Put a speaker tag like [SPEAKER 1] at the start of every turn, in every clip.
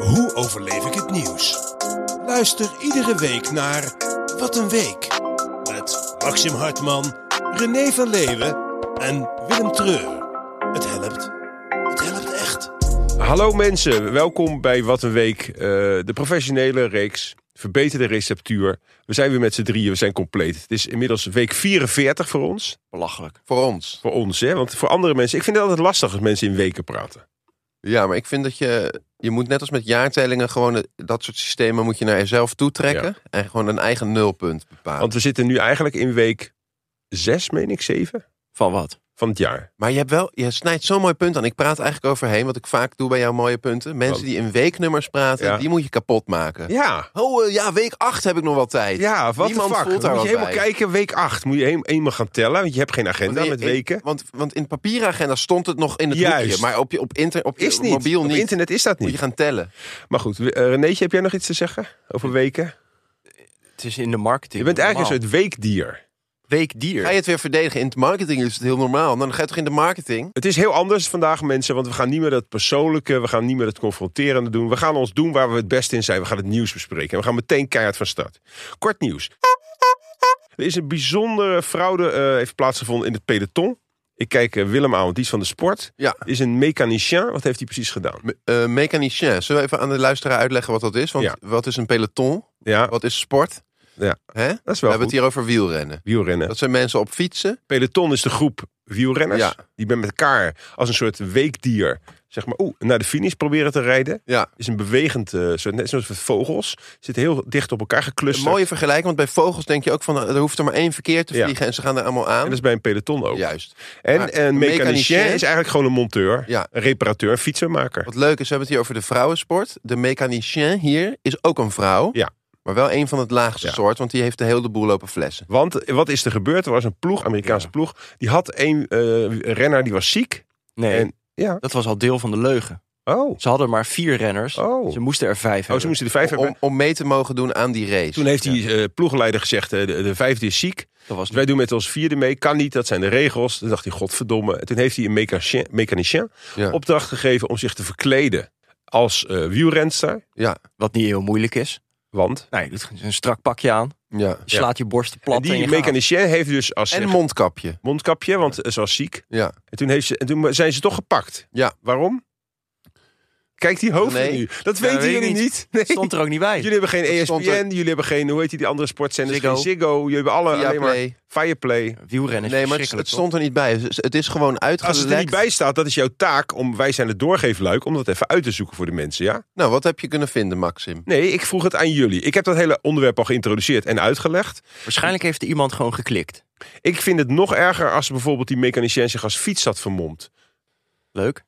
[SPEAKER 1] Hoe overleef ik het nieuws? Luister iedere week naar Wat een Week. Met Maxim Hartman, René van Leeuwen en Willem Treur. Het helpt. Het helpt echt.
[SPEAKER 2] Hallo mensen, welkom bij Wat een Week, eh, de professionele reeks Verbeterde Receptuur. We zijn weer met z'n drieën, we zijn compleet. Het is inmiddels week 44 voor ons.
[SPEAKER 3] Belachelijk. Voor ons.
[SPEAKER 2] Voor ons, hè? want voor andere mensen... Ik vind het altijd lastig als mensen in weken praten.
[SPEAKER 3] Ja, maar ik vind dat je... Je moet net als met jaartellingen gewoon eh, dat soort systemen moet je naar jezelf toetrekken. En gewoon een eigen nulpunt bepalen.
[SPEAKER 2] Want we zitten nu eigenlijk in week 6, meen ik, 7
[SPEAKER 3] van wat?
[SPEAKER 2] van het jaar.
[SPEAKER 3] Maar je, hebt wel, je snijdt zo'n mooi punt aan. Ik praat eigenlijk overheen, wat ik vaak doe bij jouw mooie punten. Mensen
[SPEAKER 2] Wat?
[SPEAKER 3] die in weeknummers praten,
[SPEAKER 2] Ja.
[SPEAKER 3] die moet je kapot maken.
[SPEAKER 2] Ja,
[SPEAKER 3] Oh eh, ja, week 8 heb ik nog wel tijd.
[SPEAKER 2] ja wat
[SPEAKER 3] Niemand
[SPEAKER 2] de fuck.
[SPEAKER 3] voelt daar
[SPEAKER 2] Dan moet je
[SPEAKER 3] wat
[SPEAKER 2] helemaal
[SPEAKER 3] bij.
[SPEAKER 2] kijken, week 8 moet je heem- eenmaal gaan tellen, want je hebt geen agenda
[SPEAKER 3] Want in-
[SPEAKER 2] met
[SPEAKER 3] in-
[SPEAKER 2] weken.
[SPEAKER 3] Want, want in papieragenda stond het nog in het
[SPEAKER 2] Juist.
[SPEAKER 3] hoekje. Maar op je, op inter, op je
[SPEAKER 2] Is niet.
[SPEAKER 3] mobiel
[SPEAKER 2] Op
[SPEAKER 3] niet.
[SPEAKER 2] internet is dat
[SPEAKER 3] Moet je
[SPEAKER 2] niet.
[SPEAKER 3] gaan tellen.
[SPEAKER 2] Maar goed, eh, Renéetje, heb jij nog iets te zeggen over weken?
[SPEAKER 4] Het is in de marketing.
[SPEAKER 2] Je bent eigenlijk een
[SPEAKER 4] normaal.
[SPEAKER 2] soort weekdier.
[SPEAKER 4] weekdier.
[SPEAKER 3] Ga je het weer verdedigen? In het marketing is het heel normaal. Dan ga je toch in de marketing?
[SPEAKER 2] Het is heel anders vandaag, mensen, want we gaan niet meer dat persoonlijke, we gaan niet meer dat confronterende doen. We gaan ons doen waar we het beste in zijn. We gaan het nieuws bespreken en we gaan meteen keihard van start. Kort nieuws. Er is een bijzondere fraude eh, heeft plaatsgevonden in het peloton. Ik kijk eh, Willem aan, want die is van de sport.
[SPEAKER 3] Ja.
[SPEAKER 2] Is een mechanicien. Wat heeft hij precies gedaan?
[SPEAKER 3] Me- eh, mechanicien. Zullen we even aan de luisteraar uitleggen wat dat is? Want
[SPEAKER 2] Ja.
[SPEAKER 3] wat is een peloton?
[SPEAKER 2] Ja,
[SPEAKER 3] Wat is sport?
[SPEAKER 2] Ja.
[SPEAKER 3] Hè? We
[SPEAKER 2] dat is wel
[SPEAKER 3] hebben het
[SPEAKER 2] goed.
[SPEAKER 3] hier over wielrennen.
[SPEAKER 2] Wielrennen.
[SPEAKER 3] Dat zijn mensen op fietsen.
[SPEAKER 2] Peloton is de groep wielrenners.
[SPEAKER 3] Ja.
[SPEAKER 2] Die met elkaar als een soort weekdier, zeg maar, oeh, naar de finish proberen te rijden.
[SPEAKER 3] Ja.
[SPEAKER 2] Is een bewegend, eh, soort, net zoals vogels, zitten heel dicht op elkaar
[SPEAKER 3] Een
[SPEAKER 2] geclusterd.
[SPEAKER 3] mooie vergelijking, want bij vogels denk je ook van... eh, er hoeft er maar één verkeer te
[SPEAKER 2] Ja.
[SPEAKER 3] vliegen en ze gaan er allemaal aan.
[SPEAKER 2] En dat is bij een peloton ook.
[SPEAKER 3] Juist.
[SPEAKER 2] En
[SPEAKER 3] Maar
[SPEAKER 2] een
[SPEAKER 3] een
[SPEAKER 2] mechanicien
[SPEAKER 3] mechanicien-
[SPEAKER 2] is eigenlijk gewoon een monteur,
[SPEAKER 3] Ja.
[SPEAKER 2] een reparateur, een fietsenmaker.
[SPEAKER 3] Wat leuk is, we hebben het hier over de vrouwensport. De mechanicien hier is ook een vrouw.
[SPEAKER 2] Ja.
[SPEAKER 3] Maar wel een van het laagste
[SPEAKER 2] Ja.
[SPEAKER 3] soort, want die heeft de hele boel lopen flessen.
[SPEAKER 2] Want eh, wat is er gebeurd? Er was een ploeg, Amerikaanse ploeg, die had één eh, renner die was ziek.
[SPEAKER 4] Nee,
[SPEAKER 2] En- ja.
[SPEAKER 4] dat was al deel van de leugen.
[SPEAKER 2] Oh,
[SPEAKER 4] Ze hadden maar vier renners.
[SPEAKER 2] Oh.
[SPEAKER 4] Ze moesten er vijf
[SPEAKER 2] oh ze
[SPEAKER 4] hebben.
[SPEAKER 2] moesten de vijf hebben.
[SPEAKER 3] Om, om mee te mogen doen aan die race.
[SPEAKER 2] Toen heeft die eh, ploegleider gezegd, eh, de, de vijfde is ziek.
[SPEAKER 4] Dat was
[SPEAKER 2] Dus wij doen met ons vierde mee, kan niet, dat zijn de regels. Toen dacht hij, godverdomme. En toen heeft hij een mechanicien, mechanicien
[SPEAKER 3] Ja.
[SPEAKER 2] opdracht gegeven om zich te verkleden als eh wielrenster.
[SPEAKER 3] Ja,
[SPEAKER 4] wat niet heel moeilijk is.
[SPEAKER 2] Want...
[SPEAKER 4] Nee, dat is een strak pakje aan.
[SPEAKER 3] ja.
[SPEAKER 4] Je slaat je borsten plat
[SPEAKER 2] en
[SPEAKER 4] en
[SPEAKER 2] die
[SPEAKER 4] je gaat.
[SPEAKER 2] mechanicien heeft dus als
[SPEAKER 3] En
[SPEAKER 2] zeg,
[SPEAKER 3] mondkapje.
[SPEAKER 2] mondkapje, want eh, ze was ziek.
[SPEAKER 3] Ja.
[SPEAKER 2] En toen, heeft ze, en toen zijn ze toch gepakt.
[SPEAKER 3] Ja.
[SPEAKER 2] Waarom? Kijk die hoofd
[SPEAKER 3] Nee.
[SPEAKER 2] nu. Dat
[SPEAKER 4] Ja,
[SPEAKER 2] weten
[SPEAKER 4] weet ik
[SPEAKER 2] jullie
[SPEAKER 4] niet.
[SPEAKER 2] niet. Nee.
[SPEAKER 4] Stond er ook niet bij.
[SPEAKER 2] Jullie hebben geen E
[SPEAKER 3] Dat
[SPEAKER 2] ESPN,
[SPEAKER 3] stond er-
[SPEAKER 2] jullie hebben geen, hoe heet die, die andere sportzenders,
[SPEAKER 4] Ziggo.
[SPEAKER 2] geen Ziggo. Jullie hebben alle, alleen maar
[SPEAKER 3] Viaplay.
[SPEAKER 2] Fireplay.
[SPEAKER 4] Wielrennen is
[SPEAKER 3] Nee, maar het,
[SPEAKER 4] verschrikkelijk,
[SPEAKER 3] het stond er niet bij. Het is- Het is gewoon
[SPEAKER 2] Als het er niet
[SPEAKER 3] uitgelekt.
[SPEAKER 2] bij staat, dat is jouw taak om, wij zijn het doorgeefluik, om dat even uit te zoeken voor de mensen, ja?
[SPEAKER 3] Nou, wat heb je kunnen vinden, Maxim?
[SPEAKER 2] Nee, ik vroeg het aan jullie. Ik heb dat hele onderwerp al geïntroduceerd en uitgelegd.
[SPEAKER 4] toch? Waarschijnlijk heeft er iemand gewoon geklikt.
[SPEAKER 2] Ik vind het nog erger als bijvoorbeeld die mechanicien zich als fiets had vermomd.
[SPEAKER 4] Leuk.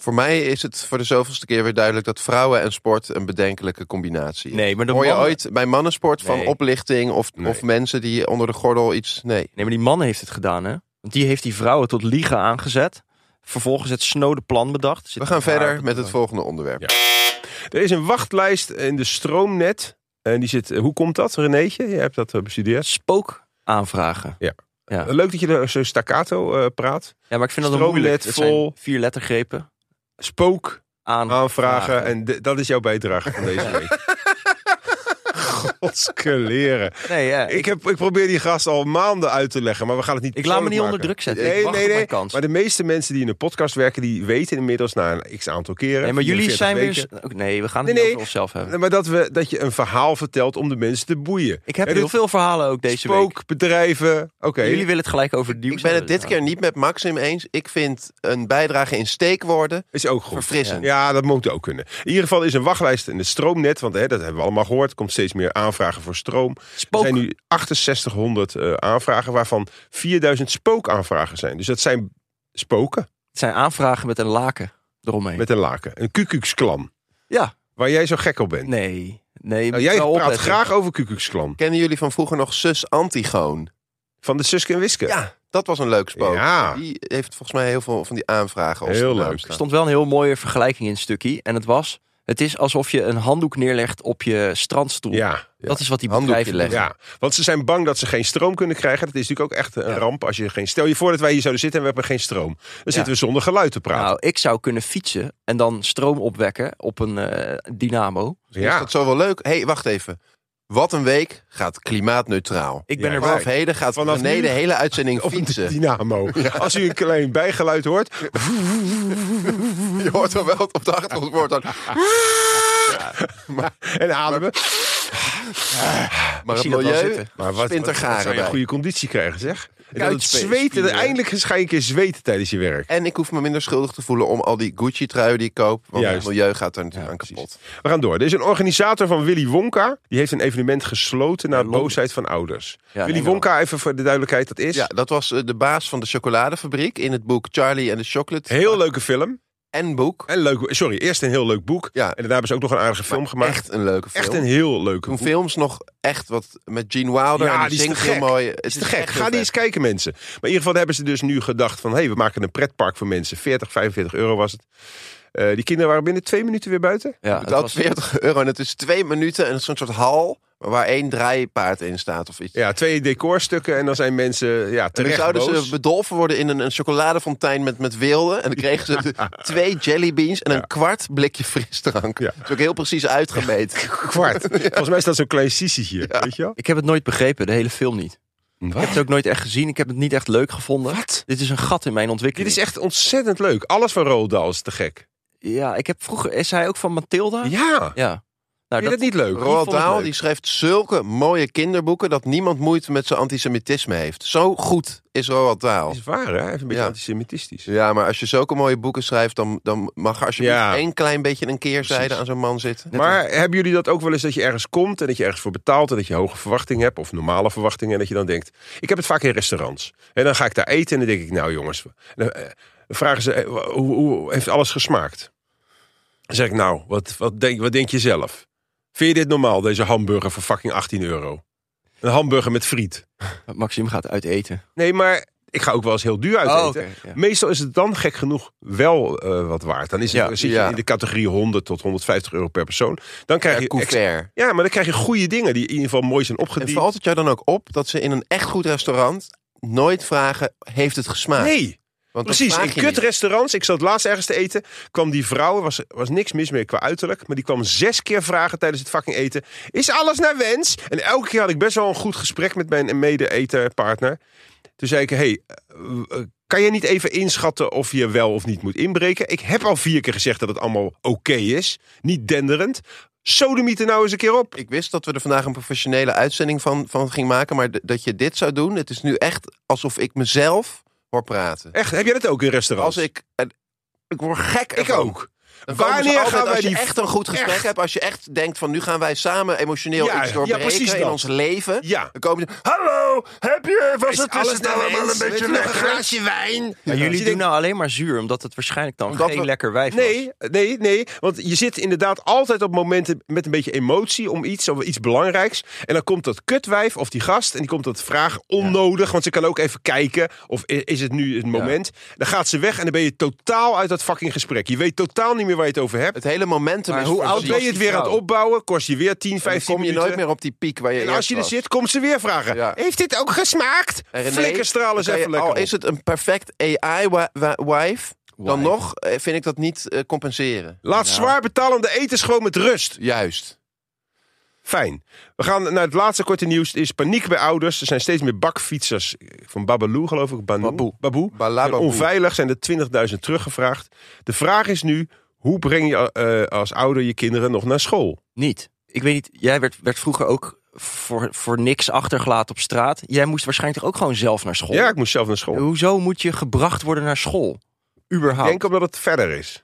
[SPEAKER 3] Voor mij is het voor de zoveelste keer weer duidelijk dat vrouwen en sport een bedenkelijke combinatie is.
[SPEAKER 4] Nee, maar de
[SPEAKER 3] Hoor je
[SPEAKER 4] mannen-
[SPEAKER 3] ooit bij mannensport van
[SPEAKER 4] Nee.
[SPEAKER 3] oplichting of,
[SPEAKER 2] Nee.
[SPEAKER 3] of mensen die onder de gordel iets... Nee.
[SPEAKER 4] Nee, maar die man heeft het gedaan, hè? Want die heeft die vrouwen tot liegen aangezet. Vervolgens het snode plan bedacht. Zit
[SPEAKER 3] We gaan
[SPEAKER 4] met haar
[SPEAKER 3] verder
[SPEAKER 4] op
[SPEAKER 3] met het volgende onderwerp.
[SPEAKER 2] Ja. Er is een wachtlijst in de stroomnet. En die zit, eh, hoe komt dat, Renéetje? Je hebt dat eh, bestudeerd.
[SPEAKER 4] Spook aanvragen. Ja.
[SPEAKER 2] Leuk dat je er zo staccato eh, praat.
[SPEAKER 4] Ja, maar ik vind dat een
[SPEAKER 2] Stroomnet
[SPEAKER 4] moeilijk. Het zijn
[SPEAKER 2] vol.
[SPEAKER 4] vier lettergrepen.
[SPEAKER 2] Spook
[SPEAKER 4] Aan
[SPEAKER 3] Hm,
[SPEAKER 2] aanvragen. En de- dat is jouw bijdrage van deze week. Potskeleren.
[SPEAKER 1] Nee, ja,
[SPEAKER 2] Ik, heb, ik probeer die gast al maanden uit te leggen, maar we gaan het niet
[SPEAKER 1] Ik laat me
[SPEAKER 2] persoonlijk
[SPEAKER 1] niet onder
[SPEAKER 2] maken.
[SPEAKER 1] druk zetten. Ik
[SPEAKER 2] Nee,
[SPEAKER 1] wacht
[SPEAKER 2] nee,
[SPEAKER 1] op
[SPEAKER 2] nee.
[SPEAKER 1] mijn kans.
[SPEAKER 2] Maar de meeste mensen die in een podcast werken, die weten inmiddels na een x aantal keren.
[SPEAKER 1] nee, maar jullie
[SPEAKER 2] 44
[SPEAKER 1] zijn
[SPEAKER 2] weken,
[SPEAKER 1] weer... Oké, Nee, we gaan het
[SPEAKER 2] Nee,
[SPEAKER 1] niet
[SPEAKER 2] nee.
[SPEAKER 1] over onszelf hebben.
[SPEAKER 2] Nee, Maar dat, we, dat je een verhaal vertelt om de mensen te boeien.
[SPEAKER 1] Ik heb
[SPEAKER 2] Ja,
[SPEAKER 1] heel
[SPEAKER 2] dit-
[SPEAKER 1] veel verhalen ook deze week.
[SPEAKER 2] Spookbedrijven. Oké.
[SPEAKER 1] Jullie willen het gelijk over het nieuws
[SPEAKER 3] Ik ben het
[SPEAKER 1] hebben,
[SPEAKER 3] dit keer niet met Maxim eens. Ik vind een bijdrage in steekwoorden
[SPEAKER 2] Is ook goed.
[SPEAKER 3] verfrissend.
[SPEAKER 2] Ja, dat moet ook kunnen. In ieder geval is een wachtlijst in het stroomnet, want hè, dat hebben we allemaal gehoord. Er komt steeds meer aanvragen voor stroom.
[SPEAKER 1] Spook.
[SPEAKER 2] Er zijn nu 6800 eh, aanvragen, waarvan 4000 spookaanvragen zijn. Dus dat zijn spoken
[SPEAKER 1] Het zijn aanvragen met een laken eromheen.
[SPEAKER 2] met een laken. Een kukuxklan,
[SPEAKER 3] Nou,
[SPEAKER 1] Ja,
[SPEAKER 2] waar jij zo gek op bent.
[SPEAKER 1] nee. nee je moet
[SPEAKER 2] Nou, jij
[SPEAKER 1] wel
[SPEAKER 2] praat
[SPEAKER 1] opletten.
[SPEAKER 2] graag over kukuxklan.
[SPEAKER 3] Kennen jullie van vroeger nog zus Antigoon?
[SPEAKER 2] Van de Suske en Wiske.
[SPEAKER 3] Ja, dat was een leuk spook.
[SPEAKER 2] Ja.
[SPEAKER 3] Die heeft volgens mij heel veel van die aanvragen. als
[SPEAKER 2] Heel
[SPEAKER 3] naam
[SPEAKER 2] leuk.
[SPEAKER 3] staan.
[SPEAKER 1] Er stond wel een heel mooie vergelijking in het stukje. En het was, het is alsof je een handdoek neerlegt op je strandstoel.
[SPEAKER 2] Ja, ja.
[SPEAKER 1] Dat is wat die
[SPEAKER 3] Handdoekje
[SPEAKER 1] bedrijven leggen.
[SPEAKER 2] Ja, want ze zijn bang dat ze geen stroom kunnen krijgen. Dat is natuurlijk ook echt een ramp als je geen. Stel je voor dat wij hier zouden zitten en we hebben geen stroom. Dan zitten we zonder geluid te praten.
[SPEAKER 1] Nou, ik zou kunnen fietsen en dan stroom opwekken op een eh, dynamo.
[SPEAKER 3] Ja. Is
[SPEAKER 2] ja.
[SPEAKER 3] dat zo wel leuk? hey, wacht even. Wat een week gaat klimaatneutraal.
[SPEAKER 1] Ik ben
[SPEAKER 2] Ja,
[SPEAKER 1] er
[SPEAKER 2] maar-
[SPEAKER 1] wel.
[SPEAKER 3] Vanaf heden gaat
[SPEAKER 2] Vanaf
[SPEAKER 3] René
[SPEAKER 2] nu-
[SPEAKER 3] de hele uitzending
[SPEAKER 2] Op een
[SPEAKER 3] fietsen.
[SPEAKER 2] dynamo. Als u een klein bijgeluid hoort.
[SPEAKER 3] Je hoort wel wel op de achtergrond wordt dan.
[SPEAKER 2] en ademen.
[SPEAKER 3] Maar het
[SPEAKER 1] zie dat wel
[SPEAKER 3] milieu
[SPEAKER 1] zitten.
[SPEAKER 2] Maar wat,
[SPEAKER 3] spint er
[SPEAKER 2] wat- wat
[SPEAKER 3] garen
[SPEAKER 2] zou je
[SPEAKER 3] bij.
[SPEAKER 2] goede conditie krijgen, zeg? En dat het
[SPEAKER 3] Kuitspelen,
[SPEAKER 2] zweten,
[SPEAKER 3] spieren.
[SPEAKER 2] eindelijk ga je een keer zweten tijdens je werk.
[SPEAKER 3] En ik hoef me minder schuldig te voelen om al die Gucci-truien die ik koop. Want
[SPEAKER 2] Juist.
[SPEAKER 3] het milieu gaat er natuurlijk aan kapot.
[SPEAKER 2] We gaan door. Er is een organisator van Willy Wonka. Die heeft een evenement gesloten naar
[SPEAKER 1] Londen.
[SPEAKER 2] boosheid van ouders. Willy
[SPEAKER 1] Engeland.
[SPEAKER 2] Wonka, even voor de duidelijkheid, dat is...
[SPEAKER 3] Ja, dat was eh, de baas van de chocoladefabriek in het boek Charlie and the Chocolate.
[SPEAKER 2] Heel leuke film.
[SPEAKER 3] En boek.
[SPEAKER 2] En leuk, sorry, eerst een heel leuk boek.
[SPEAKER 3] Ja.
[SPEAKER 2] En daarna hebben ze ook nog een aardige film gemaakt.
[SPEAKER 3] Echt een leuke film.
[SPEAKER 2] Echt een heel leuke
[SPEAKER 3] Toen
[SPEAKER 2] boek.
[SPEAKER 3] films nog echt wat met Gene Wilder.
[SPEAKER 2] Ja,
[SPEAKER 3] en
[SPEAKER 2] die is
[SPEAKER 3] zingt
[SPEAKER 2] te
[SPEAKER 3] heel
[SPEAKER 2] gek.
[SPEAKER 3] mooi. Het
[SPEAKER 2] Het is te
[SPEAKER 3] echt
[SPEAKER 2] gek.
[SPEAKER 3] heel
[SPEAKER 2] Ga die
[SPEAKER 3] vet.
[SPEAKER 2] eens kijken, mensen. Maar in ieder geval hebben ze dus nu gedacht van... hé, hey, we maken een pretpark voor mensen. 40, 45 euro was het. Eh, die kinderen waren binnen twee minuten weer buiten.
[SPEAKER 1] Ja,
[SPEAKER 3] Het
[SPEAKER 1] het
[SPEAKER 3] had
[SPEAKER 1] was-
[SPEAKER 3] 40 euro en het is twee minuten en het is zo'n soort hal waar één draaipaard in staat of iets.
[SPEAKER 2] Ja, twee decorstukken en dan zijn mensen ja,
[SPEAKER 3] En dan
[SPEAKER 2] terecht
[SPEAKER 3] zouden
[SPEAKER 2] boos.
[SPEAKER 3] ze bedolven worden in een, een chocoladefontein met, met wilden. En dan kregen ze de- twee jellybeans en een kwart blikje frisdrank.
[SPEAKER 2] Ja.
[SPEAKER 3] Dat is ook heel precies uitgemeten.
[SPEAKER 2] Kwart. Volgens mij is dat zo'n klein sissetje, weet je wel?
[SPEAKER 1] Ik heb het nooit begrepen, de hele film niet. Ik heb het ook nooit echt gezien. Ik heb het niet echt leuk gevonden. Dit is een gat in mijn
[SPEAKER 2] Dit
[SPEAKER 1] ontwikkeling.
[SPEAKER 2] is echt ontzettend leuk. Alles van Roald Dahl is te gek.
[SPEAKER 1] Ja, ik heb vroeger... Is hij ook van Mathilda?
[SPEAKER 2] Ja,
[SPEAKER 1] Ja.
[SPEAKER 2] vind
[SPEAKER 1] Nou,
[SPEAKER 2] je dat
[SPEAKER 1] dat,
[SPEAKER 2] niet leuk?
[SPEAKER 3] Roald
[SPEAKER 1] vond ik
[SPEAKER 3] Dahl
[SPEAKER 1] leuk.
[SPEAKER 3] die schrijft zulke mooie kinderboeken dat niemand moeite met zijn antisemitisme heeft. Zo goed is Roald Dahl.
[SPEAKER 2] is waar, hè? Hij is een beetje
[SPEAKER 3] Ja.
[SPEAKER 2] antisemitisch.
[SPEAKER 3] Ja, maar als je zulke mooie boeken schrijft, dan, dan mag er alsjeblieft
[SPEAKER 2] Ja.
[SPEAKER 3] één klein beetje een keerzijde
[SPEAKER 2] Precies.
[SPEAKER 3] aan zo'n man zitten.
[SPEAKER 2] Maar hebben jullie dat ook wel eens dat je ergens komt en dat je ergens voor betaalt en dat je hoge verwachtingen hebt of normale verwachtingen en dat je dan denkt, ik heb het vaak in restaurants. En dan ga ik daar eten en dan denk ik, nou jongens, dan eh, dan vragen ze, eh, hoe, hoe heeft alles gesmaakt? Dan zeg ik, nou, wat, wat, denk, wat denk je zelf? Vind je dit normaal, deze hamburger voor fucking 18 euro? Een hamburger met friet.
[SPEAKER 1] Maxim gaat uit eten.
[SPEAKER 2] Nee, maar ik ga ook wel eens heel duur
[SPEAKER 3] Oh,
[SPEAKER 2] uit eten.
[SPEAKER 1] oké, ja.
[SPEAKER 2] Meestal is het dan gek genoeg wel eh, wat waard. Dan is het,
[SPEAKER 1] Ja,
[SPEAKER 2] zit je
[SPEAKER 3] ja.
[SPEAKER 2] in de categorie 100 tot 150 euro per persoon. Dan krijg
[SPEAKER 3] Per
[SPEAKER 2] je extra-
[SPEAKER 3] couvert.
[SPEAKER 2] ja, maar dan krijg je goede dingen die in ieder geval mooi zijn
[SPEAKER 3] En
[SPEAKER 2] opgediend.
[SPEAKER 3] valt het jou dan ook op dat ze in een echt goed restaurant nooit vragen, heeft het gesmaakt?
[SPEAKER 2] Nee,
[SPEAKER 3] Want dat
[SPEAKER 2] precies.
[SPEAKER 3] vraag
[SPEAKER 2] In
[SPEAKER 3] je niet.
[SPEAKER 2] kutrestaurants, ik zat laatst ergens te eten, kwam die vrouw, was, was niks mis mee qua uiterlijk, maar die kwam zes keer vragen tijdens het fucking eten. Is alles naar wens? En elke keer had ik best wel een goed gesprek met mijn mede-etenpartner. Toen zei ik, hey, eh, eh, kan je niet even inschatten of je wel of niet moet inbreken? Ik heb al vier keer gezegd dat het allemaal oké is, niet denderend. Sodemiet er nou eens een keer op.
[SPEAKER 3] Ik wist dat we er vandaag een professionele uitzending van, van gingen maken, maar d- dat je dit zou doen, het is nu echt alsof ik mezelf hoor praten.
[SPEAKER 2] Echt, heb jij dat ook in restaurants?
[SPEAKER 3] Als ik, en ik word gek.
[SPEAKER 2] ik
[SPEAKER 3] ervan.
[SPEAKER 2] ook.
[SPEAKER 3] Dan komen ze
[SPEAKER 2] Wanneer
[SPEAKER 3] altijd,
[SPEAKER 2] gaan wij
[SPEAKER 3] als je
[SPEAKER 2] die
[SPEAKER 3] echt een goed gesprek
[SPEAKER 2] echt-
[SPEAKER 3] hebt, als je echt denkt van nu gaan wij samen emotioneel
[SPEAKER 2] Ja,
[SPEAKER 3] iets
[SPEAKER 2] ja,
[SPEAKER 3] doorbreken
[SPEAKER 2] precies
[SPEAKER 3] in
[SPEAKER 2] dat.
[SPEAKER 3] ons leven,
[SPEAKER 2] Ja.
[SPEAKER 3] dan komen ze, hallo, heb je, was
[SPEAKER 2] Is
[SPEAKER 3] het, is het nou allemaal een beetje
[SPEAKER 2] lekker?
[SPEAKER 3] lekker?
[SPEAKER 2] wijn.
[SPEAKER 1] Maar jullie
[SPEAKER 2] Je
[SPEAKER 1] doen
[SPEAKER 2] denkt,
[SPEAKER 1] nou alleen maar zuur, omdat het waarschijnlijk dan
[SPEAKER 3] Omdat
[SPEAKER 1] geen
[SPEAKER 3] we-
[SPEAKER 1] lekker wijf was.
[SPEAKER 2] Nee, nee, nee. Want je zit inderdaad altijd op momenten met een beetje emotie om iets, of iets belangrijks. En dan komt dat kutwijf of die gast en die komt dat vraag onnodig. Want ze kan ook even kijken of i- is het nu het moment. Dan gaat ze weg en dan ben je totaal uit dat fucking gesprek. Je weet totaal niet meer waar je het over hebt.
[SPEAKER 3] Het hele momentum
[SPEAKER 1] Maar
[SPEAKER 3] is
[SPEAKER 1] hoe oud
[SPEAKER 2] Oud
[SPEAKER 3] voorzien.
[SPEAKER 2] ben je het weer aan het opbouwen, kost je weer 10,
[SPEAKER 3] En dan
[SPEAKER 2] 15
[SPEAKER 3] kom je
[SPEAKER 2] minuten.
[SPEAKER 3] nooit meer op die piek waar je
[SPEAKER 2] en als
[SPEAKER 3] eerst
[SPEAKER 2] je er
[SPEAKER 3] was.
[SPEAKER 2] zit, komt ze weer vragen.
[SPEAKER 3] Ja.
[SPEAKER 2] Heeft dit ook gesmaakt?
[SPEAKER 3] En René,
[SPEAKER 2] Flikkerstralen is
[SPEAKER 3] dan kan je-
[SPEAKER 2] even lekker
[SPEAKER 3] Al
[SPEAKER 2] op.
[SPEAKER 3] is het een perfect AI-wife, dan
[SPEAKER 1] Wife.
[SPEAKER 3] nog eh, vind ik dat niet eh, compenseren.
[SPEAKER 2] Laat zwaar betalende etens gewoon met rust.
[SPEAKER 3] Juist.
[SPEAKER 2] Fijn. We gaan naar het laatste korte nieuws. Er is paniek bij ouders. Er zijn steeds meer bakfietsers eh, van Babalu, geloof ik. Banu,
[SPEAKER 1] Baboe.
[SPEAKER 2] Baboe. En
[SPEAKER 3] Eh,
[SPEAKER 1] Balababoe.
[SPEAKER 2] onveilig zijn er 20.000 teruggevraagd. De vraag is nu, hoe breng je eh, als ouder je kinderen nog naar school?
[SPEAKER 3] Niet. Ik weet niet, jij werd, werd vroeger ook voor, voor niks achtergelaten op straat. Jij moest waarschijnlijk toch ook gewoon zelf naar school?
[SPEAKER 2] Ja, ik moest zelf naar school.
[SPEAKER 3] Hoezo moet je gebracht worden naar school? Überhaupt.
[SPEAKER 2] Ik denk omdat het verder is.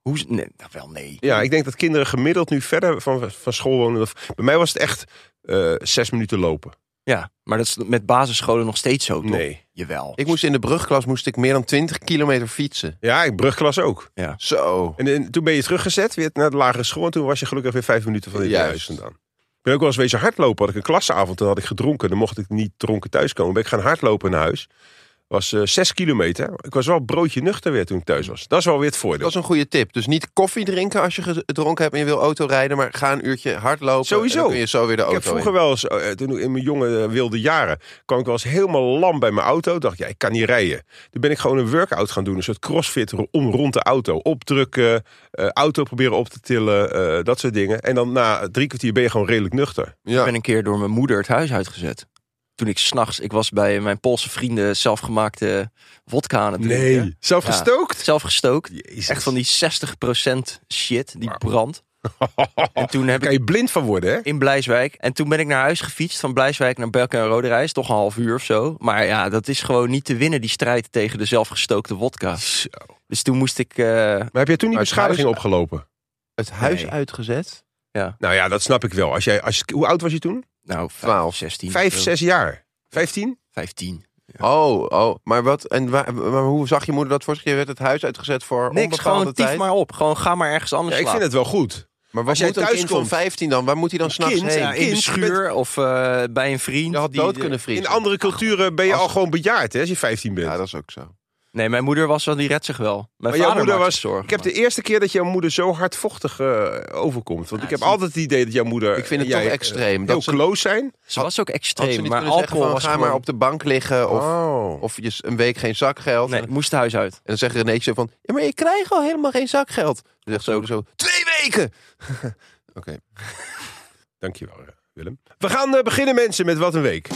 [SPEAKER 3] Hoe, nee, nou wel nee.
[SPEAKER 2] Ja, ik denk dat kinderen gemiddeld nu verder van, van school wonen. Of- Bij mij was het echt eh, zes minuten lopen.
[SPEAKER 3] Ja, maar dat is met basisscholen nog steeds zo, toch?
[SPEAKER 2] Nee.
[SPEAKER 3] Jawel.
[SPEAKER 1] Ik moest in de brugklas moest ik meer dan 20 kilometer fietsen.
[SPEAKER 2] Ja, ik brugklas ook.
[SPEAKER 1] Zo.
[SPEAKER 2] En, en toen ben je teruggezet weer naar de lagere school. En toen was je gelukkig weer vijf minuten van het
[SPEAKER 1] Juist.
[SPEAKER 2] huis vandaan. Ik ben ook wel eens wezen hardlopen. Had ik een klasavond, toen had ik gedronken. Dan mocht ik niet dronken thuiskomen. Ben ik gaan hardlopen naar huis. Was eh, zes kilometer. Ik was wel broodje nuchter weer toen ik thuis was. Dat is wel weer het voordeel.
[SPEAKER 1] Dat is een goede tip. Dus niet koffie drinken als je gedronken hebt en je wil autorijden, maar ga een uurtje hardlopen.
[SPEAKER 2] Sowieso.
[SPEAKER 1] En dan kun je zo weer de
[SPEAKER 2] Ik
[SPEAKER 1] auto
[SPEAKER 2] heb vroeger
[SPEAKER 1] in.
[SPEAKER 2] wel eens, eh, toen in mijn jonge eh, wilde jaren, kwam ik wel eens helemaal lam bij mijn auto. Dacht, ja, ik kan niet rijden. Toen ben ik gewoon een workout gaan doen. Een soort crossfit ro- om rond de auto. Opdrukken, eh, auto proberen op te tillen, eh, dat soort dingen. En dan na drie kwartier ben je gewoon redelijk nuchter.
[SPEAKER 3] Ik
[SPEAKER 1] Ja.
[SPEAKER 3] ben een keer door mijn moeder het huis uitgezet. Toen ik s'nachts, ik was bij mijn Poolse vrienden zelfgemaakte wodka aan het drinken.
[SPEAKER 2] Zelf
[SPEAKER 3] Ja.
[SPEAKER 2] gestookt?
[SPEAKER 3] Zelf gestookt.
[SPEAKER 2] Jezus.
[SPEAKER 3] Echt van die 60% shit, die brandt. En toen
[SPEAKER 2] Daar
[SPEAKER 3] heb
[SPEAKER 2] kan
[SPEAKER 3] ik
[SPEAKER 2] je blind van worden, hè?
[SPEAKER 3] in Blijswijk. En toen ben ik naar huis gefietst van Blijswijk naar Belken en Roderijs. Toch een half uur of zo. Maar ja, dat is gewoon niet te winnen, die strijd tegen de zelfgestookte wodka. Dus toen moest ik... eh,
[SPEAKER 2] Maar heb je toen
[SPEAKER 1] Maar
[SPEAKER 2] niet
[SPEAKER 1] het huis-
[SPEAKER 2] beschadiging opgelopen?
[SPEAKER 1] Het huis
[SPEAKER 3] Nee.
[SPEAKER 1] uitgezet.
[SPEAKER 2] Nou ja, dat snap ik wel. Als jij, als, hoe oud was je toen?
[SPEAKER 3] nou, eh, 12,
[SPEAKER 1] Twaalf.
[SPEAKER 3] 16.
[SPEAKER 2] Vijf,
[SPEAKER 3] zo.
[SPEAKER 2] zes jaar. Vijftien?
[SPEAKER 3] 15.
[SPEAKER 1] Oh, oh, maar wat? En waar- maar hoe zag je moeder dat voor zich? Je werd het huis uitgezet voor
[SPEAKER 3] Niks,
[SPEAKER 1] onbepaalde
[SPEAKER 3] gewoon
[SPEAKER 1] tijd.
[SPEAKER 3] tief maar op. Gewoon ga maar ergens anders
[SPEAKER 2] Ja, ik
[SPEAKER 3] slapen.
[SPEAKER 2] vind het wel goed.
[SPEAKER 1] Maar wat
[SPEAKER 2] Als jij
[SPEAKER 1] moet een
[SPEAKER 2] thuis
[SPEAKER 1] kind
[SPEAKER 2] komt-
[SPEAKER 1] van 15 dan? Waar moet hij dan s'nachts
[SPEAKER 2] kind,
[SPEAKER 1] heen?
[SPEAKER 3] Ja, in de
[SPEAKER 2] kind
[SPEAKER 3] schuur of eh, bij een vriend.
[SPEAKER 1] Je had
[SPEAKER 3] die-
[SPEAKER 1] dood kunnen vriezen.
[SPEAKER 2] In andere culturen ben je
[SPEAKER 1] als-
[SPEAKER 2] al gewoon bejaard, hè, als je vijftien bent.
[SPEAKER 1] Ja, dat is ook zo.
[SPEAKER 3] Nee, mijn moeder was wel, die redt zich wel. Mijn
[SPEAKER 2] Maar jouw
[SPEAKER 3] vader
[SPEAKER 2] moeder
[SPEAKER 3] maakt
[SPEAKER 2] was.
[SPEAKER 3] zich zorgen.
[SPEAKER 2] Ik heb de
[SPEAKER 3] maar-
[SPEAKER 2] eerste keer dat jouw moeder zo hardvochtig eh, overkomt. Want
[SPEAKER 3] Ja,
[SPEAKER 2] ik heb
[SPEAKER 3] het is-
[SPEAKER 2] altijd het idee dat jouw moeder.
[SPEAKER 1] Ik vind het
[SPEAKER 2] en jij,
[SPEAKER 1] toch extreem.
[SPEAKER 2] eh,
[SPEAKER 1] dat
[SPEAKER 2] heel
[SPEAKER 1] ze-
[SPEAKER 2] close zijn.
[SPEAKER 3] Ze was
[SPEAKER 1] had
[SPEAKER 3] ook
[SPEAKER 1] ze
[SPEAKER 3] extreem,
[SPEAKER 1] niet
[SPEAKER 3] maar
[SPEAKER 1] kunnen zeggen
[SPEAKER 3] alcohol
[SPEAKER 1] van,
[SPEAKER 3] was
[SPEAKER 1] ga
[SPEAKER 3] gewoon...
[SPEAKER 1] maar op de bank liggen of,
[SPEAKER 2] oh.
[SPEAKER 1] of je s- een week geen zakgeld.
[SPEAKER 3] Nee,
[SPEAKER 1] En
[SPEAKER 3] ik moest het huis uit.
[SPEAKER 1] dan zegt René zo van, ja, maar ik krijg al helemaal geen zakgeld. Dan zegt ze ook zo, twee weken!
[SPEAKER 2] Dankjewel, eh, Willem. We gaan eh, beginnen, mensen, met wat een week.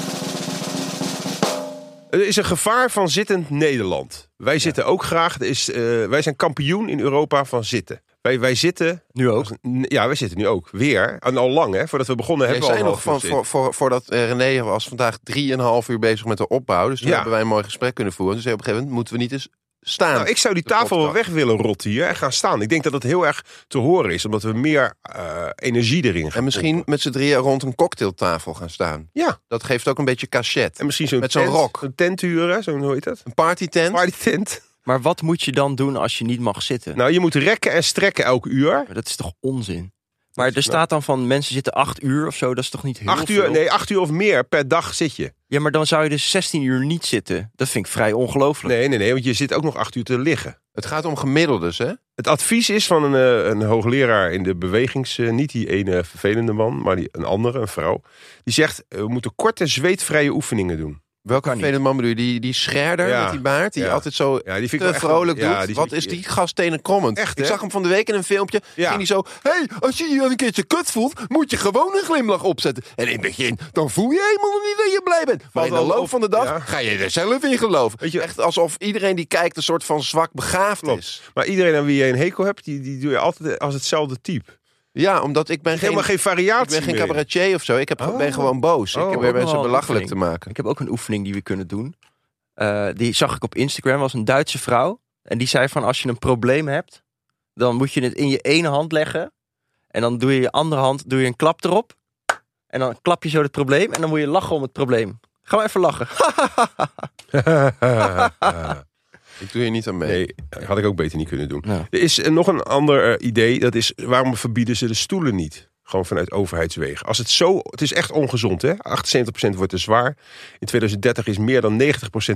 [SPEAKER 2] Er is een gevaar van zittend Nederland. Wij zitten ook graag. Er is, eh, wij zijn kampioen in Europa van zitten. Wij, wij zitten.
[SPEAKER 3] Nu ook.
[SPEAKER 2] Ja, wij zitten nu ook. Weer. En al lang, hè? Voordat we begonnen
[SPEAKER 1] Jij
[SPEAKER 2] hebben we
[SPEAKER 1] zei
[SPEAKER 2] al een
[SPEAKER 1] nog van,
[SPEAKER 2] half uur zitten.
[SPEAKER 1] voor, voor, voordat eh, René was vandaag drieënhalf uur bezig met de opbouw. Dus toen
[SPEAKER 2] Ja.
[SPEAKER 1] hebben wij een mooi gesprek kunnen voeren. Dus op een gegeven moment moeten we niet eens staan.
[SPEAKER 2] Nou, ik zou die
[SPEAKER 1] de
[SPEAKER 2] tafel wel weg
[SPEAKER 1] podcast.
[SPEAKER 2] willen rotten hier en gaan staan. Ik denk dat dat heel erg te horen is, omdat we meer eh, energie erin gaan.
[SPEAKER 1] En misschien
[SPEAKER 2] pompen.
[SPEAKER 1] met z'n drieën rond een cocktailtafel gaan staan.
[SPEAKER 2] Ja,
[SPEAKER 1] Dat geeft ook een beetje cachet.
[SPEAKER 2] en misschien zo'n
[SPEAKER 1] Met zo'n
[SPEAKER 2] tent,
[SPEAKER 1] rok.
[SPEAKER 2] Een tent huren, zo'n hoe heet dat?
[SPEAKER 1] Een partytent.
[SPEAKER 2] Party tent.
[SPEAKER 3] Maar wat moet je dan doen als je niet mag zitten?
[SPEAKER 2] Nou, je moet rekken en strekken elk uur.
[SPEAKER 3] Maar dat is toch onzin? Maar er
[SPEAKER 2] is-
[SPEAKER 3] staat dan van mensen zitten acht uur of zo. Dat is toch niet heel
[SPEAKER 2] Acht uur,
[SPEAKER 3] veel?
[SPEAKER 2] nee, acht uur of meer per dag zit je.
[SPEAKER 3] Ja, maar dan zou je dus 16 uur niet zitten. Dat vind ik vrij ongelooflijk.
[SPEAKER 2] Nee, nee, nee, want je zit ook nog acht uur te liggen.
[SPEAKER 1] Het gaat om gemiddeldes, hè?
[SPEAKER 2] Het advies is van een, eh, een hoogleraar in de bewegings... eh, niet die ene vervelende man, maar die, een andere, een vrouw. Die zegt, eh, we moeten korte, zweetvrije oefeningen doen.
[SPEAKER 1] Welke
[SPEAKER 3] Kan niet.
[SPEAKER 1] vervelende man bedoel je? Die, die scherder
[SPEAKER 2] Ja.
[SPEAKER 1] met die baard, die
[SPEAKER 2] Ja.
[SPEAKER 1] altijd zo
[SPEAKER 2] Ja, die vind ik wel
[SPEAKER 1] te
[SPEAKER 2] echt-
[SPEAKER 1] vrolijk
[SPEAKER 2] ja,
[SPEAKER 1] doet.
[SPEAKER 2] die
[SPEAKER 1] Wat
[SPEAKER 2] vind
[SPEAKER 1] is
[SPEAKER 2] ik-
[SPEAKER 1] die gast tenenkrommend?
[SPEAKER 2] Echt,
[SPEAKER 1] Ik
[SPEAKER 2] hè?
[SPEAKER 1] zag hem van de week in een filmpje.
[SPEAKER 2] Ja.
[SPEAKER 1] Ging hij zo, hey, als je je een keertje kut voelt, moet je gewoon een glimlach opzetten. En in het begin, dan voel je helemaal nog niet dat je blij bent. Maar in de
[SPEAKER 2] wel
[SPEAKER 1] loop
[SPEAKER 2] op-
[SPEAKER 1] van de dag
[SPEAKER 2] ja.
[SPEAKER 1] ga je er zelf in geloven.
[SPEAKER 2] Weet je-
[SPEAKER 1] Echt alsof iedereen die kijkt een soort van zwak begaafd is.
[SPEAKER 2] Maar iedereen aan wie je een hekel hebt, die, die doe je altijd als hetzelfde type.
[SPEAKER 1] Ja, omdat ik ben
[SPEAKER 2] Helemaal
[SPEAKER 1] geen...
[SPEAKER 2] geen variatie
[SPEAKER 1] Ik ben geen
[SPEAKER 2] meer.
[SPEAKER 1] cabaretier of zo. Ik heb,
[SPEAKER 2] Oh.
[SPEAKER 1] ben gewoon boos.
[SPEAKER 2] Oh,
[SPEAKER 1] ik probeer
[SPEAKER 2] ook
[SPEAKER 3] nog wel
[SPEAKER 1] mensen
[SPEAKER 3] een
[SPEAKER 1] belachelijk te
[SPEAKER 3] oefening.
[SPEAKER 1] maken.
[SPEAKER 3] Ik heb ook een oefening die we kunnen doen. Eh, die zag ik op Instagram. was een Duitse vrouw. En die zei van als je een probleem hebt, dan moet je het in je ene hand leggen. En dan doe je je andere hand, doe je een klap erop. En dan klap je zo het probleem. En dan moet je lachen om het probleem. Ga maar even lachen.
[SPEAKER 1] Ik doe hier niet aan mee.
[SPEAKER 2] nee, had ik ook beter niet kunnen doen.
[SPEAKER 3] Ja.
[SPEAKER 2] Er is eh, nog een ander eh, idee. Dat is waarom verbieden ze de stoelen niet? Gewoon vanuit overheidswegen. Als het zo, het is echt ongezond, hè? 78% wordt te zwaar. In 2030 is meer dan 90%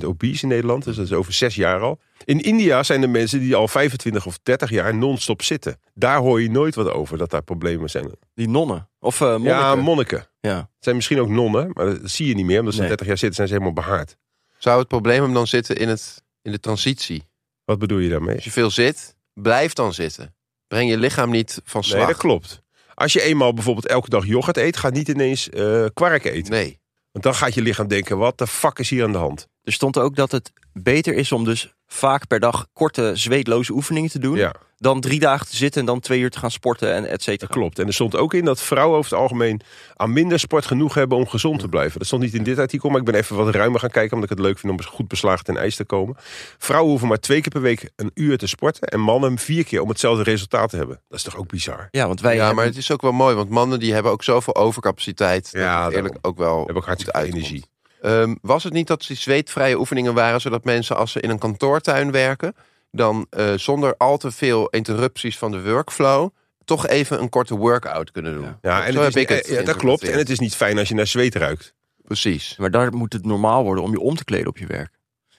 [SPEAKER 2] obese in Nederland. Dus dat is over zes jaar al. In India zijn er mensen die al 25 of 30 jaar non-stop zitten. Daar hoor je nooit wat over dat daar problemen zijn.
[SPEAKER 3] Die nonnen. Of eh monniken.
[SPEAKER 2] Ja, monniken.
[SPEAKER 3] ja.
[SPEAKER 2] Het zijn misschien ook nonnen, maar dat zie je niet meer. Omdat ze
[SPEAKER 3] Nee.
[SPEAKER 2] 30 jaar zitten, zijn ze helemaal behaard.
[SPEAKER 1] Zou het probleem hem dan zitten in, het, in de transitie?
[SPEAKER 2] Wat bedoel je daarmee?
[SPEAKER 1] Als je veel zit, blijf dan zitten. Breng je lichaam niet van slag.
[SPEAKER 2] Nee, dat klopt. Als je eenmaal bijvoorbeeld elke dag yoghurt eet, gaat niet ineens eh, kwark eten.
[SPEAKER 1] Nee.
[SPEAKER 2] Want dan gaat je lichaam denken, wat de fuck is hier aan de hand?
[SPEAKER 3] Er stond ook dat het beter is om dus vaak per dag korte zweetloze oefeningen te doen.
[SPEAKER 2] Ja,
[SPEAKER 3] Dan drie dagen te zitten en dan twee uur te gaan sporten en et cetera.
[SPEAKER 2] dat klopt. En er stond ook in dat vrouwen over het algemeen aan minder sport genoeg hebben om gezond
[SPEAKER 1] Mm.
[SPEAKER 2] te blijven. Dat stond niet in dit artikel, maar ik ben even wat ruimer gaan kijken, omdat ik het leuk vind om goed beslagen ten ijs te komen. Vrouwen hoeven maar twee keer per week een uur te sporten en mannen vier keer om hetzelfde resultaat te hebben. Dat is toch ook bizar?
[SPEAKER 3] Ja, want wij
[SPEAKER 1] ja, maar
[SPEAKER 3] hebben-
[SPEAKER 1] het is ook wel mooi, want mannen die hebben ook zoveel overcapaciteit.
[SPEAKER 2] Ja,
[SPEAKER 1] dat het eerlijk ook wel.
[SPEAKER 2] Heb ook hartstikke
[SPEAKER 1] goed uitkomt.
[SPEAKER 2] energie.
[SPEAKER 1] Ehm, was het niet dat die zweetvrije oefeningen waren, zodat mensen als ze in een kantoortuin werken, dan eh, zonder al te veel interrupties van de workflow, toch even een korte workout kunnen doen?
[SPEAKER 2] Ja, en
[SPEAKER 1] Zo
[SPEAKER 2] het
[SPEAKER 1] heb
[SPEAKER 2] is, eh,
[SPEAKER 1] ik het.
[SPEAKER 2] ja, dat klopt. En
[SPEAKER 1] geïnterpreteerd.
[SPEAKER 2] het is niet fijn als je naar zweet ruikt.
[SPEAKER 1] Precies.
[SPEAKER 3] Maar daar moet het normaal worden om je om te kleden op je werk.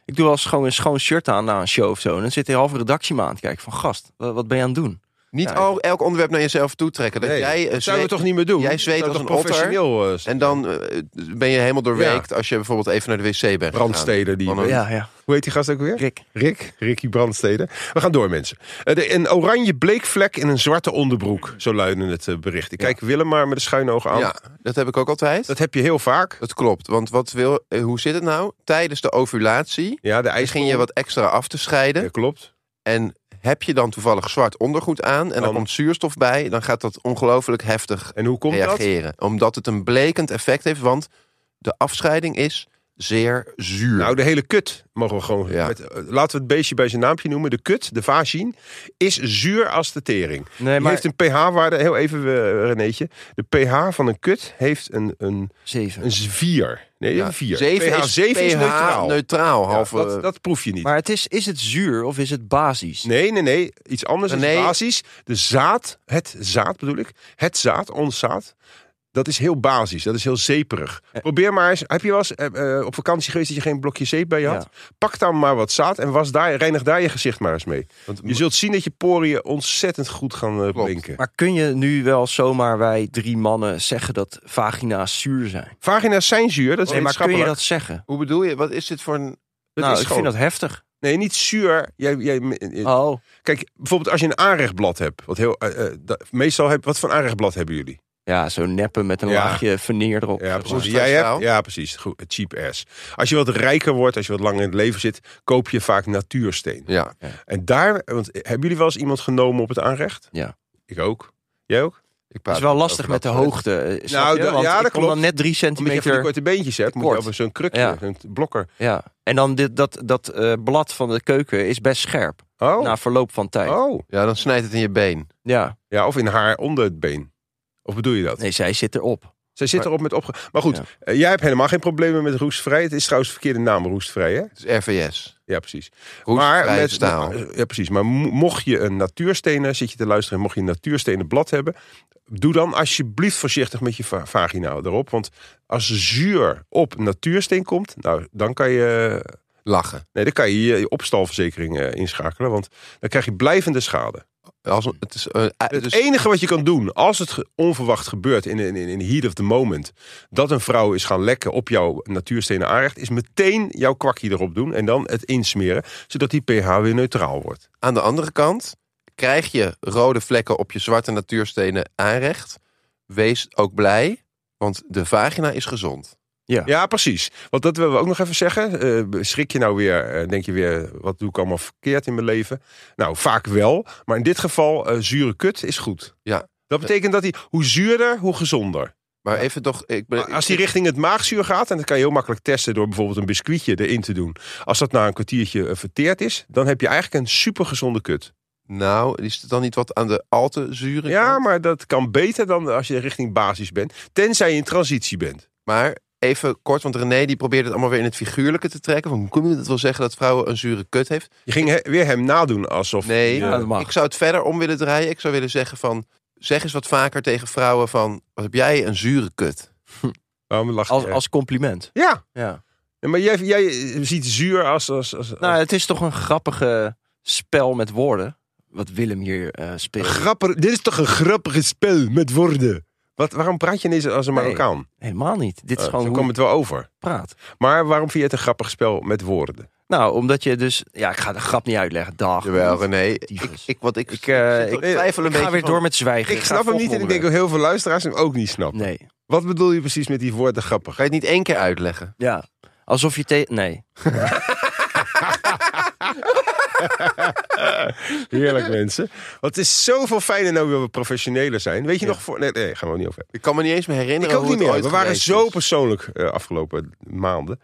[SPEAKER 3] Ik doe wel eens gewoon een schoon shirt aan na een show of zo. En dan zit de halve redactie me aan te kijken van... Gast, wa- wat ben je aan het doen?
[SPEAKER 1] Niet
[SPEAKER 3] Ja,
[SPEAKER 1] al, elk onderwerp naar jezelf toetrekken. Dat
[SPEAKER 2] Nee,
[SPEAKER 1] jij, eh,
[SPEAKER 2] dat zouden we
[SPEAKER 1] zweet-
[SPEAKER 2] toch niet meer doen?
[SPEAKER 1] jij zweet
[SPEAKER 2] Dat
[SPEAKER 1] als
[SPEAKER 2] toch
[SPEAKER 1] een otter?
[SPEAKER 2] professioneel. eh,
[SPEAKER 1] En dan eh, ben je helemaal doorweekt als je bijvoorbeeld even naar de wc bent. gegaan.
[SPEAKER 2] brandsteden die.
[SPEAKER 1] Van een-
[SPEAKER 3] Ja, ja.
[SPEAKER 2] Hoe heet die gast ook weer?
[SPEAKER 3] Rick.
[SPEAKER 2] Rick, Ricky Brandstede. We gaan door, mensen. Eh, de- een oranje bleekvlek in een zwarte onderbroek. Zo luidde het eh, bericht. Ik kijk Willem maar met de schuine ogen aan.
[SPEAKER 1] Ja, Oh, dat heb ik ook altijd.
[SPEAKER 2] Dat heb je heel vaak.
[SPEAKER 1] Dat klopt, want wat wil, eh, hoe zit het nou? Tijdens de ovulatie
[SPEAKER 2] Ja, de ijs
[SPEAKER 1] begin je wat extra af te scheiden.
[SPEAKER 2] Ja, klopt.
[SPEAKER 1] En heb je dan toevallig zwart ondergoed aan en
[SPEAKER 2] Dan-
[SPEAKER 1] dan komt zuurstof bij, dan gaat dat ongelooflijk heftig
[SPEAKER 2] En hoe komt
[SPEAKER 1] reageren. Omdat het een blekend effect heeft, want de afscheiding is zeer zuur.
[SPEAKER 2] dat? Nou, de hele kut mogen we gewoon.
[SPEAKER 1] Ja.
[SPEAKER 2] met- eh, laten we het beestje bij zijn naampje noemen. De kut, de vagien, is zuur als de tering.
[SPEAKER 3] Nee,
[SPEAKER 2] Die
[SPEAKER 3] maar...
[SPEAKER 2] heeft een pH-waarde, heel even eh, Renéetje. De pH van een kut heeft een, een,
[SPEAKER 3] Zeven.
[SPEAKER 2] een 4. Nee,
[SPEAKER 1] Ja,
[SPEAKER 2] een 4.
[SPEAKER 1] Zeven
[SPEAKER 2] pH,
[SPEAKER 1] is,
[SPEAKER 2] 7 is
[SPEAKER 1] pH
[SPEAKER 2] neutraal.
[SPEAKER 1] neutraal,
[SPEAKER 2] Ja,
[SPEAKER 1] halve,
[SPEAKER 2] dat, dat proef je niet.
[SPEAKER 3] Maar het is, is het zuur of is het basis?
[SPEAKER 2] Nee, nee, nee. Iets anders
[SPEAKER 1] Nee.
[SPEAKER 2] is basis. De zaad, het zaad bedoel ik. Het zaad, ons zaad. Dat is heel basis. Dat is heel zeeperig. Probeer maar eens. Heb je wel eens eh, eh, op vakantie geweest dat je geen blokje zeep bij je had? Pak dan maar wat zaad en was daar, reinig daar je gezicht maar eens mee.
[SPEAKER 1] want-
[SPEAKER 2] Je zult zien dat je poriën ontzettend goed gaan eh
[SPEAKER 1] Klopt.
[SPEAKER 2] blinken.
[SPEAKER 3] Maar kun je nu wel zomaar wij drie mannen zeggen dat vagina's zuur zijn?
[SPEAKER 2] Vagina's zijn zuur. Dat is
[SPEAKER 3] Nee, maar kun je
[SPEAKER 2] wetenschappelijk.
[SPEAKER 3] dat zeggen?
[SPEAKER 1] Hoe bedoel je? Wat is dit voor een...
[SPEAKER 2] Dat
[SPEAKER 3] nou,
[SPEAKER 2] is
[SPEAKER 3] ik
[SPEAKER 2] gewoon-
[SPEAKER 3] vind dat heftig.
[SPEAKER 2] Nee, niet zuur. Jij, jij, eh,
[SPEAKER 3] Oh,
[SPEAKER 2] Kijk, bijvoorbeeld als je een aanrechtblad hebt. Wat heel, eh, eh, da- meestal heb, wat voor een aanrechtblad hebben jullie?
[SPEAKER 3] ja, zo neppen met een
[SPEAKER 2] Ja.
[SPEAKER 3] laagje veneer erop.
[SPEAKER 2] Ja,
[SPEAKER 3] zeg
[SPEAKER 2] precies.
[SPEAKER 3] maar.
[SPEAKER 2] Jij hebt,
[SPEAKER 1] staal.
[SPEAKER 2] ja, precies. Goed, cheap ass. Als je wat rijker wordt, als je wat langer in het leven zit, koop je vaak natuursteen.
[SPEAKER 1] Ja,
[SPEAKER 2] En daar, want eh, hebben jullie wel eens iemand genomen op het aanrecht?
[SPEAKER 3] Ja.
[SPEAKER 2] Ik ook. Jij ook?
[SPEAKER 1] ik
[SPEAKER 3] Het
[SPEAKER 1] praat
[SPEAKER 3] is wel
[SPEAKER 1] niet
[SPEAKER 3] lastig
[SPEAKER 1] over
[SPEAKER 3] met de
[SPEAKER 1] dat soort-
[SPEAKER 3] hoogte. eh, snap
[SPEAKER 2] Nou,
[SPEAKER 3] je?
[SPEAKER 2] dat-
[SPEAKER 3] Want
[SPEAKER 2] ja,
[SPEAKER 3] ik
[SPEAKER 2] dat
[SPEAKER 3] kom dan
[SPEAKER 2] klopt.
[SPEAKER 3] net drie
[SPEAKER 2] Omdat je van die
[SPEAKER 3] centimeter.
[SPEAKER 2] korte beentjes hebt, moet je
[SPEAKER 3] Kort.
[SPEAKER 2] over zo'n krukje,
[SPEAKER 3] Ja.
[SPEAKER 2] zo'n blokker.
[SPEAKER 3] Ja. En dan dit, dat, dat eh, blad van de keuken is best scherp.
[SPEAKER 2] Oh.
[SPEAKER 3] Na verloop van tijd.
[SPEAKER 2] oh.
[SPEAKER 1] Ja, dan snijdt het in je been.
[SPEAKER 3] Ja.
[SPEAKER 2] Ja, of in haar onder het been. Of bedoel je dat?
[SPEAKER 3] Nee, zij zit erop.
[SPEAKER 2] Zij zit
[SPEAKER 3] Maar-
[SPEAKER 2] erop met opge... Maar goed,
[SPEAKER 3] Ja.
[SPEAKER 2] eh, jij hebt helemaal geen problemen met roestvrij. Het is trouwens de verkeerde naam, roestvrij, hè?
[SPEAKER 1] Het is RVS.
[SPEAKER 2] Ja, precies.
[SPEAKER 1] Roestvrij
[SPEAKER 2] maar met, eh,
[SPEAKER 1] staal.
[SPEAKER 2] Ja, precies. Maar mo- mocht je een natuurstenen, zit je te luisteren, en mocht je een natuurstenen blad hebben, doe dan alsjeblieft voorzichtig met je va- vagina erop. Want als zuur op natuursteen komt, nou, dan kan je,
[SPEAKER 1] Lachen.
[SPEAKER 2] nee, dan kan je je je opstalverzekering eh, inschakelen. Want dan krijg je blijvende schade.
[SPEAKER 1] Als, een- het is, eh, eh,
[SPEAKER 2] Het
[SPEAKER 1] dus-
[SPEAKER 2] enige wat je kan doen, als het ge- onverwacht gebeurt in, in, in heat of the moment, dat een vrouw is gaan lekken op jouw natuurstenen aanrecht, is meteen jouw kwakje erop doen en dan het insmeren, zodat die pH weer neutraal wordt.
[SPEAKER 1] Aan de andere kant krijg je rode vlekken op je zwarte natuurstenen aanrecht. Wees ook blij, want de vagina is gezond.
[SPEAKER 2] Ja, precies. Want dat willen we ook nog even zeggen. Eh, schrik je nou weer, eh, denk je weer, wat doe ik allemaal verkeerd in mijn leven? Nou, vaak wel. Maar in dit geval, eh, zure kut is goed.
[SPEAKER 1] Ja.
[SPEAKER 2] Dat betekent dat hij, hoe zuurder, hoe gezonder.
[SPEAKER 1] Maar even toch, ik ben,
[SPEAKER 3] Eh,
[SPEAKER 2] Maar Als hij richting het maagzuur gaat, en dat kan je heel makkelijk testen door bijvoorbeeld een biscuitje erin te doen. Als dat na een kwartiertje eh, verteerd is, dan heb je eigenlijk een supergezonde kut.
[SPEAKER 1] nou, is het dan niet wat aan de al te zure
[SPEAKER 2] Ja,
[SPEAKER 1] kant?
[SPEAKER 2] maar dat kan beter dan als je richting basis bent. Tenzij je in transitie bent.
[SPEAKER 1] Maar even kort, want René die probeert het allemaal weer in het figuurlijke te trekken. Van, hoe kun je dat wel zeggen dat vrouwen een zure kut heeft?
[SPEAKER 2] Je ging he- weer hem nadoen alsof...
[SPEAKER 1] Nee,
[SPEAKER 3] Ja, dat mag.
[SPEAKER 1] ik zou het verder om willen draaien. Ik zou willen zeggen van, zeg eens wat vaker tegen vrouwen van, wat heb jij een zure kut?
[SPEAKER 2] Waarom lach je?
[SPEAKER 3] Als, als compliment.
[SPEAKER 2] Oh, Ja,
[SPEAKER 3] Ja.
[SPEAKER 2] Ja, maar jij, jij ziet zuur als... als, als,
[SPEAKER 3] Nou,
[SPEAKER 2] als-
[SPEAKER 3] het is toch een grappige spel met woorden. Wat Willem hier eh,
[SPEAKER 2] Een
[SPEAKER 3] speelt.
[SPEAKER 2] grappig, dit is toch een grappig spel met woorden? Wat, waarom praat je ineens als een
[SPEAKER 3] Nee,
[SPEAKER 2] Marokkaan?
[SPEAKER 3] Helemaal niet. Dit is
[SPEAKER 2] Eh,
[SPEAKER 3] gewoon
[SPEAKER 2] zo
[SPEAKER 3] hoe
[SPEAKER 2] kwam
[SPEAKER 3] ik
[SPEAKER 2] het wel over.
[SPEAKER 3] praat.
[SPEAKER 2] Maar waarom vind je het een grappig spel met woorden?
[SPEAKER 3] Nou, omdat je dus... Ja, ik ga de grap niet uitleggen. Dag.
[SPEAKER 1] Jawel, René. Ik,
[SPEAKER 3] Tyfus.
[SPEAKER 1] ik, wat ik,
[SPEAKER 3] Ik, eh,
[SPEAKER 1] zit
[SPEAKER 3] ik-
[SPEAKER 1] te twijfel een
[SPEAKER 3] Ik
[SPEAKER 1] beetje
[SPEAKER 3] ga weer
[SPEAKER 1] van-
[SPEAKER 3] door met zwijgen.
[SPEAKER 2] Ik
[SPEAKER 3] ga
[SPEAKER 2] snap hem niet en ik denk dat
[SPEAKER 3] volmoorden.
[SPEAKER 2] heel veel luisteraars hem ook niet snappen.
[SPEAKER 3] Nee.
[SPEAKER 2] Wat bedoel je precies met die woorden grappig?
[SPEAKER 1] Ga je het niet één keer uitleggen?
[SPEAKER 3] Ja. Alsof je tegen... Nee.
[SPEAKER 2] Heerlijk mensen. Want het is zoveel fijner nou dat we professioneler zijn. Weet je nog voor... Nee, nee, gaan we niet over hebben.
[SPEAKER 1] Ik kan me niet eens meer herinneren
[SPEAKER 2] Ik ook
[SPEAKER 1] hoe
[SPEAKER 2] niet
[SPEAKER 1] het
[SPEAKER 2] meer.
[SPEAKER 1] ooit dus.
[SPEAKER 2] We waren
[SPEAKER 1] geweest
[SPEAKER 2] zo
[SPEAKER 1] is.
[SPEAKER 2] persoonlijk eh, afgelopen maanden.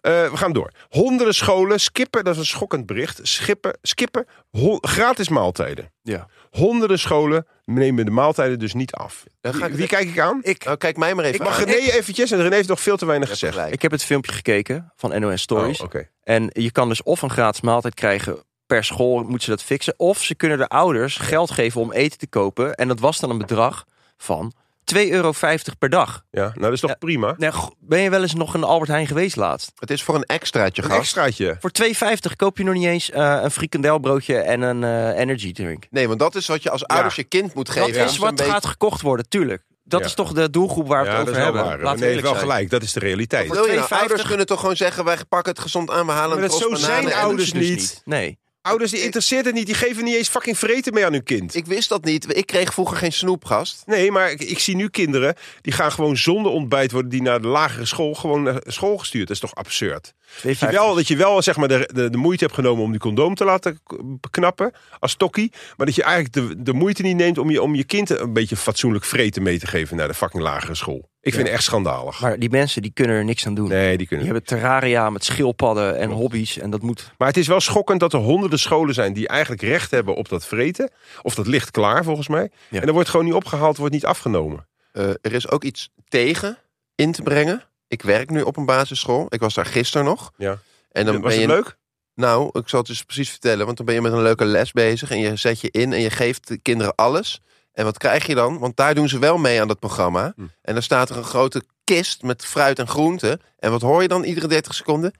[SPEAKER 2] Eh, we gaan door. Honderden scholen skippen, dat is een schokkend bericht, skippen, skippen ho- gratis maaltijden.
[SPEAKER 3] Ja.
[SPEAKER 2] Honderden scholen nemen de maaltijden dus niet af.
[SPEAKER 1] Dan ga
[SPEAKER 2] Wie,
[SPEAKER 1] ik-
[SPEAKER 2] wie kijk ik aan?
[SPEAKER 3] Ik,
[SPEAKER 1] Nou, kijk mij maar even
[SPEAKER 2] Ik mag
[SPEAKER 1] aan.
[SPEAKER 2] René eventjes en René heeft nog veel te weinig
[SPEAKER 1] Je hebt
[SPEAKER 2] gezegd.
[SPEAKER 1] gelijk.
[SPEAKER 3] ik heb het filmpje gekeken van NOS Stories.
[SPEAKER 2] Oh, oké.
[SPEAKER 3] En je kan dus of een gratis maaltijd krijgen per school, moeten ze dat fixen. Of ze kunnen de ouders geld geven om eten te kopen. En dat was dan een bedrag van 2,50 euro per dag.
[SPEAKER 2] Ja, nou dat is toch
[SPEAKER 3] Ja.
[SPEAKER 2] prima.
[SPEAKER 3] Nou, go- ben je wel eens nog in de Albert Heijn geweest laatst?
[SPEAKER 1] Het is voor een extraatje,
[SPEAKER 2] Een
[SPEAKER 1] gast.
[SPEAKER 2] extraatje.
[SPEAKER 3] Voor 2,50 koop je nog niet eens eh, een frikandelbroodje en een eh, energy drink.
[SPEAKER 1] Nee, want dat is wat je als ouders je kind moet geven.
[SPEAKER 3] Dat
[SPEAKER 1] Ja.
[SPEAKER 3] is wat
[SPEAKER 1] een
[SPEAKER 3] gaat gekocht worden, tuurlijk. Dat
[SPEAKER 2] Ja.
[SPEAKER 3] is toch de doelgroep waar we
[SPEAKER 2] Ja,
[SPEAKER 3] het
[SPEAKER 2] dat
[SPEAKER 3] over
[SPEAKER 2] is wel
[SPEAKER 3] hebben.
[SPEAKER 2] waar.
[SPEAKER 3] Laten
[SPEAKER 2] René
[SPEAKER 3] we
[SPEAKER 2] heeft
[SPEAKER 3] eerlijk
[SPEAKER 2] wel
[SPEAKER 3] zijn.
[SPEAKER 2] gelijk, dat is de realiteit.
[SPEAKER 1] beetje- Wil je nou,
[SPEAKER 3] 2,50?
[SPEAKER 1] ouders kunnen toch gewoon zeggen, wij pakken het gezond aan, we halen
[SPEAKER 2] Maar
[SPEAKER 1] een
[SPEAKER 2] dat
[SPEAKER 1] tros
[SPEAKER 2] zo zijn
[SPEAKER 1] bananen en-
[SPEAKER 3] Dat doen
[SPEAKER 2] ouders
[SPEAKER 3] ze dus
[SPEAKER 2] niet.
[SPEAKER 3] Nee.
[SPEAKER 2] Ouders die interesseert het niet, die geven niet eens fucking vreten mee aan hun kind.
[SPEAKER 1] Ik wist dat niet. Ik kreeg vroeger geen snoep, gast.
[SPEAKER 2] Nee, maar ik, ik zie nu kinderen die gaan gewoon zonder ontbijt worden, die naar de lagere school gewoon naar school gestuurd. Dat is toch absurd? Dat je
[SPEAKER 3] 2,50.
[SPEAKER 2] wel, dat je wel zeg maar, de, de, de moeite hebt genomen om die condoom te laten k- knappen als tokkie, maar dat je eigenlijk de, de moeite niet neemt om je, om je kind een beetje fatsoenlijk vreten mee te geven naar de fucking lagere school. Ik vind het echt schandalig.
[SPEAKER 3] Maar die mensen die kunnen er niks aan doen.
[SPEAKER 2] Nee, die kunnen.
[SPEAKER 3] Die hebben terraria met schildpadden en hobby's. En dat moet
[SPEAKER 2] Maar het is wel schokkend dat er honderden scholen zijn die eigenlijk recht hebben op dat vreten. Of dat ligt klaar volgens mij.
[SPEAKER 3] Ja.
[SPEAKER 2] En dat wordt gewoon niet opgehaald, wordt niet afgenomen.
[SPEAKER 1] Eh, er is ook iets tegen in te brengen. Ik werk nu op een basisschool. Ik was daar gisteren nog.
[SPEAKER 2] Ja.
[SPEAKER 1] En dan
[SPEAKER 2] Was
[SPEAKER 1] ben
[SPEAKER 2] het
[SPEAKER 1] je,
[SPEAKER 2] leuk?
[SPEAKER 1] Nou, ik zal het dus precies vertellen. Want dan ben je met een leuke les bezig. En je zet je in en je geeft de kinderen alles. En wat krijg je dan? Want daar doen ze wel mee aan dat programma.
[SPEAKER 2] Hm.
[SPEAKER 1] En dan staat er een grote kist met fruit en groenten. En wat hoor je dan iedere 30 seconden?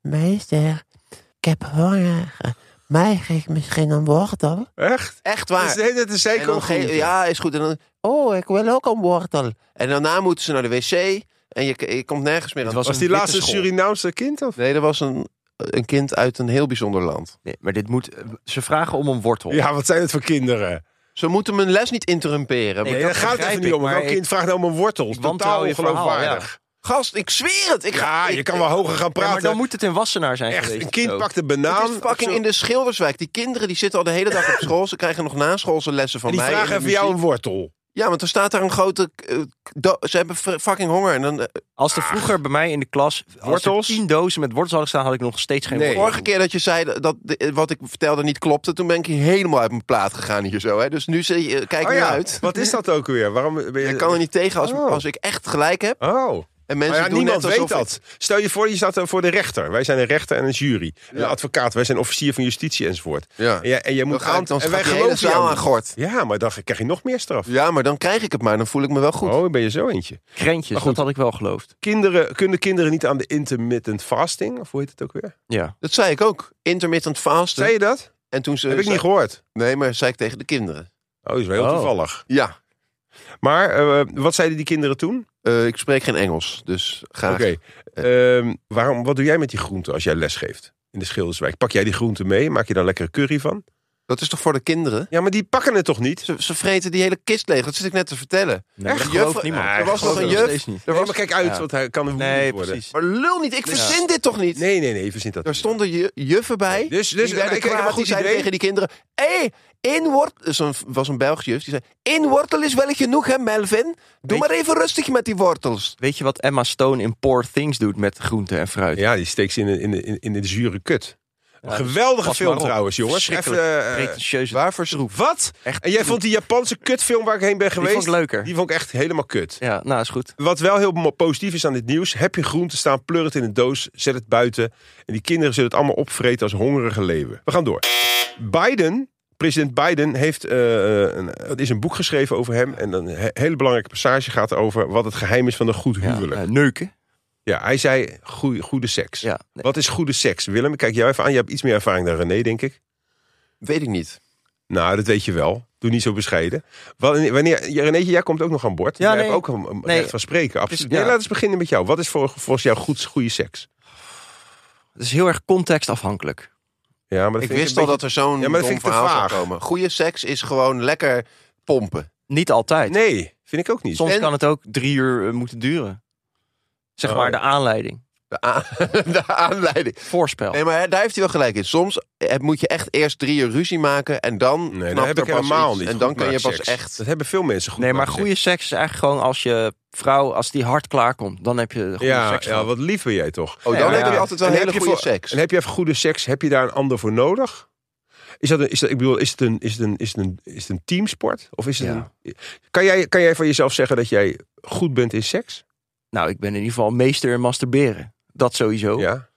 [SPEAKER 5] Meester, ik heb honger. Mij geef misschien een wortel.
[SPEAKER 2] Echt?
[SPEAKER 1] Echt
[SPEAKER 2] Dat is
[SPEAKER 1] waar.
[SPEAKER 2] de hele tijd een
[SPEAKER 1] En dan
[SPEAKER 2] zeker.
[SPEAKER 1] ge- ja, is goed. En, dan,
[SPEAKER 5] Oh, ik wil ook een wortel.
[SPEAKER 1] en daarna moeten ze naar de wc. En je, je komt nergens meer aan.
[SPEAKER 3] Het was
[SPEAKER 2] Was die
[SPEAKER 3] een witte
[SPEAKER 2] laatste
[SPEAKER 3] school.
[SPEAKER 2] Surinaamse kind? Of?
[SPEAKER 1] Nee, er was een, een kind uit een heel bijzonder land.
[SPEAKER 3] Nee, maar dit moet. Ze vragen om een wortel.
[SPEAKER 2] Ja, wat zijn het voor kinderen?
[SPEAKER 1] Ze moeten mijn les niet interrumperen.
[SPEAKER 3] Nee,
[SPEAKER 2] Nee,
[SPEAKER 3] dat
[SPEAKER 2] dat gaat
[SPEAKER 3] begrijp
[SPEAKER 2] even niet
[SPEAKER 3] ik,
[SPEAKER 2] om. Maar
[SPEAKER 3] maar
[SPEAKER 2] Welk
[SPEAKER 3] ik-
[SPEAKER 2] kind vraagt nou om een wortel?
[SPEAKER 3] ik wantrouw
[SPEAKER 2] Totaal
[SPEAKER 3] je verhaal,
[SPEAKER 2] ongeloofwaardig.
[SPEAKER 1] Gast, ik zweer het. Ik
[SPEAKER 2] Ja,
[SPEAKER 1] ga, ik-
[SPEAKER 2] je kan wel hoger gaan
[SPEAKER 3] Ja, maar
[SPEAKER 2] praten.
[SPEAKER 3] dan moet het in Wassenaar zijn
[SPEAKER 2] Echt,
[SPEAKER 3] geweest.
[SPEAKER 2] een kind
[SPEAKER 3] ook.
[SPEAKER 2] pakt een
[SPEAKER 1] Het
[SPEAKER 2] banaan.
[SPEAKER 1] is fucking
[SPEAKER 2] of zo.
[SPEAKER 1] in de Schilderswijk. Die kinderen die zitten al de hele dag op school. Ze krijgen nog naschoolse lessen van
[SPEAKER 2] En Oh die
[SPEAKER 1] mij.
[SPEAKER 2] vragen
[SPEAKER 1] en
[SPEAKER 2] even jou
[SPEAKER 1] muziek.
[SPEAKER 2] een wortel.
[SPEAKER 1] Ja, want er staat daar een grote... eh, do- ze hebben fr- fucking honger. En dan, eh,
[SPEAKER 3] Als er vroeger bij mij in de klas als er
[SPEAKER 2] Wortels?
[SPEAKER 3] tien dozen met wortels hadden staan, had ik nog steeds geen
[SPEAKER 2] Nee.
[SPEAKER 3] wortel.
[SPEAKER 1] vorige keer dat je zei dat, dat de- wat ik vertelde niet klopte... toen ben ik hier helemaal uit mijn plaat gegaan hier zo. Hè. Dus nu zie je, kijk
[SPEAKER 2] Oh
[SPEAKER 1] niet
[SPEAKER 2] ja,
[SPEAKER 1] uit.
[SPEAKER 2] wat is dat ook weer? Waarom ben je...
[SPEAKER 1] Ik kan er niet tegen als,
[SPEAKER 2] Oh.
[SPEAKER 1] als ik echt gelijk heb.
[SPEAKER 2] Oh.
[SPEAKER 1] En mensen
[SPEAKER 2] Maar ja,
[SPEAKER 1] doen
[SPEAKER 2] niemand
[SPEAKER 1] net
[SPEAKER 2] weet
[SPEAKER 1] alsof
[SPEAKER 2] dat. Stel je voor, je staat eh, voor de rechter. Wij zijn een rechter en een jury. Een advocaat, wij zijn officier van justitie enzovoort.
[SPEAKER 1] Ik, ja.
[SPEAKER 2] En jij, en jij moet
[SPEAKER 1] Dan ga
[SPEAKER 2] aan,
[SPEAKER 1] ik dan
[SPEAKER 2] en wij
[SPEAKER 1] straks die hele
[SPEAKER 2] geloven jou
[SPEAKER 1] zaal aan
[SPEAKER 2] niet.
[SPEAKER 1] gort.
[SPEAKER 2] Ja, maar dan krijg je nog meer straf.
[SPEAKER 1] Ja, maar dan krijg ik het maar. Dan voel ik me wel goed.
[SPEAKER 2] Oh, ben je zo eentje.
[SPEAKER 3] Krentjes,
[SPEAKER 2] Maar goed.
[SPEAKER 3] dat had ik wel geloofd.
[SPEAKER 2] Kinderen, kunnen kinderen niet aan de intermittent fasting? Of hoe heet het ook weer?
[SPEAKER 3] Ja.
[SPEAKER 1] Dat zei ik ook. Intermittent fasten.
[SPEAKER 2] Zei je dat?
[SPEAKER 1] En toen ze...
[SPEAKER 2] Heb ik
[SPEAKER 1] zei-
[SPEAKER 2] niet gehoord.
[SPEAKER 1] Nee, maar zei ik tegen de kinderen.
[SPEAKER 2] Oh, dat is wel heel
[SPEAKER 3] Oh.
[SPEAKER 2] toevallig.
[SPEAKER 1] Ja,
[SPEAKER 2] Maar eh, wat zeiden die kinderen toen?
[SPEAKER 1] Eh, ik spreek geen Engels, dus graag.
[SPEAKER 2] Oké. Ehm, waarom? wat doe jij met die groenten als jij lesgeeft in de Schilderswijk? Pak jij die groenten mee? Maak je daar lekkere curry van?
[SPEAKER 1] Dat is toch voor de kinderen?
[SPEAKER 2] Ja, maar die pakken het toch niet?
[SPEAKER 1] Ze, ze vreten die hele kist leeg. Dat zit ik net te vertellen.
[SPEAKER 3] Nee,
[SPEAKER 1] Echt?
[SPEAKER 3] dat gelooft
[SPEAKER 1] Juf-
[SPEAKER 3] niemand.
[SPEAKER 2] Nee,
[SPEAKER 3] Dat
[SPEAKER 1] er was nog
[SPEAKER 3] gelooft
[SPEAKER 1] een
[SPEAKER 3] nog
[SPEAKER 1] juf.
[SPEAKER 3] steeds niet.
[SPEAKER 1] Er
[SPEAKER 2] Nee,
[SPEAKER 1] was,
[SPEAKER 2] maar kijk uit,
[SPEAKER 3] Ja.
[SPEAKER 2] want hij kan een
[SPEAKER 3] Nee,
[SPEAKER 2] worden.
[SPEAKER 3] precies.
[SPEAKER 1] maar lul niet, ik verzin dit toch niet?
[SPEAKER 2] Nee, nee, nee, verzin dat.
[SPEAKER 1] Daar stonden ju- juffen bij.
[SPEAKER 2] Dus,
[SPEAKER 1] Dus
[SPEAKER 2] dus
[SPEAKER 1] die
[SPEAKER 2] ik
[SPEAKER 1] werden
[SPEAKER 2] kreeg een
[SPEAKER 1] kwaad, die
[SPEAKER 2] goed
[SPEAKER 1] zeiden
[SPEAKER 2] idee.
[SPEAKER 1] tegen die kinderen... Hé, hey, één wortel... Zo'n was een Belgisch juf, die zei... één wortel is wel genoeg, hè, Melvin? Doe
[SPEAKER 3] Weet-
[SPEAKER 1] maar even rustig met die wortels.
[SPEAKER 3] Weet je wat Emma Stone in Poor Things doet met groente en fruit?
[SPEAKER 2] Ja, die steekt ze in de, in de, in de zure kut.
[SPEAKER 3] Ja, dus
[SPEAKER 2] Geweldige
[SPEAKER 3] pas
[SPEAKER 2] film
[SPEAKER 3] maar op.
[SPEAKER 2] trouwens, jongens. Even,
[SPEAKER 3] Verschrikkelijk
[SPEAKER 2] eh,
[SPEAKER 3] Pretentieuze.
[SPEAKER 1] Waarvoor schroef?
[SPEAKER 2] wat?
[SPEAKER 3] Echt.
[SPEAKER 2] En jij vond die Japanse kutfilm waar ik heen ben
[SPEAKER 3] Die
[SPEAKER 2] geweest?
[SPEAKER 3] vond ik leuker.
[SPEAKER 2] Die vond ik echt helemaal kut.
[SPEAKER 3] Ja, nou is goed.
[SPEAKER 2] Wat wel heel mo- positief is aan dit nieuws. Heb je groente staan, pleur het in een doos, zet het buiten. En die kinderen zullen het allemaal opvreten als hongerige leeuwen. We gaan door. Biden, president Biden, heeft, eh, een, er is een boek geschreven over hem. En een he- hele belangrijke passage gaat over wat het geheim is van een goed
[SPEAKER 3] Ja,
[SPEAKER 2] huwelijk.
[SPEAKER 3] eh, neuken.
[SPEAKER 2] Ja, hij zei goeie- goede seks.
[SPEAKER 3] Ja. nee.
[SPEAKER 2] Wat is goede seks? Willem, ik kijk jou even aan. Je hebt iets meer ervaring dan René, denk ik.
[SPEAKER 1] Weet ik niet.
[SPEAKER 2] Nou, dat weet je wel. Doe niet zo bescheiden. Wanneer, wanneer, ja, Renéetje, jij komt ook nog aan boord.
[SPEAKER 3] Ja,
[SPEAKER 2] jij
[SPEAKER 3] nee.
[SPEAKER 2] hebt ook een, een
[SPEAKER 3] Nee.
[SPEAKER 1] Dus-
[SPEAKER 2] recht van spreken. Absoluut.
[SPEAKER 3] ja.
[SPEAKER 2] Nee, laten we beginnen met jou. Wat is voor, volgens jou goed, goede seks?
[SPEAKER 3] Het is heel erg contextafhankelijk.
[SPEAKER 2] Ja, maar dat
[SPEAKER 1] Ik
[SPEAKER 2] vind
[SPEAKER 1] wist
[SPEAKER 2] een
[SPEAKER 1] al
[SPEAKER 2] beetje-
[SPEAKER 1] dat er zo'n
[SPEAKER 2] Ja, maar
[SPEAKER 1] dom
[SPEAKER 2] dat vind ik te
[SPEAKER 1] verhaal zou
[SPEAKER 2] vaag.
[SPEAKER 1] komen. Goede seks is gewoon lekker pompen.
[SPEAKER 3] Niet altijd.
[SPEAKER 2] Nee, vind ik ook niet.
[SPEAKER 3] Soms
[SPEAKER 1] en-
[SPEAKER 3] kan het ook drie uur eh, moeten duren. Zeg
[SPEAKER 2] Oh,
[SPEAKER 3] maar
[SPEAKER 2] ja.
[SPEAKER 3] de aanleiding.
[SPEAKER 1] De, a- de aanleiding.
[SPEAKER 3] Voorspel.
[SPEAKER 1] Nee, maar daar heeft hij wel gelijk in. Soms eh, moet je echt eerst drie uur ruzie maken en dan
[SPEAKER 2] Nee, dat
[SPEAKER 1] knapt
[SPEAKER 2] heb
[SPEAKER 1] er
[SPEAKER 2] ik
[SPEAKER 1] pas
[SPEAKER 2] helemaal
[SPEAKER 1] iets.
[SPEAKER 2] niet.
[SPEAKER 1] En dan
[SPEAKER 2] Goed
[SPEAKER 1] kan je
[SPEAKER 2] maakt
[SPEAKER 1] pas
[SPEAKER 2] seks.
[SPEAKER 1] echt...
[SPEAKER 2] Dat hebben veel mensen goed
[SPEAKER 3] nee, maar
[SPEAKER 2] maakt seks.
[SPEAKER 3] goede seks is eigenlijk gewoon als je vrouw, als die hard klaarkomt, dan heb je goede
[SPEAKER 2] Ja,
[SPEAKER 3] seks.
[SPEAKER 2] ja,
[SPEAKER 3] gehad.
[SPEAKER 2] wat lief ben jij
[SPEAKER 1] Oh,
[SPEAKER 2] toch?
[SPEAKER 3] Ja,
[SPEAKER 1] dan
[SPEAKER 3] maar
[SPEAKER 1] heb
[SPEAKER 3] ja.
[SPEAKER 1] je altijd wel
[SPEAKER 2] En heb
[SPEAKER 1] hele
[SPEAKER 2] je
[SPEAKER 1] goede
[SPEAKER 2] voor-
[SPEAKER 1] seks.
[SPEAKER 2] En heb je even goede seks, heb je daar een ander voor nodig? Is dat een, is dat, ik bedoel, is het een, is het een, is het een, is het een teamsport? Of is het
[SPEAKER 3] Ja.
[SPEAKER 2] een, kan, jij, kan jij van jezelf zeggen dat jij goed bent in seks?
[SPEAKER 3] Nou, ik ben in ieder geval meester in masturberen. Dat
[SPEAKER 1] Oh.
[SPEAKER 3] sowieso.
[SPEAKER 2] Ja.
[SPEAKER 1] Er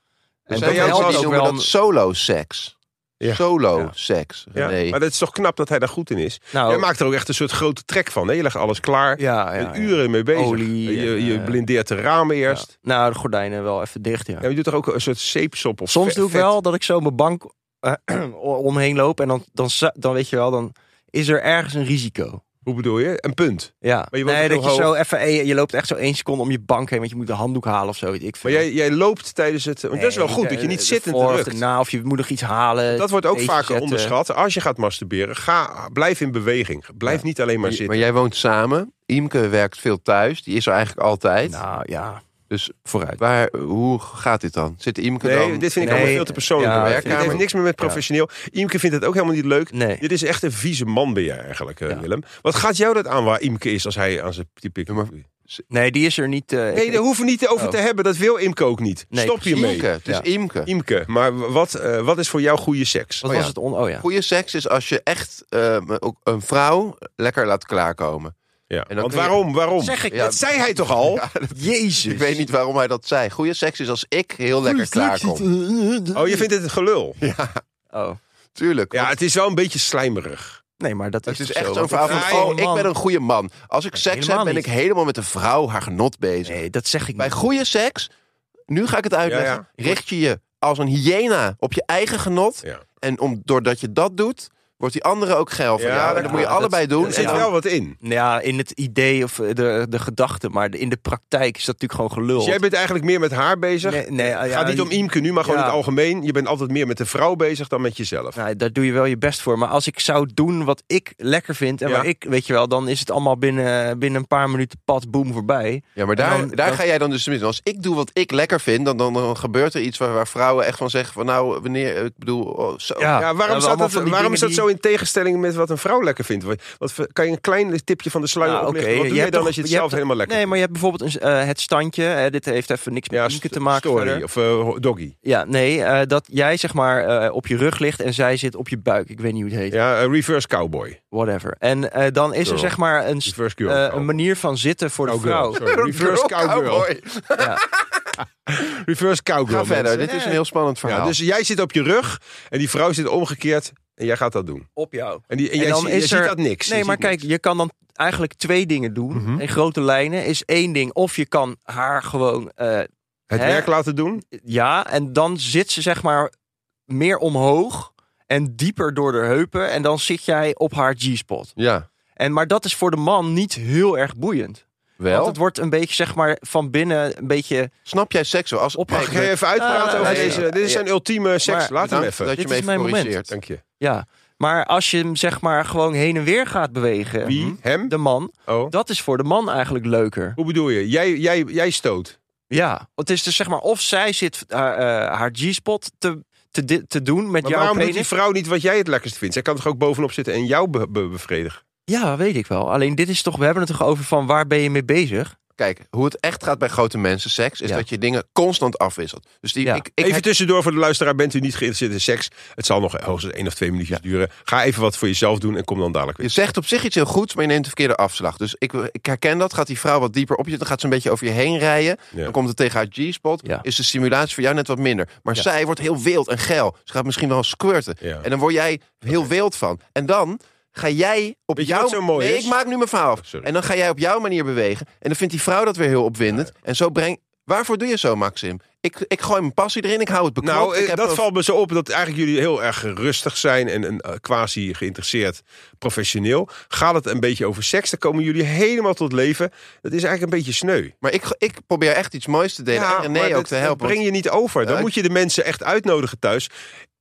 [SPEAKER 3] En
[SPEAKER 1] zijn
[SPEAKER 3] dat
[SPEAKER 2] jou
[SPEAKER 1] mensen
[SPEAKER 3] helpt
[SPEAKER 1] die
[SPEAKER 3] ook
[SPEAKER 1] noemen
[SPEAKER 3] wel.
[SPEAKER 1] dat solo seks.
[SPEAKER 2] Ja.
[SPEAKER 1] Solo
[SPEAKER 3] Ja.
[SPEAKER 1] seks.
[SPEAKER 2] ja.
[SPEAKER 1] Nee.
[SPEAKER 2] Maar dat is toch knap dat hij daar goed in is.
[SPEAKER 3] nou,
[SPEAKER 2] Jij maakt er ook echt een soort grote trek van. Hè? Je legt alles klaar.
[SPEAKER 3] ja, ja,
[SPEAKER 2] Je bent
[SPEAKER 3] ja.
[SPEAKER 2] uren mee bezig.
[SPEAKER 3] Olie
[SPEAKER 2] je,
[SPEAKER 3] en,
[SPEAKER 2] je
[SPEAKER 3] eh,
[SPEAKER 2] blindeert de ramen
[SPEAKER 3] Ja.
[SPEAKER 2] eerst.
[SPEAKER 3] Nou, de gordijnen wel even dicht, ja.
[SPEAKER 2] Ja, maar je doet er ook een soort zeepsop of
[SPEAKER 3] Soms
[SPEAKER 2] vet-
[SPEAKER 3] doe ik
[SPEAKER 2] vet.
[SPEAKER 3] wel dat ik zo mijn bank eh, omheen loop en dan, dan, za- dan weet je wel, dan is er ergens een risico.
[SPEAKER 2] Hoe bedoel je? Een punt.
[SPEAKER 3] Ja,
[SPEAKER 2] Maar je woont
[SPEAKER 3] nee,
[SPEAKER 2] toch
[SPEAKER 3] dat je
[SPEAKER 2] heel
[SPEAKER 3] zo even, eh, je loopt echt zo één seconde om je bank heen, want je moet een handdoek halen of zo. weet Ik
[SPEAKER 2] Maar jij, jij loopt tijdens het... Want dat is wel goed, dat je niet zittend drukt.
[SPEAKER 3] eh, Na, of je moet nog iets halen.
[SPEAKER 2] Dat wordt ook
[SPEAKER 3] eten
[SPEAKER 2] vaker
[SPEAKER 3] zetten.
[SPEAKER 2] onderschat. Als je gaat masturberen, ga, blijf in beweging. Blijf niet alleen maar
[SPEAKER 1] Maar,
[SPEAKER 2] zitten.
[SPEAKER 1] jij woont samen. Imke werkt veel thuis. Die is er eigenlijk altijd.
[SPEAKER 3] Nou ja,
[SPEAKER 1] Dus
[SPEAKER 3] vooruit.
[SPEAKER 1] waar, hoe gaat dit dan? Zit Imke
[SPEAKER 2] Nee,
[SPEAKER 1] dan...
[SPEAKER 2] dit vind ik
[SPEAKER 3] Nee,
[SPEAKER 2] allemaal veel te persoonlijk.
[SPEAKER 3] ja,
[SPEAKER 2] hoor.
[SPEAKER 1] werkkamer.
[SPEAKER 2] dit heeft niks meer met
[SPEAKER 3] Ja.
[SPEAKER 2] professioneel. Imke vindt het ook helemaal niet leuk.
[SPEAKER 3] Nee.
[SPEAKER 2] Dit is echt een vieze man ben je eigenlijk, eh,
[SPEAKER 3] Ja.
[SPEAKER 2] Willem. Wat gaat jou dat aan waar Imke is als hij aan zijn die pik...
[SPEAKER 1] Ja, maar-
[SPEAKER 3] Nee, die is er niet. eh,
[SPEAKER 2] Nee,
[SPEAKER 3] ik-
[SPEAKER 2] daar hoeven we niet over
[SPEAKER 3] Oh.
[SPEAKER 2] te hebben. Dat wil Imke ook niet.
[SPEAKER 3] Nee,
[SPEAKER 2] Stop
[SPEAKER 3] precies.
[SPEAKER 2] hiermee.
[SPEAKER 1] Imke, het is
[SPEAKER 3] Ja.
[SPEAKER 1] Imke.
[SPEAKER 2] Imke, maar w- wat, eh, wat is voor jou goede seks?
[SPEAKER 3] wat
[SPEAKER 1] oh
[SPEAKER 3] was
[SPEAKER 1] ja.
[SPEAKER 3] het? On oh ja.
[SPEAKER 1] Goede seks is als je echt eh, ook een vrouw lekker laat klaarkomen.
[SPEAKER 2] Ja.
[SPEAKER 1] dan
[SPEAKER 2] Want
[SPEAKER 1] kun je-
[SPEAKER 2] waarom? Waarom?
[SPEAKER 3] Zeg ik,
[SPEAKER 1] Ja.
[SPEAKER 2] Dat zei hij toch al?
[SPEAKER 3] Jezus.
[SPEAKER 1] Ik weet niet waarom hij dat zei. Goede seks is als ik heel lekker klaarkom.
[SPEAKER 2] Oh, je vindt het een gelul?
[SPEAKER 3] Oh.
[SPEAKER 1] Tuurlijk.
[SPEAKER 2] Ja,
[SPEAKER 1] want
[SPEAKER 2] het is wel een beetje slijmerig.
[SPEAKER 3] Nee, maar dat
[SPEAKER 1] het
[SPEAKER 3] is
[SPEAKER 1] is
[SPEAKER 3] toch
[SPEAKER 1] echt
[SPEAKER 3] zo,
[SPEAKER 1] zo'n
[SPEAKER 3] want
[SPEAKER 1] verhaal
[SPEAKER 3] dat
[SPEAKER 1] van,
[SPEAKER 3] is gewoon
[SPEAKER 1] oh, ik
[SPEAKER 3] man.
[SPEAKER 1] ben een goede man. Als ik seks heb,
[SPEAKER 3] helemaal
[SPEAKER 1] ben ik
[SPEAKER 3] niet.
[SPEAKER 1] helemaal met de vrouw haar genot bezig.
[SPEAKER 3] Nee, dat zeg ik
[SPEAKER 1] Bij
[SPEAKER 3] niet.
[SPEAKER 1] goede seks, nu ga ik het uitleggen,
[SPEAKER 2] Mm. Ja,
[SPEAKER 1] richt je je als een hyena op je eigen genot.
[SPEAKER 2] Ja.
[SPEAKER 1] En om, doordat je dat doet, wordt die andere ook geil van
[SPEAKER 2] Ja,
[SPEAKER 1] jou. En
[SPEAKER 2] dat-
[SPEAKER 1] dat moet je
[SPEAKER 3] ja, dat-
[SPEAKER 1] allebei doen.
[SPEAKER 2] Er
[SPEAKER 1] en
[SPEAKER 2] zit
[SPEAKER 1] dan-
[SPEAKER 2] wel wat in. Dus
[SPEAKER 3] Ja, in het idee of eh, de, de gedachte, maar de- in de praktijk is dat natuurlijk gewoon gelul.
[SPEAKER 2] Dus jij bent eigenlijk meer met haar bezig.
[SPEAKER 3] Nee, nee, ah, ja,
[SPEAKER 2] Gaat niet om Imke nu, maar gewoon
[SPEAKER 3] ja.
[SPEAKER 2] in het algemeen. Je bent altijd meer met de vrouw bezig dan met jezelf.
[SPEAKER 3] Nou, daar doe je wel je best voor. Maar als ik zou doen wat ik lekker vind en
[SPEAKER 2] Ja.
[SPEAKER 3] waar ik, weet je wel, dan is het allemaal binnen, binnen een paar minuten pad, boem, voorbij.
[SPEAKER 1] Ja, maar daar,
[SPEAKER 3] En dan-
[SPEAKER 1] daar
[SPEAKER 3] dan-
[SPEAKER 1] ga jij dan dus tenminste. Als ik doe wat ik lekker vind, dan, dan, dan gebeurt er iets waar, waar vrouwen echt van zeggen van nou, wanneer, eh, ik bedoel, oh, zo.
[SPEAKER 2] Ja,
[SPEAKER 3] allemaal
[SPEAKER 2] waarom, staat dat,
[SPEAKER 3] van die
[SPEAKER 2] waarom
[SPEAKER 3] dingen
[SPEAKER 2] is dat
[SPEAKER 3] die-
[SPEAKER 2] zo in tegenstelling met wat een vrouw lekker vindt? Wat, wat voor- kan je een klein tipje van de sluier
[SPEAKER 3] Nou,
[SPEAKER 2] oplichten?
[SPEAKER 3] oké,
[SPEAKER 2] Wat doe
[SPEAKER 3] je
[SPEAKER 2] jij
[SPEAKER 3] hebt
[SPEAKER 2] dan
[SPEAKER 3] toch-
[SPEAKER 2] als je het
[SPEAKER 3] je
[SPEAKER 2] zelf
[SPEAKER 3] hebt
[SPEAKER 2] helemaal lekker
[SPEAKER 3] Nee, maar je hebt bijvoorbeeld een, eh, het standje. eh, dit heeft even niks met
[SPEAKER 2] vindt?
[SPEAKER 3] Nienke
[SPEAKER 2] st-
[SPEAKER 3] te maken.
[SPEAKER 2] story
[SPEAKER 3] verder.
[SPEAKER 2] of eh, doggy.
[SPEAKER 3] Ja, nee, eh, dat jij zeg maar eh, op je rug ligt en zij zit op je buik. Ik weet niet hoe het heet.
[SPEAKER 2] Ja, eh, reverse cowboy.
[SPEAKER 3] Whatever. En eh, dan is
[SPEAKER 2] Girl.
[SPEAKER 3] er zeg maar een, st-
[SPEAKER 2] Reverse girl. Oh,
[SPEAKER 3] eh,
[SPEAKER 2] cowboy.
[SPEAKER 3] een manier van zitten voor de
[SPEAKER 2] Cowgirl,
[SPEAKER 3] vrouw.
[SPEAKER 2] sorry. Reverse cowgirl.
[SPEAKER 3] Ja.
[SPEAKER 2] Reverse cowgirl.
[SPEAKER 1] Ga verder,
[SPEAKER 2] mensen.
[SPEAKER 1] dit is een heel spannend verhaal.
[SPEAKER 2] Ja, dus jij zit op je rug en die vrouw zit omgekeerd en jij gaat dat doen.
[SPEAKER 3] Op jou.
[SPEAKER 2] En, die, en,
[SPEAKER 3] En
[SPEAKER 2] jij,
[SPEAKER 3] dan
[SPEAKER 2] zie-
[SPEAKER 3] is
[SPEAKER 2] jij
[SPEAKER 3] er-
[SPEAKER 2] ziet dat niks.
[SPEAKER 3] Nee,
[SPEAKER 2] Je
[SPEAKER 3] maar
[SPEAKER 2] ziet
[SPEAKER 3] kijk,
[SPEAKER 2] niks.
[SPEAKER 3] je kan dan eigenlijk twee dingen doen.
[SPEAKER 2] Mhm.
[SPEAKER 3] In grote lijnen is één ding. Of je kan haar gewoon, eh,
[SPEAKER 2] Het
[SPEAKER 3] hè?
[SPEAKER 2] werk laten doen.
[SPEAKER 3] ja, en dan zit ze zeg maar meer omhoog en dieper door de heupen. En dan zit jij op haar G-spot.
[SPEAKER 1] Ja,
[SPEAKER 3] En, maar dat is voor de man niet heel erg boeiend.
[SPEAKER 1] wel.
[SPEAKER 3] Want het wordt een beetje, zeg maar, van binnen een beetje...
[SPEAKER 1] Snap jij seks zo? Als
[SPEAKER 3] Op-
[SPEAKER 1] Hey,
[SPEAKER 2] Mag ik even uitpraten
[SPEAKER 3] Ah,
[SPEAKER 2] over
[SPEAKER 3] ja,
[SPEAKER 2] deze?
[SPEAKER 3] ja.
[SPEAKER 2] Dit is zijn ultieme seks.
[SPEAKER 3] Maar-
[SPEAKER 2] Laat hem
[SPEAKER 1] bedankt
[SPEAKER 2] even.
[SPEAKER 1] dat je
[SPEAKER 3] Dit
[SPEAKER 1] me
[SPEAKER 3] is
[SPEAKER 1] even
[SPEAKER 3] mijn moment.
[SPEAKER 1] corrigeert.
[SPEAKER 2] Dank je.
[SPEAKER 3] Ja, maar als je hem zeg maar gewoon heen en weer gaat bewegen, hm,
[SPEAKER 2] Wie? Hem?
[SPEAKER 3] de man,
[SPEAKER 2] Oh.
[SPEAKER 3] dat is voor de man eigenlijk leuker.
[SPEAKER 2] Hoe bedoel je? Jij, jij, jij stoot.
[SPEAKER 3] Ja, het is dus zeg maar of zij zit eh, eh, haar G-spot te, te, di- te doen met
[SPEAKER 2] Maar
[SPEAKER 3] jouw
[SPEAKER 2] waarom doet
[SPEAKER 3] penis.
[SPEAKER 2] die vrouw niet wat jij het lekkerst vindt? Zij kan toch ook bovenop zitten en jou be- be- bevredigen?
[SPEAKER 3] Ja, weet ik wel. Alleen dit is toch, we hebben het toch over van waar ben je mee bezig?
[SPEAKER 1] Kijk, hoe het echt gaat bij grote mensen seks, is
[SPEAKER 3] Ja.
[SPEAKER 1] dat je dingen constant afwisselt. Dus die,
[SPEAKER 3] Ja.
[SPEAKER 1] ik, ik,
[SPEAKER 2] even tussendoor voor de luisteraar. Bent u niet geïnteresseerd in seks? Het zal nog hoogstens één of twee minuutjes duren. Ga even wat voor jezelf doen en kom dan dadelijk
[SPEAKER 1] je
[SPEAKER 2] weer.
[SPEAKER 1] zegt op zich iets heel goeds, maar je neemt de verkeerde afslag. Dus ik, ik herken dat. Gaat die vrouw wat dieper op je, dan gaat ze een beetje over je heen rijden.
[SPEAKER 2] Ja.
[SPEAKER 1] Dan komt het tegen haar G-spot.
[SPEAKER 3] Ja.
[SPEAKER 1] Is de simulatie voor jou net wat minder. Maar
[SPEAKER 3] Ja.
[SPEAKER 1] zij wordt heel wild en geil. Ze gaat misschien wel squirten.
[SPEAKER 2] Ja.
[SPEAKER 1] En dan word jij heel wild van. En dan ga jij op
[SPEAKER 2] Weet je
[SPEAKER 1] jouw...
[SPEAKER 2] wat zo mooi
[SPEAKER 1] nee,
[SPEAKER 2] is?
[SPEAKER 1] ik maak nu mijn verhaal af.
[SPEAKER 2] Sorry.
[SPEAKER 1] En dan ga jij op jouw manier bewegen. En dan vindt die vrouw dat weer heel opwindend. En zo breng... Waarvoor doe je zo, Maxim? Ik, ik gooi mijn passie erin, ik hou het beknopt.
[SPEAKER 2] Nou,
[SPEAKER 1] ik
[SPEAKER 2] eh,
[SPEAKER 1] heb
[SPEAKER 2] dat
[SPEAKER 1] een-
[SPEAKER 2] valt me zo op dat eigenlijk jullie heel erg rustig zijn en een eh, quasi geïnteresseerd professioneel. Gaat het een beetje over seks, dan komen jullie helemaal tot leven. Dat is eigenlijk een beetje sneu.
[SPEAKER 1] Maar ik, ik probeer echt iets moois te delen en
[SPEAKER 2] maar
[SPEAKER 1] René ook
[SPEAKER 2] dat-
[SPEAKER 1] te helpen.
[SPEAKER 2] Dat breng je niet over. Dan
[SPEAKER 1] Ja, ik-
[SPEAKER 2] moet je de mensen echt uitnodigen thuis.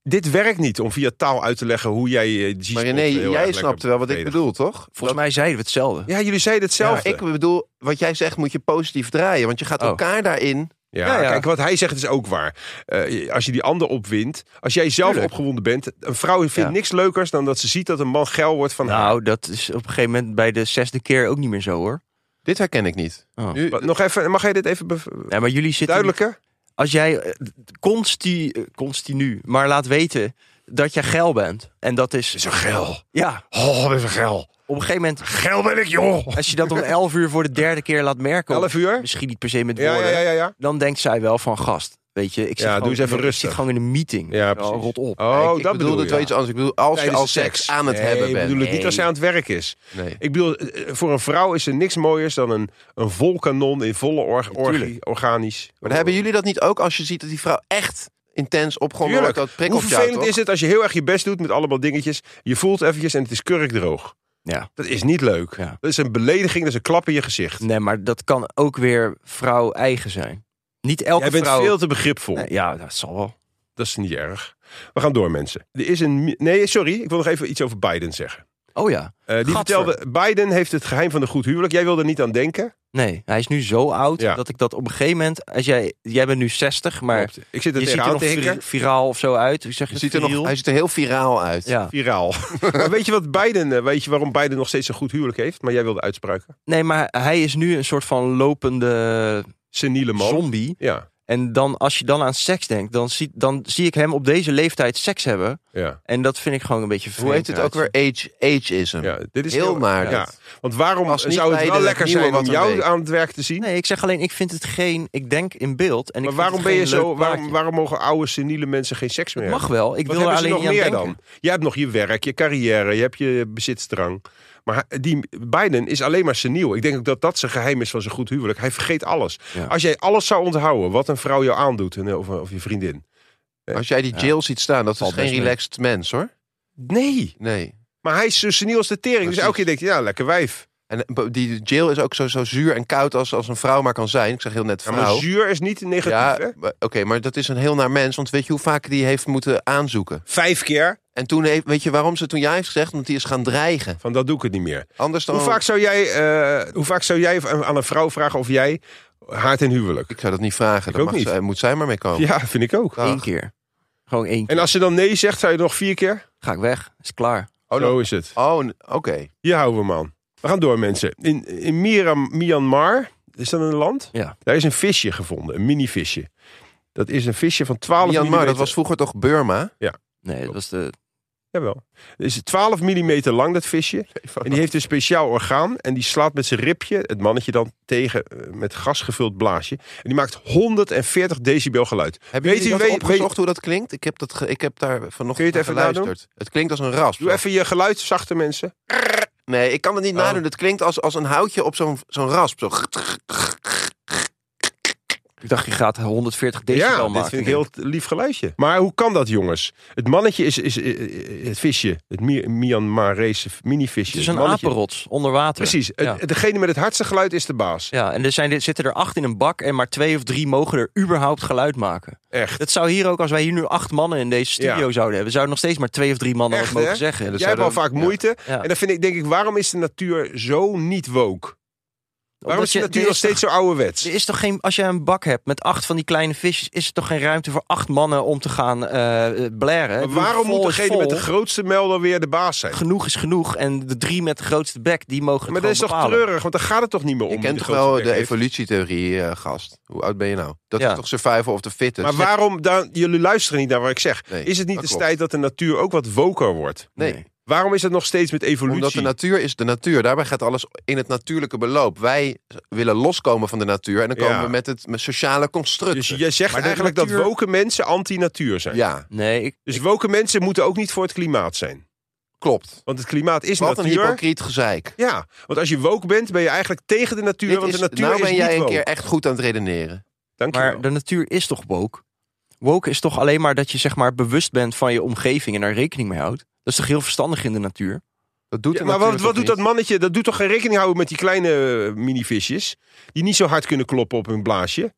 [SPEAKER 2] Dit werkt niet om via taal uit te leggen hoe jij eh, G-spot
[SPEAKER 1] maar René,
[SPEAKER 2] heel erg
[SPEAKER 1] jij
[SPEAKER 2] lekker
[SPEAKER 1] snapt wel wat ik
[SPEAKER 2] verdedigt.
[SPEAKER 1] bedoel, toch?
[SPEAKER 3] Volgens mij zeiden we hetzelfde.
[SPEAKER 2] Ja, jullie zeiden
[SPEAKER 1] Ja,
[SPEAKER 2] hetzelfde.
[SPEAKER 1] ik bedoel, wat jij zegt moet je positief draaien. Want je gaat
[SPEAKER 3] Oh.
[SPEAKER 1] elkaar daarin...
[SPEAKER 2] Ja,
[SPEAKER 3] Ja, ja.
[SPEAKER 2] kijk, wat hij zegt is ook waar. Eh, als je die ander opwint, als jij zelf
[SPEAKER 1] Tuurlijk.
[SPEAKER 2] opgewonden bent, een vrouw vindt
[SPEAKER 3] Ja.
[SPEAKER 2] niks leukers dan dat ze ziet dat een man geil wordt van haar.
[SPEAKER 3] Nou, dat is op een gegeven moment bij de zesde keer ook niet meer zo hoor.
[SPEAKER 1] Dit herken ik niet.
[SPEAKER 3] Oh.
[SPEAKER 1] Nu,
[SPEAKER 2] Wat, Nog even, mag jij dit even bev-
[SPEAKER 3] Ja, maar jullie zitten.
[SPEAKER 2] duidelijker?
[SPEAKER 3] Als jij eh, consti, eh, continu, maar laat weten dat jij geil bent. En dat is.
[SPEAKER 2] Zo geil.
[SPEAKER 3] Ja,
[SPEAKER 2] Oh, wat is een geil.
[SPEAKER 3] op een gegeven moment.
[SPEAKER 2] Geil ben ik, joh.
[SPEAKER 3] Als je dat om 11 uur voor de derde keer laat merken. of
[SPEAKER 2] Elf uur?
[SPEAKER 3] Misschien niet per se met
[SPEAKER 2] Ja,
[SPEAKER 3] woorden.
[SPEAKER 2] ja, ja, ja. ja.
[SPEAKER 3] Dan denkt zij wel van gast. Weet je, ik zit,
[SPEAKER 2] Ja,
[SPEAKER 3] gewoon,
[SPEAKER 2] doe eens even
[SPEAKER 3] ik
[SPEAKER 2] rustig.
[SPEAKER 3] zit gewoon in een meeting.
[SPEAKER 2] Ja,
[SPEAKER 3] Wel,
[SPEAKER 2] precies.
[SPEAKER 3] Rot op.
[SPEAKER 2] Oh,
[SPEAKER 1] ik, ik
[SPEAKER 2] dat
[SPEAKER 1] bedoel
[SPEAKER 2] bedoel
[SPEAKER 1] dat wel
[SPEAKER 2] je.
[SPEAKER 1] iets anders. Ik bedoel, als
[SPEAKER 2] Tijdens
[SPEAKER 1] je
[SPEAKER 2] de
[SPEAKER 1] al seks, aan het
[SPEAKER 2] Nee,
[SPEAKER 1] hebben
[SPEAKER 2] ik
[SPEAKER 1] bent.
[SPEAKER 2] bedoel het niet als hij aan het werk is.
[SPEAKER 1] Nee.
[SPEAKER 2] Ik bedoel, eh, voor een vrouw is er niks mooiers dan een, een vol kanon in volle or orgie, organisch.
[SPEAKER 1] Maar dan hebben jullie dat niet ook als je ziet dat die vrouw echt intens opgewonden wordt?
[SPEAKER 2] Tuurlijk.
[SPEAKER 1] Dat
[SPEAKER 2] Hoe
[SPEAKER 1] prikkelt jou,
[SPEAKER 2] vervelend
[SPEAKER 1] toch?
[SPEAKER 2] is het als je heel erg je best doet met allemaal dingetjes. Je voelt eventjes en het is kurkdroog.
[SPEAKER 3] Ja.
[SPEAKER 2] Dat is niet leuk.
[SPEAKER 3] Ja.
[SPEAKER 2] Dat is een belediging, dat is een klap in je gezicht.
[SPEAKER 3] Nee, maar dat kan ook weer vrouw eigen zijn. Niet elke
[SPEAKER 2] Jij bent
[SPEAKER 3] vrouw.
[SPEAKER 2] veel te begripvol.
[SPEAKER 3] Nee, ja, dat zal wel.
[SPEAKER 2] Dat is niet erg. We gaan door, mensen. Er is een... mi- Nee, sorry. Ik wil nog even iets over Biden zeggen.
[SPEAKER 3] Oh ja.
[SPEAKER 2] Eh, die
[SPEAKER 3] Gadver.
[SPEAKER 2] vertelde, Biden heeft het geheim van een goed huwelijk. Jij wil er niet aan denken.
[SPEAKER 3] Nee, hij is nu zo oud
[SPEAKER 2] Ja.
[SPEAKER 3] dat ik dat op een gegeven moment. Als jij, jij bent nu 60, maar
[SPEAKER 2] Klopt. Ik zit er
[SPEAKER 3] je ziet er
[SPEAKER 2] tegenaan
[SPEAKER 3] nog
[SPEAKER 2] te hikken.
[SPEAKER 3] vir- viraal of zo uit. Hoe zeg je
[SPEAKER 1] Je
[SPEAKER 3] het?
[SPEAKER 1] ziet er nog,
[SPEAKER 3] Viriel?
[SPEAKER 1] hij ziet er heel viraal uit.
[SPEAKER 3] Ja.
[SPEAKER 2] Viraal. maar weet je wat Biden... eh, Weet je waarom Biden nog steeds een goed huwelijk heeft? Maar jij wilde uitspraken.
[SPEAKER 3] Nee, maar hij is nu een soort van lopende
[SPEAKER 2] Seniele man.
[SPEAKER 3] zombie.
[SPEAKER 2] Ja,
[SPEAKER 3] En dan, als je dan aan seks denkt, dan zie, dan zie ik hem op deze leeftijd seks hebben.
[SPEAKER 2] ja.
[SPEAKER 3] En dat vind ik gewoon een beetje vreemd.
[SPEAKER 1] Hoe heet het ook weer?
[SPEAKER 3] eruit
[SPEAKER 1] Age, ageism.
[SPEAKER 2] Ja, dit is
[SPEAKER 1] Heel naar
[SPEAKER 2] Ja.
[SPEAKER 1] dit.
[SPEAKER 2] Want waarom
[SPEAKER 1] Als niet
[SPEAKER 2] zou het
[SPEAKER 1] bij
[SPEAKER 2] wel
[SPEAKER 1] de
[SPEAKER 2] lekker
[SPEAKER 1] nieuwe
[SPEAKER 2] zijn om
[SPEAKER 1] wat een
[SPEAKER 2] jou
[SPEAKER 1] week.
[SPEAKER 2] aan het werk te zien?
[SPEAKER 3] zien. Nee, ik zeg alleen, ik vind het geen. Ik denk in beeld. En ik
[SPEAKER 2] maar
[SPEAKER 3] vind
[SPEAKER 2] waarom,
[SPEAKER 3] het
[SPEAKER 2] ben je
[SPEAKER 3] geen
[SPEAKER 2] zo,
[SPEAKER 3] leuk
[SPEAKER 2] waarom,
[SPEAKER 3] plaatje.
[SPEAKER 2] waarom mogen oude seniele mensen geen seks meer
[SPEAKER 3] Mag
[SPEAKER 2] hebben?
[SPEAKER 3] wel. Ik
[SPEAKER 2] Wat
[SPEAKER 3] wil er
[SPEAKER 2] hebben ze
[SPEAKER 3] alleen
[SPEAKER 2] nog
[SPEAKER 3] niet aan
[SPEAKER 2] meer
[SPEAKER 3] denken.
[SPEAKER 2] dan? Jij hebt nog je werk, je carrière, je hebt je bezitstrang. Maar hij- die Biden is alleen maar seniel. Ik denk ook dat dat zijn geheim is van zijn goed huwelijk. Hij vergeet alles.
[SPEAKER 3] Ja.
[SPEAKER 2] Als jij alles zou onthouden wat een vrouw jou aandoet en, of, of je vriendin.
[SPEAKER 1] Als jij die jail ziet staan, dat
[SPEAKER 3] Valt
[SPEAKER 1] is geen
[SPEAKER 3] best mee.
[SPEAKER 1] relaxed mens hoor.
[SPEAKER 2] Nee.
[SPEAKER 1] Nee.
[SPEAKER 2] Maar hij is zo seniel als de tering. Dus
[SPEAKER 1] Precies.
[SPEAKER 2] elke keer denk je, ja, lekker wijf.
[SPEAKER 1] En eh, die jail is ook zo, zo zuur en koud als, als een vrouw maar kan zijn. Ik zeg heel net
[SPEAKER 2] Ja, maar
[SPEAKER 1] vrouw.
[SPEAKER 2] zuur is niet negatief, hè?
[SPEAKER 1] maar- oké, maar dat is een heel naar mens. Want weet je hoe vaak die heeft moeten aanzoeken?
[SPEAKER 2] Vijf keer,
[SPEAKER 1] En toen heeft, weet je waarom ze toen jij heeft gezegd? Omdat die is gaan dreigen.
[SPEAKER 2] van dat doe ik het niet meer.
[SPEAKER 1] Anders dan.
[SPEAKER 2] Hoe vaak zou jij, eh, hoe vaak zou jij aan aan een vrouw vragen of jij haar ten huwelijk?
[SPEAKER 1] Ik zou dat niet vragen. Daar
[SPEAKER 2] ook
[SPEAKER 1] mag
[SPEAKER 2] niet.
[SPEAKER 1] zij- moet zij maar mee komen.
[SPEAKER 2] Ja, vind ik ook.
[SPEAKER 1] Dag.
[SPEAKER 3] Eén keer. Gewoon één keer.
[SPEAKER 2] En als ze dan nee zegt, zou je nog vier keer?
[SPEAKER 3] Ga ik weg. Is klaar.
[SPEAKER 2] Oh,
[SPEAKER 1] dan-
[SPEAKER 2] zo is het.
[SPEAKER 1] Oh, n- oké.
[SPEAKER 2] Hier houden we hem aan. We gaan door, mensen. In, in Miram, Myanmar, is dat een land?
[SPEAKER 3] Ja.
[SPEAKER 2] Daar is een visje gevonden, een mini-visje. Dat is een visje van 12
[SPEAKER 1] Myanmar,
[SPEAKER 2] millimeter.
[SPEAKER 1] dat was vroeger toch Burma?
[SPEAKER 3] Nee, dat was de.
[SPEAKER 2] Jawel. Het is 12 millimeter lang, dat visje. En die heeft een speciaal orgaan. En die slaat met zijn ribje, het mannetje dan, tegen eh, met gasgevuld blaasje. En die maakt 140 decibel geluid.
[SPEAKER 1] Hebben
[SPEAKER 2] Weet
[SPEAKER 1] jullie
[SPEAKER 2] u-
[SPEAKER 1] dat
[SPEAKER 2] weet-
[SPEAKER 1] opgezocht hoe dat klinkt? Ik heb, dat ge- ik heb daar vanochtend
[SPEAKER 2] Kun je het
[SPEAKER 1] naar
[SPEAKER 2] even
[SPEAKER 1] geluisterd.
[SPEAKER 2] nadoen?
[SPEAKER 1] Het klinkt als een rasp.
[SPEAKER 2] Doe even je geluid zachte mensen.
[SPEAKER 1] Nee, ik kan het niet
[SPEAKER 2] Oh.
[SPEAKER 1] nadoen. Het klinkt als, als een houtje op zo'n zo'n rasp. Zo.
[SPEAKER 3] Ik dacht, je gaat 140 decibel
[SPEAKER 2] ja,
[SPEAKER 3] maken.
[SPEAKER 2] dit vind ik heel t- lief geluidje. Maar hoe kan dat, jongens? Het mannetje is, is, eh, eh, het visje. Het Mi- Myanmarese mini-visje.
[SPEAKER 3] Het is
[SPEAKER 2] het
[SPEAKER 3] een
[SPEAKER 2] mannetje.
[SPEAKER 3] apenrots onder water.
[SPEAKER 2] Precies.
[SPEAKER 3] Ja.
[SPEAKER 2] Het- Degene met het hardste geluid is de baas.
[SPEAKER 3] Ja, en er zijn, er zitten er acht in een bak en maar twee of drie mogen er überhaupt geluid maken.
[SPEAKER 2] Echt.
[SPEAKER 3] Dat zou hier ook, als wij hier nu acht mannen in deze studio
[SPEAKER 2] Ja.
[SPEAKER 3] zouden hebben, zouden nog steeds maar twee of drie mannen
[SPEAKER 2] Echt,
[SPEAKER 3] wat mogen
[SPEAKER 2] hè?
[SPEAKER 3] zeggen.
[SPEAKER 2] Jij hebt al vaak moeite.
[SPEAKER 3] Ja.
[SPEAKER 2] En dan vind ik, denk ik, waarom is de natuur zo niet woke? Waarom is de natuur nog steeds zo ouderwets?
[SPEAKER 3] Er is toch geen, als je een bak hebt met acht van die kleine visjes, is er toch geen ruimte voor acht mannen om te gaan eh eh, blaren? Ik
[SPEAKER 2] Maar
[SPEAKER 3] bedoel,
[SPEAKER 2] waarom
[SPEAKER 3] vol
[SPEAKER 2] moet
[SPEAKER 3] is
[SPEAKER 2] degene met de
[SPEAKER 3] vol.
[SPEAKER 2] grootste melder weer de baas zijn?
[SPEAKER 3] Genoeg is genoeg en de drie met de grootste bek, die mogen het
[SPEAKER 2] Maar dat is
[SPEAKER 3] gewoon
[SPEAKER 2] toch
[SPEAKER 3] bepalen.
[SPEAKER 2] treurig, want dan gaat het toch niet meer om.
[SPEAKER 1] Je
[SPEAKER 2] wie
[SPEAKER 1] kent toch
[SPEAKER 2] grootste
[SPEAKER 1] wel
[SPEAKER 2] bek
[SPEAKER 1] de
[SPEAKER 2] heeft?
[SPEAKER 1] evolutietheorie, eh, gast? Hoe oud ben je nou? Dat
[SPEAKER 3] Ja.
[SPEAKER 1] is toch survival of the fittest?
[SPEAKER 2] Maar waarom, dan, jullie luisteren niet naar wat ik zeg.
[SPEAKER 1] Nee,
[SPEAKER 2] is het niet
[SPEAKER 1] dat
[SPEAKER 2] de
[SPEAKER 1] klopt.
[SPEAKER 2] tijd dat de natuur ook wat woker wordt?
[SPEAKER 1] Nee,
[SPEAKER 2] Waarom is het nog steeds met evolutie?
[SPEAKER 1] omdat de natuur is de natuur. Daarbij gaat alles in het natuurlijke beloop. Wij willen loskomen van de natuur en dan komen
[SPEAKER 2] Ja.
[SPEAKER 1] we met het met sociale construct.
[SPEAKER 2] dus jij zegt
[SPEAKER 3] Maar de
[SPEAKER 2] eigenlijk dat
[SPEAKER 3] natuur-
[SPEAKER 2] woke mensen anti-natuur zijn.
[SPEAKER 1] Ja,
[SPEAKER 3] Nee, ik,
[SPEAKER 2] Dus woke mensen moeten ook niet voor het klimaat zijn.
[SPEAKER 1] klopt.
[SPEAKER 2] Want het klimaat is
[SPEAKER 1] Wat een
[SPEAKER 2] natuur.
[SPEAKER 1] hypocriet gezeik.
[SPEAKER 2] ja, want als je woke bent, ben je eigenlijk tegen de natuur.
[SPEAKER 1] Dit
[SPEAKER 2] want
[SPEAKER 1] is-
[SPEAKER 2] de natuur
[SPEAKER 1] nou ben
[SPEAKER 2] is
[SPEAKER 1] jij
[SPEAKER 2] niet
[SPEAKER 1] een
[SPEAKER 2] woke.
[SPEAKER 1] keer echt goed aan het redeneren.
[SPEAKER 2] Dank je
[SPEAKER 3] Maar
[SPEAKER 2] wel.
[SPEAKER 3] de natuur is toch woke? Woke is toch alleen maar dat je zeg maar bewust bent van je omgeving en daar rekening mee houdt. Dat is toch heel verstandig in de natuur?
[SPEAKER 1] Dat doet
[SPEAKER 2] Ja,
[SPEAKER 1] er
[SPEAKER 2] maar wat,
[SPEAKER 1] natuurlijk
[SPEAKER 2] wat
[SPEAKER 1] ook
[SPEAKER 2] doet dat
[SPEAKER 1] niet.
[SPEAKER 2] mannetje? Dat doet toch geen rekening houden met die kleine eh, mini-visjes? Die niet zo hard kunnen kloppen op hun blaasje.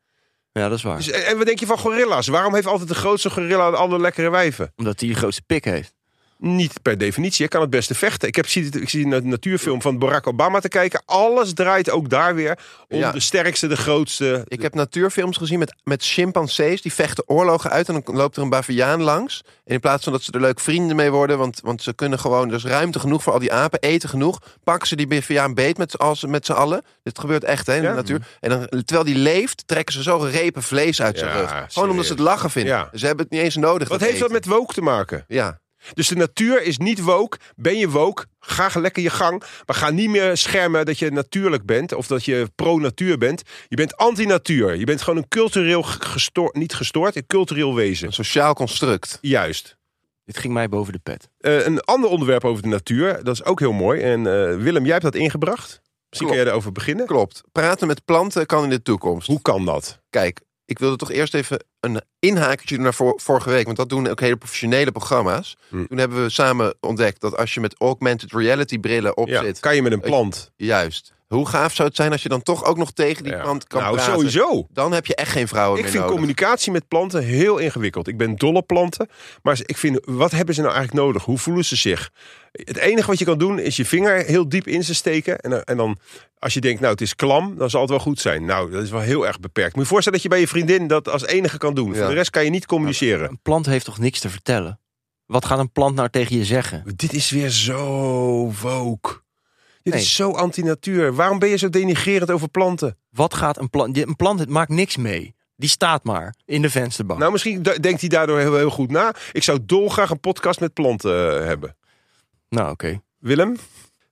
[SPEAKER 3] Ja, dat is waar.
[SPEAKER 2] Dus, en, en wat denk je van gorilla's? Waarom heeft altijd de grootste gorilla de alle lekkere wijven?
[SPEAKER 3] Omdat hij de grootste pik heeft.
[SPEAKER 2] Niet per definitie. Hij kan het beste vechten. Ik, heb, zie het- ik zie een natuurfilm van Barack Obama te kijken. Alles draait ook daar weer om
[SPEAKER 1] Ja.
[SPEAKER 2] de sterkste, de grootste.
[SPEAKER 1] Ik heb natuurfilms gezien met, met chimpansees. Die vechten oorlogen uit en dan loopt er een baviaan langs. En in plaats van dat ze er leuk vrienden mee worden... want, want ze kunnen gewoon... er is ruimte genoeg voor al die apen, eten genoeg... pakken ze die baviaan beet met, z'n- als, met z'n allen. Dit gebeurt echt hè, in
[SPEAKER 2] Ja.
[SPEAKER 1] de natuur. En dan, terwijl die leeft, trekken ze zo repen vlees uit zijn
[SPEAKER 2] Ja,
[SPEAKER 1] rug. Gewoon omdat
[SPEAKER 2] serieus.
[SPEAKER 1] ze het lachen vinden.
[SPEAKER 2] Ja.
[SPEAKER 1] Ze hebben het niet eens nodig.
[SPEAKER 2] Wat heeft dat
[SPEAKER 1] eten.
[SPEAKER 2] met woke te maken?
[SPEAKER 1] Ja.
[SPEAKER 2] Dus de natuur is niet woke. Ben je woke, ga lekker je gang. Maar ga niet meer schermen dat je natuurlijk bent. Of dat je pro-natuur bent. Je bent anti-natuur. Je bent gewoon een cultureel ge- gestoord... Niet gestoord, een cultureel wezen.
[SPEAKER 1] Een sociaal construct.
[SPEAKER 2] Juist.
[SPEAKER 3] Dit ging mij boven de pet.
[SPEAKER 2] Eh, een ander onderwerp over de natuur. Dat is ook heel mooi. En eh, Willem, jij hebt dat ingebracht. Misschien kun
[SPEAKER 1] Klopt.
[SPEAKER 2] jij daarover beginnen.
[SPEAKER 1] Klopt. Praten met planten kan in de toekomst.
[SPEAKER 2] Hoe kan dat?
[SPEAKER 1] Kijk, ik wilde toch eerst even een inhakertje doen naar vor- vorige week. Want dat doen ook hele professionele programma's.
[SPEAKER 2] Hm.
[SPEAKER 1] Toen hebben we samen ontdekt dat als je met augmented reality brillen op
[SPEAKER 2] Ja,
[SPEAKER 1] zit.
[SPEAKER 2] kan je met een plant?
[SPEAKER 1] Juist. Hoe gaaf zou het zijn als je dan toch ook nog tegen die
[SPEAKER 2] Ja.
[SPEAKER 1] plant kan
[SPEAKER 2] nou,
[SPEAKER 1] praten.
[SPEAKER 2] sowieso.
[SPEAKER 1] Dan heb je echt geen vrouwen
[SPEAKER 2] Ik
[SPEAKER 1] meer
[SPEAKER 2] vind
[SPEAKER 1] nodig.
[SPEAKER 2] communicatie met planten heel ingewikkeld. Ik ben dol op planten. Maar ik vind, wat hebben ze nou eigenlijk nodig? Hoe voelen ze zich? Het enige wat je kan doen is je vinger heel diep in ze steken. En, dan- en dan, als je denkt, nou het is klam, dan zal het wel goed zijn. Nou, dat is wel heel erg beperkt. Moet je voorstellen dat je bij je vriendin dat als enige kan doen. Voor
[SPEAKER 1] Ja.
[SPEAKER 2] de rest kan je niet communiceren.
[SPEAKER 3] Een plant heeft toch niks te vertellen? Wat gaat een plant nou tegen je zeggen?
[SPEAKER 2] Dit is weer zo woke. Dit
[SPEAKER 3] Nee.
[SPEAKER 2] is zo antinatuur. Waarom ben je zo denigrerend over planten?
[SPEAKER 3] Wat gaat een plant... die- Een plant het maakt niks mee. Die staat maar in de vensterbank.
[SPEAKER 2] Nou, misschien da- denkt hij daardoor heel, heel goed na. Ik zou dolgraag een podcast met planten eh, hebben.
[SPEAKER 3] Nou, oké.
[SPEAKER 2] Willem?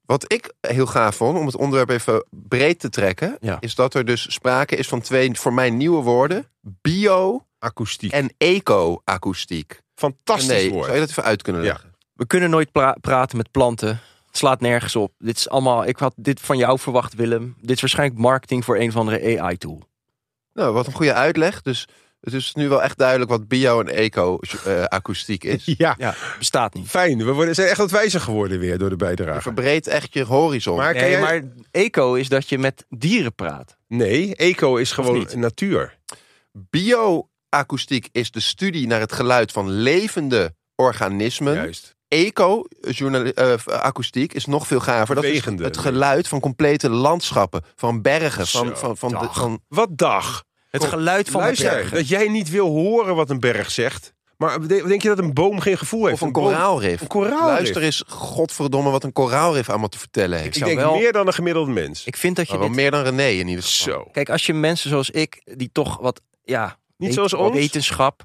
[SPEAKER 1] Wat ik heel gaaf vond, om het onderwerp even breed te trekken.
[SPEAKER 3] Ja.
[SPEAKER 1] Is dat er dus sprake is van twee voor mij nieuwe woorden. Bio
[SPEAKER 2] Akoestiek.
[SPEAKER 1] en eco-akoestiek.
[SPEAKER 2] Fantastisch
[SPEAKER 1] nee,
[SPEAKER 2] woord.
[SPEAKER 1] zou je dat even uit kunnen
[SPEAKER 2] Ja.
[SPEAKER 1] leggen?
[SPEAKER 3] We kunnen nooit pra- praten met planten. Het slaat nergens op. Dit is allemaal... Ik had dit van jou verwacht, Willem. Dit is waarschijnlijk marketing voor een of andere AI-tool.
[SPEAKER 1] Nou, wat een goede uitleg. Dus het is nu wel echt duidelijk wat bio en eco-akoestiek is.
[SPEAKER 2] Ja,
[SPEAKER 3] Ja, bestaat niet.
[SPEAKER 2] fijn. We worden, zijn echt wat wijzer geworden weer door de
[SPEAKER 1] Je
[SPEAKER 2] bijdrage.
[SPEAKER 1] verbreedt echt je horizon.
[SPEAKER 2] Maar kan
[SPEAKER 3] Nee,
[SPEAKER 2] jij-
[SPEAKER 3] maar eco is dat je met dieren praat.
[SPEAKER 2] Nee, eco is gewoon
[SPEAKER 3] niet?
[SPEAKER 2] natuur.
[SPEAKER 1] Bio-akoestiek is de studie naar het geluid van levende organismen.
[SPEAKER 2] Juist.
[SPEAKER 1] Eco-akoestiek is nog veel gaver. Dat is
[SPEAKER 2] Bewegende.
[SPEAKER 1] het geluid van complete landschappen, van bergen,
[SPEAKER 2] Zo,
[SPEAKER 1] van, van, van, de-
[SPEAKER 3] dag.
[SPEAKER 1] van-
[SPEAKER 2] Wat dag.
[SPEAKER 3] Het geluid van de
[SPEAKER 2] Luister,
[SPEAKER 3] bergen.
[SPEAKER 2] dat jij niet wil horen wat een berg zegt. Maar de- denk je dat een boom geen gevoel heeft?
[SPEAKER 1] of een
[SPEAKER 2] boom-
[SPEAKER 1] koraalrif.
[SPEAKER 2] Een koraalrif.
[SPEAKER 1] Luister eens, godverdomme, wat een koraalrif allemaal te vertellen heeft.
[SPEAKER 2] Ik
[SPEAKER 3] zou
[SPEAKER 2] denk
[SPEAKER 3] wel-
[SPEAKER 2] meer dan een gemiddelde mens.
[SPEAKER 3] Ik nou, vind dat je
[SPEAKER 1] Maar wel
[SPEAKER 3] dit...
[SPEAKER 1] meer dan René in ieder geval.
[SPEAKER 2] Zo.
[SPEAKER 3] Kijk, als je mensen zoals ik, die toch wat, ja,
[SPEAKER 2] Niet zoals ons?
[SPEAKER 3] wetenschap,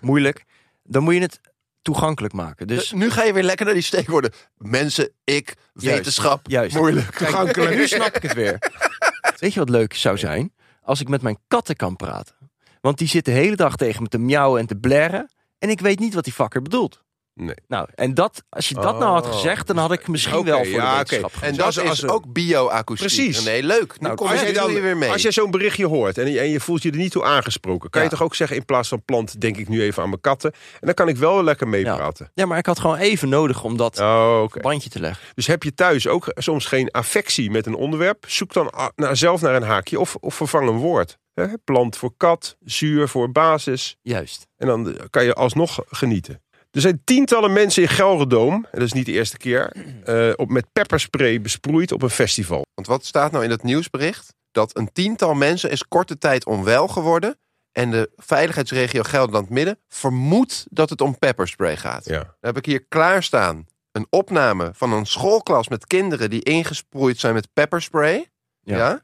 [SPEAKER 3] moeilijk, dan moet je het toegankelijk maken. Dus
[SPEAKER 1] Nu ga je weer lekker naar die steekwoorden. Mensen, ik, wetenschap,
[SPEAKER 3] Juist.
[SPEAKER 1] moeilijk.
[SPEAKER 3] toegankelijk. Nu snap ik het weer. Weet je wat leuk zou zijn? Als ik met mijn katten kan praten. Want die zitten de hele dag tegen me te miauwen en te blerren. En ik weet niet wat die fucker bedoelt.
[SPEAKER 2] Nee.
[SPEAKER 3] Nou, en dat, als je dat nou had
[SPEAKER 2] Oh.
[SPEAKER 3] gezegd, dan had ik misschien
[SPEAKER 2] Oké,
[SPEAKER 3] wel voor
[SPEAKER 2] ja,
[SPEAKER 3] de
[SPEAKER 2] oké.
[SPEAKER 3] wetenschap
[SPEAKER 1] En
[SPEAKER 2] Dus
[SPEAKER 1] dat
[SPEAKER 2] als-
[SPEAKER 1] is
[SPEAKER 2] als-
[SPEAKER 1] ook bio-akoestiek.
[SPEAKER 2] Precies.
[SPEAKER 1] Nee, leuk. Nu
[SPEAKER 3] Nou,
[SPEAKER 1] kom
[SPEAKER 3] als
[SPEAKER 1] je,
[SPEAKER 2] jij
[SPEAKER 1] dan, weer mee.
[SPEAKER 2] Als jij zo'n berichtje hoort en je, en je voelt je er niet toe aangesproken, kan
[SPEAKER 3] Ja.
[SPEAKER 2] je toch ook zeggen: in plaats van plant, denk ik nu even aan mijn katten. En dan kan ik wel lekker meepraten.
[SPEAKER 3] Ja, maar ik had gewoon even nodig om dat
[SPEAKER 2] Oh, oké.
[SPEAKER 3] bandje te leggen.
[SPEAKER 2] Dus heb je thuis ook soms geen affectie met een onderwerp? Zoek dan a- naar, zelf naar een haakje of, of vervang een woord. Hè, Plant voor kat, zuur voor basis.
[SPEAKER 3] Juist.
[SPEAKER 2] En dan eh, kan je alsnog genieten. Er zijn tientallen mensen in Gelredoom, en dat is niet de eerste keer, eh, op, met pepperspray besproeid op een festival.
[SPEAKER 1] Want wat staat nou in dat nieuwsbericht? Dat een tiental mensen is korte tijd onwel geworden. En de veiligheidsregio Gelderland-Midden vermoedt dat het om pepperspray gaat.
[SPEAKER 2] Ja.
[SPEAKER 1] Dan heb ik hier klaarstaan een opname van een schoolklas met kinderen die ingesproeid zijn met pepperspray. Ja.
[SPEAKER 3] Ja.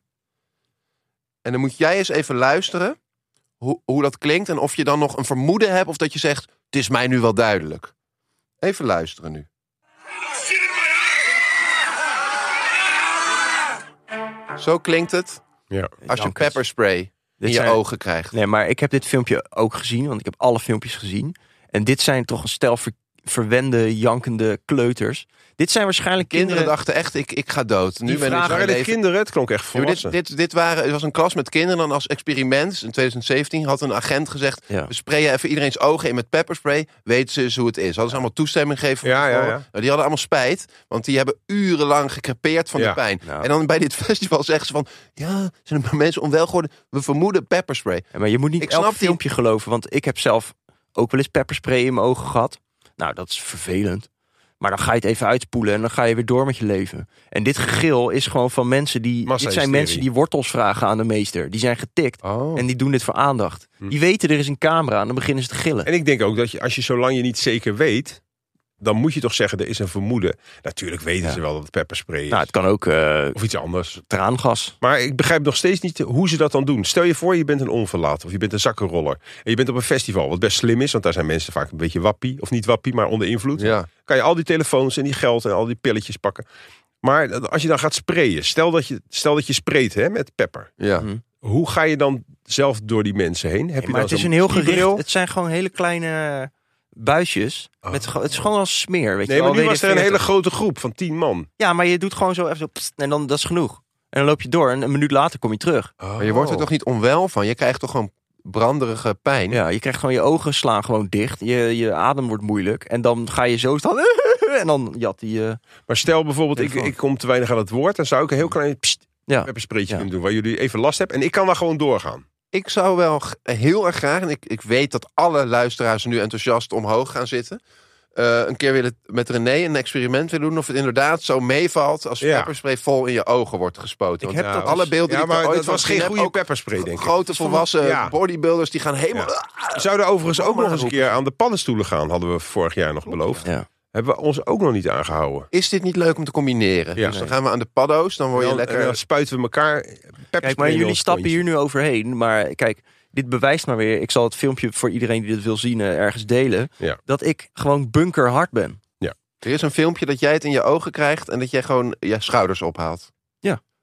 [SPEAKER 1] En dan moet jij eens even luisteren hoe, hoe dat klinkt en of je dan nog een vermoeden hebt of dat je zegt: Het is mij nu wel duidelijk. Even luisteren nu. Zo klinkt het
[SPEAKER 2] Ja.
[SPEAKER 1] als je
[SPEAKER 3] Jankers.
[SPEAKER 1] pepperspray in
[SPEAKER 3] Dit
[SPEAKER 1] je
[SPEAKER 3] zijn-
[SPEAKER 1] ogen krijgt.
[SPEAKER 3] Nee, maar ik heb dit filmpje ook gezien, want ik heb alle filmpjes gezien. En dit zijn toch een stel ver- verwende, jankende kleuters. Dit zijn waarschijnlijk kinderen.
[SPEAKER 1] Kinderen dachten echt, ik, ik ga dood. Nu ben ik
[SPEAKER 3] Die vragen-
[SPEAKER 1] mijn
[SPEAKER 2] Waren dit
[SPEAKER 1] leven-
[SPEAKER 2] kinderen? Het klonk echt
[SPEAKER 1] Ja, maar
[SPEAKER 2] volwassen.
[SPEAKER 1] dit, dit, dit waren, het was een klas met kinderen. Dan als experiment in 2017 had een agent gezegd:
[SPEAKER 3] Ja.
[SPEAKER 1] we sprayen even iedereen's ogen in met pepperspray. Weten ze eens hoe het is? Hadden ze allemaal toestemming gegeven? van
[SPEAKER 2] Ja, ja,
[SPEAKER 1] tevoren.
[SPEAKER 2] ja.
[SPEAKER 1] Nou, die hadden allemaal spijt, want die hebben urenlang gecrepeerd van
[SPEAKER 2] Ja.
[SPEAKER 1] de pijn.
[SPEAKER 3] Ja.
[SPEAKER 1] En dan bij dit festival zeggen ze van: ja, zijn er maar mensen onwel geworden? We vermoeden pepperspray.
[SPEAKER 3] Ja, maar je moet niet
[SPEAKER 1] Ik
[SPEAKER 3] elk
[SPEAKER 1] snap die-
[SPEAKER 3] filmpje geloven, want ik heb zelf ook wel eens pepperspray in mijn ogen gehad. Nou, dat is vervelend. Maar dan ga je het even uitspoelen en dan ga je weer door met je leven. En dit gegil is gewoon van mensen die... Dit zijn
[SPEAKER 2] Massahysterie.
[SPEAKER 3] mensen die wortels vragen aan de meester. Die zijn getikt
[SPEAKER 1] Oh.
[SPEAKER 3] en die doen dit voor aandacht. Die weten er is een camera en dan beginnen ze te gillen.
[SPEAKER 2] Hm. En ik denk ook dat je, als je zolang je niet zeker weet, dan moet je toch zeggen, er is een vermoeden. Natuurlijk weten
[SPEAKER 3] Ja.
[SPEAKER 2] ze wel dat het pepperspray is.
[SPEAKER 3] Nou, het kan ook eh,
[SPEAKER 2] of iets anders.
[SPEAKER 3] traangas.
[SPEAKER 2] Maar ik begrijp nog steeds niet hoe ze dat dan doen. Stel je voor, je bent een onverlaat of je bent een zakkenroller. En je bent op een festival, wat best slim is, want daar zijn mensen vaak een beetje wappie. Of niet wappie, maar onder invloed.
[SPEAKER 1] Ja.
[SPEAKER 2] Kan je al die telefoons en die geld en al die pilletjes pakken. Maar als je dan gaat sprayen, stel dat je, stel dat je sprayt hè, met pepper.
[SPEAKER 1] Ja.
[SPEAKER 3] Hm.
[SPEAKER 2] Hoe ga je dan zelf door die mensen heen? Heb je
[SPEAKER 3] maar
[SPEAKER 2] dan
[SPEAKER 3] het is
[SPEAKER 2] zo'n
[SPEAKER 3] een heel
[SPEAKER 2] skibril?
[SPEAKER 3] gericht... Het zijn gewoon hele kleine buisjes. Met, ge- het is gewoon als smeer, weet
[SPEAKER 2] Oh. Nee,
[SPEAKER 3] je
[SPEAKER 2] maar
[SPEAKER 3] wel.
[SPEAKER 2] nu was er een
[SPEAKER 3] WD-40.
[SPEAKER 2] hele grote groep van tien man.
[SPEAKER 3] Ja, maar je doet gewoon zo even zo... pst, en dan, dat is genoeg. En dan loop je door en een minuut later kom je terug.
[SPEAKER 2] Oh.
[SPEAKER 1] Maar je wordt er toch niet onwel van? Je krijgt toch gewoon branderige pijn?
[SPEAKER 3] Ja, je krijgt gewoon je ogen slaan gewoon dicht. Je, je adem wordt moeilijk. En dan ga je zo staan. En dan jat die... eh,
[SPEAKER 2] Maar stel bijvoorbeeld, ik,
[SPEAKER 3] Telefoon.
[SPEAKER 2] ik kom te weinig aan het woord. Dan zou ik een heel klein pst,
[SPEAKER 3] ja. Dus
[SPEAKER 2] pepperspreetje
[SPEAKER 3] Ja.
[SPEAKER 2] kunnen doen. Waar jullie even last hebben. En ik kan daar gewoon doorgaan.
[SPEAKER 1] Ik zou wel g- heel erg graag, en ik, ik weet dat alle luisteraars nu enthousiast omhoog gaan zitten. eh, een keer willen met René een experiment willen doen. Of het inderdaad zo meevalt als
[SPEAKER 2] Ja.
[SPEAKER 1] pepperspray vol in je ogen wordt gespoten.
[SPEAKER 2] Ik
[SPEAKER 1] Want
[SPEAKER 2] heb dat
[SPEAKER 1] alle
[SPEAKER 2] dus-
[SPEAKER 1] beelden
[SPEAKER 2] ja,
[SPEAKER 1] die ik er
[SPEAKER 2] maar
[SPEAKER 1] ooit
[SPEAKER 2] dat
[SPEAKER 1] van
[SPEAKER 2] was
[SPEAKER 1] gezien
[SPEAKER 2] geen
[SPEAKER 1] heb,
[SPEAKER 2] goede
[SPEAKER 1] ook
[SPEAKER 2] pepperspray, denk ik.
[SPEAKER 1] Grote volwassen
[SPEAKER 2] Ja.
[SPEAKER 1] bodybuilders die gaan helemaal... Ah,
[SPEAKER 2] Zouden overigens ook
[SPEAKER 1] Mama
[SPEAKER 2] nog eens een
[SPEAKER 1] roept.
[SPEAKER 2] keer aan de paddenstoelen gaan. Hadden we vorig jaar nog beloofd.
[SPEAKER 3] Ja.
[SPEAKER 2] Hebben we ons ook nog niet aangehouden.
[SPEAKER 1] Is dit niet leuk om te combineren?
[SPEAKER 2] Ja.
[SPEAKER 1] Dus dan gaan we aan de paddo's, dan word je
[SPEAKER 2] Dan-
[SPEAKER 1] lekker...
[SPEAKER 2] en dan spuiten we elkaar pepperspray
[SPEAKER 3] Kijk, maar
[SPEAKER 2] in
[SPEAKER 3] jullie
[SPEAKER 2] ons
[SPEAKER 3] stappen
[SPEAKER 2] kontje.
[SPEAKER 3] hier nu overheen. Maar kijk, dit bewijst maar weer. Ik zal het filmpje voor iedereen die dit wil zien eh, ergens delen.
[SPEAKER 2] Ja.
[SPEAKER 3] Dat ik gewoon bunkerhard ben.
[SPEAKER 1] Er is een filmpje dat jij het in je ogen krijgt en dat jij gewoon je schouders ophaalt.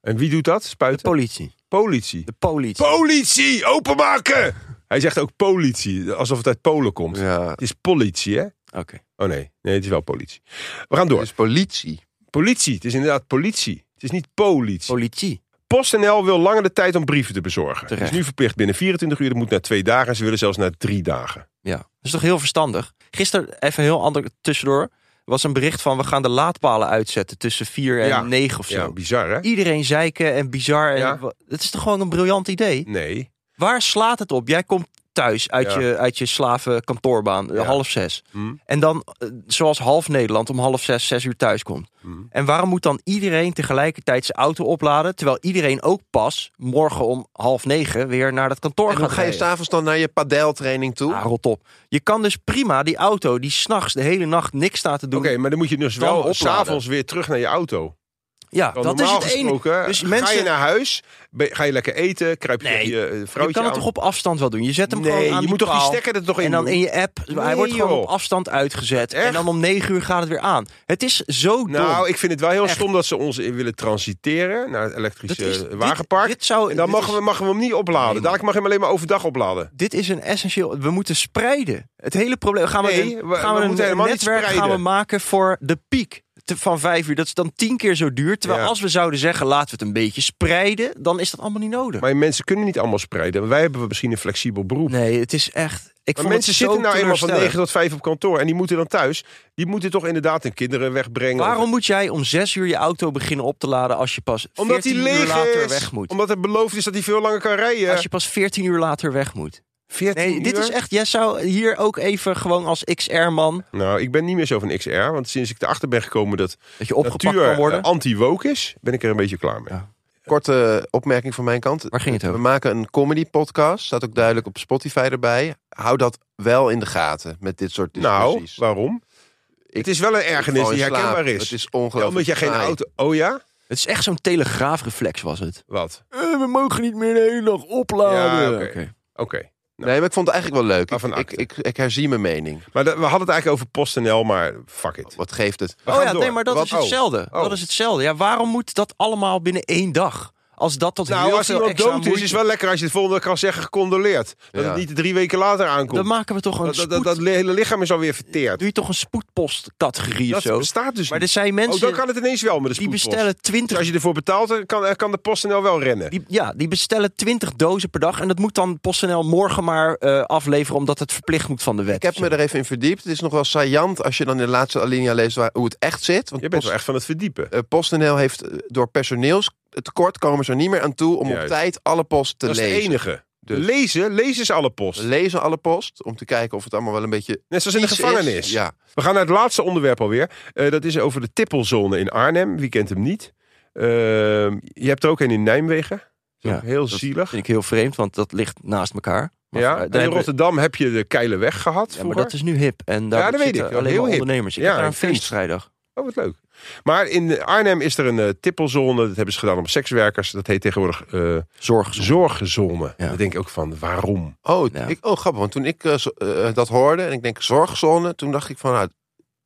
[SPEAKER 2] En wie doet dat?
[SPEAKER 3] De
[SPEAKER 2] Spuiten?
[SPEAKER 3] politie.
[SPEAKER 2] politie.
[SPEAKER 3] De politie.
[SPEAKER 2] Politie! Openmaken! Hij zegt ook politie. Alsof het uit Polen komt.
[SPEAKER 1] Ja,
[SPEAKER 2] Het is politie, hè?
[SPEAKER 3] Oké.
[SPEAKER 2] Oh nee. Nee, het is wel politie. We gaan door.
[SPEAKER 1] het is Dus politie.
[SPEAKER 2] Politie. Het is inderdaad politie. Het is niet politie.
[SPEAKER 3] Politie.
[SPEAKER 2] PostNL wil langer de tijd om brieven te bezorgen. Het is
[SPEAKER 3] Terecht.
[SPEAKER 2] nu verplicht binnen 24 uur. Dat moet naar twee dagen. en Ze willen zelfs naar drie dagen.
[SPEAKER 3] Ja, dat is toch heel verstandig. Gisteren, even heel ander tussendoor, was een bericht van we gaan de laadpalen uitzetten tussen 4 en
[SPEAKER 2] Ja.
[SPEAKER 3] 9 of zo.
[SPEAKER 2] Ja, bizar hè?
[SPEAKER 3] Iedereen zeiken en bizar. En
[SPEAKER 2] Ja.
[SPEAKER 3] wa- Het is toch gewoon een briljant idee?
[SPEAKER 2] Nee.
[SPEAKER 3] Waar slaat het op? Jij komt thuis uit,
[SPEAKER 2] Ja.
[SPEAKER 3] je, uit je slaven kantoorbaan, eh,
[SPEAKER 2] Ja.
[SPEAKER 3] half zes.
[SPEAKER 2] Hm.
[SPEAKER 3] En dan, eh, zoals half Nederland, om half zes, zes uur thuis komt.
[SPEAKER 2] Hm.
[SPEAKER 3] En waarom moet dan iedereen tegelijkertijd zijn auto opladen... terwijl iedereen ook pas morgen om half negen weer naar dat kantoor
[SPEAKER 1] En
[SPEAKER 3] gaat
[SPEAKER 1] dan ga je
[SPEAKER 3] rijden?
[SPEAKER 1] s'avonds dan naar je padeltraining toe.
[SPEAKER 3] Ah, rot op. Je kan dus prima die auto die s'nachts de hele nacht niks staat te
[SPEAKER 2] Oké,
[SPEAKER 3] doen.
[SPEAKER 2] maar dan moet je dus
[SPEAKER 3] Dan
[SPEAKER 2] wel
[SPEAKER 3] opladen.
[SPEAKER 2] s'avonds weer terug naar je auto.
[SPEAKER 3] ja,
[SPEAKER 2] Want
[SPEAKER 3] dat is
[SPEAKER 2] normaal
[SPEAKER 3] het enige.
[SPEAKER 2] gesproken
[SPEAKER 3] Dus
[SPEAKER 2] Ga je
[SPEAKER 3] mensen-
[SPEAKER 2] naar huis? ben- ga je lekker eten? Kruip je
[SPEAKER 3] Nee,
[SPEAKER 2] tegen je eh,
[SPEAKER 3] Je
[SPEAKER 2] vrouwtje
[SPEAKER 3] kan het
[SPEAKER 2] aan?
[SPEAKER 3] toch op afstand wel doen? Je zet hem
[SPEAKER 2] nee,
[SPEAKER 3] gewoon aan
[SPEAKER 2] je
[SPEAKER 3] die
[SPEAKER 2] moet toch die
[SPEAKER 3] paal
[SPEAKER 2] stekker er toch in
[SPEAKER 3] En dan
[SPEAKER 2] doen?
[SPEAKER 3] in je app.
[SPEAKER 2] Nee,
[SPEAKER 3] hij wordt gewoon
[SPEAKER 2] joh.
[SPEAKER 3] op afstand uitgezet.
[SPEAKER 2] Echt?
[SPEAKER 3] En dan om negen uur gaat het weer aan. Het is zo dom.
[SPEAKER 2] Nou, ik vind het wel heel
[SPEAKER 3] Echt.
[SPEAKER 2] stom dat ze ons in willen transiteren naar het
[SPEAKER 3] Dat
[SPEAKER 2] elektrische
[SPEAKER 3] is-
[SPEAKER 2] eh,
[SPEAKER 3] dit-
[SPEAKER 2] wagenpark.
[SPEAKER 3] dit zou-
[SPEAKER 2] en dan
[SPEAKER 3] dit
[SPEAKER 2] mogen
[SPEAKER 3] is-
[SPEAKER 2] we, mogen we hem niet opladen.
[SPEAKER 3] man.
[SPEAKER 2] Dadelijk mag je hem alleen maar overdag opladen.
[SPEAKER 3] Dit is een essentieel. We moeten spreiden. Het hele probleem. Gaan we
[SPEAKER 2] Nee,
[SPEAKER 3] een,
[SPEAKER 2] we-
[SPEAKER 3] gaan
[SPEAKER 2] we
[SPEAKER 3] we een
[SPEAKER 2] moeten helemaal niet
[SPEAKER 3] netwerk gaan we
[SPEAKER 2] spreiden.
[SPEAKER 3] maken voor de piek te- van vijf uur? Dat is dan tien keer zo duur. Terwijl
[SPEAKER 2] Ja.
[SPEAKER 3] als we zouden zeggen laten we het een beetje spreiden, dan is dat allemaal niet nodig.
[SPEAKER 2] Maar mensen kunnen niet allemaal spreiden. Wij hebben misschien een flexibel beroep.
[SPEAKER 3] Nee, het is echt. Ik
[SPEAKER 2] Maar
[SPEAKER 3] vond
[SPEAKER 2] mensen
[SPEAKER 3] het zo
[SPEAKER 2] zitten nou eenmaal van 9
[SPEAKER 3] teleurstellend.
[SPEAKER 2] tot 5 op kantoor. En die moeten dan thuis. Die moeten toch inderdaad hun kinderen wegbrengen.
[SPEAKER 3] Waarom
[SPEAKER 2] Of-
[SPEAKER 3] moet jij om 6 uur je auto beginnen op te laden als je pas 14
[SPEAKER 2] Omdat hij
[SPEAKER 3] uur
[SPEAKER 2] leeg
[SPEAKER 3] later
[SPEAKER 2] is.
[SPEAKER 3] weg moet?
[SPEAKER 2] Omdat het beloofd is dat hij veel langer kan rijden.
[SPEAKER 3] Als je pas 14 uur later weg moet.
[SPEAKER 2] 14
[SPEAKER 3] Nee, dit
[SPEAKER 2] uur?
[SPEAKER 3] is echt. Jij zou hier ook even gewoon als XR-man
[SPEAKER 2] Nou, ik ben niet meer zo van XR. Want sinds ik erachter ben gekomen dat
[SPEAKER 3] dat je opgepakt
[SPEAKER 2] natuur
[SPEAKER 3] kan worden.
[SPEAKER 2] eh, anti-woke is... ben ik er een beetje klaar mee.
[SPEAKER 3] Ja.
[SPEAKER 1] Korte opmerking van mijn kant.
[SPEAKER 3] Waar ging het
[SPEAKER 1] We
[SPEAKER 3] over?
[SPEAKER 1] maken een comedy podcast. Staat ook duidelijk op Spotify erbij. Hou dat wel in de gaten met dit soort
[SPEAKER 3] Dus
[SPEAKER 2] nou,
[SPEAKER 1] discussies.
[SPEAKER 2] waarom? het is wel een ergernis die herkenbaar is.
[SPEAKER 1] Het is
[SPEAKER 2] Ja,
[SPEAKER 1] ongelooflijk.
[SPEAKER 2] omdat jij geen
[SPEAKER 1] saai.
[SPEAKER 2] auto... Oh ja?
[SPEAKER 3] Het is echt zo'n telegraafreflex was het.
[SPEAKER 2] Wat?
[SPEAKER 3] Eh, we mogen niet meer de hele dag opladen.
[SPEAKER 2] Ja, oké. Oké. Nou.
[SPEAKER 1] Nee, maar ik vond het eigenlijk wel leuk.
[SPEAKER 2] Waarvan
[SPEAKER 1] Ik, ik,
[SPEAKER 2] acte.
[SPEAKER 1] ik, ik herzie mijn mening.
[SPEAKER 2] Maar dat- we hadden het eigenlijk over PostNL, maar fuck it.
[SPEAKER 1] Wat geeft het?
[SPEAKER 2] We
[SPEAKER 3] Oh
[SPEAKER 2] gaan
[SPEAKER 3] ja,
[SPEAKER 2] door.
[SPEAKER 3] nee, maar dat
[SPEAKER 2] Wat-
[SPEAKER 3] is hetzelfde.
[SPEAKER 2] Oh.
[SPEAKER 3] Dat is hetzelfde. Ja, waarom moet dat allemaal binnen één dag? Als dat tot
[SPEAKER 2] Nou,
[SPEAKER 3] heel
[SPEAKER 2] als
[SPEAKER 3] veel
[SPEAKER 2] iemand
[SPEAKER 3] extra
[SPEAKER 2] dood is, is
[SPEAKER 3] moeite...
[SPEAKER 2] het wel lekker als je het volgende dag kan zeggen gecondoleerd. Dat
[SPEAKER 1] Ja.
[SPEAKER 2] het niet drie weken later
[SPEAKER 3] Dan
[SPEAKER 2] aankomt.
[SPEAKER 3] maken we toch een
[SPEAKER 2] Dat, dat,
[SPEAKER 3] spoed...
[SPEAKER 2] dat, dat hele lichaam is alweer verteerd.
[SPEAKER 3] doe je toch een spoedpostcategorie of
[SPEAKER 2] Dat
[SPEAKER 3] zo?
[SPEAKER 2] bestaat dus
[SPEAKER 3] Maar er
[SPEAKER 2] niet.
[SPEAKER 3] zijn
[SPEAKER 2] Oh,
[SPEAKER 3] mensen
[SPEAKER 2] dan kan het ineens wel met de
[SPEAKER 3] die
[SPEAKER 2] spoedpost. Dus
[SPEAKER 3] bestellen 20...
[SPEAKER 2] Als je ervoor betaalt, dan kan, eh, kan de PostNL wel rennen.
[SPEAKER 3] Die, ja, die bestellen 20 dozen per dag. En dat moet dan PostNL morgen maar eh, afleveren, omdat het verplicht moet van de wet.
[SPEAKER 1] Ik heb me er even in verdiept. Het is nog wel saillant als je dan in de laatste alinea leest waar, hoe het echt zit. Want
[SPEAKER 2] Je bent wel echt van het verdiepen.
[SPEAKER 1] eh, PostNL heeft eh, door personeelstekort komen ze er niet meer aan toe om op
[SPEAKER 2] Juist.
[SPEAKER 1] tijd alle post te
[SPEAKER 2] dat is
[SPEAKER 1] lezen.
[SPEAKER 2] de enige.
[SPEAKER 1] Dus-
[SPEAKER 2] Lezen, lezen is alle post.
[SPEAKER 1] We lezen alle post om te kijken of het allemaal wel een beetje
[SPEAKER 2] Net zoals in de
[SPEAKER 1] vies
[SPEAKER 2] gevangenis.
[SPEAKER 1] is. Ja.
[SPEAKER 2] We gaan naar het laatste onderwerp alweer. Eh, dat is over de tippelzone in Arnhem. Wie kent hem niet? Eh, je hebt er ook een in Nijmegen. Dat is
[SPEAKER 3] Ja,
[SPEAKER 2] ook heel
[SPEAKER 3] dat
[SPEAKER 2] zielig.
[SPEAKER 3] vind ik heel vreemd, want dat ligt naast elkaar. Maar, eh,
[SPEAKER 2] Ja,
[SPEAKER 3] daar
[SPEAKER 2] en in
[SPEAKER 3] hebben-
[SPEAKER 2] Rotterdam heb je de Keileweg gehad
[SPEAKER 3] ja, maar
[SPEAKER 2] vroeger.
[SPEAKER 3] dat is nu hip. En daar
[SPEAKER 2] Ja, dat weet
[SPEAKER 3] zitten
[SPEAKER 2] ik. Dat is
[SPEAKER 3] alleen
[SPEAKER 2] heel
[SPEAKER 3] maar
[SPEAKER 2] hip.
[SPEAKER 3] ondernemers. Ik
[SPEAKER 2] Ja,
[SPEAKER 3] heb daar een
[SPEAKER 2] een feest.
[SPEAKER 3] feest vrijdag.
[SPEAKER 2] Oh, wat leuk. Maar in Arnhem is er een eh, tippelzone. Dat hebben ze gedaan om sekswerkers. Dat heet tegenwoordig eh
[SPEAKER 3] Zorg.
[SPEAKER 2] zorgzone.
[SPEAKER 3] Ja.
[SPEAKER 2] Dan denk ik ook van, waarom?
[SPEAKER 1] Oh,
[SPEAKER 3] Ja.
[SPEAKER 1] ik, oh, grappig. Want toen ik eh, zo- eh, dat hoorde en ik denk zorgzone, toen dacht ik van, nou,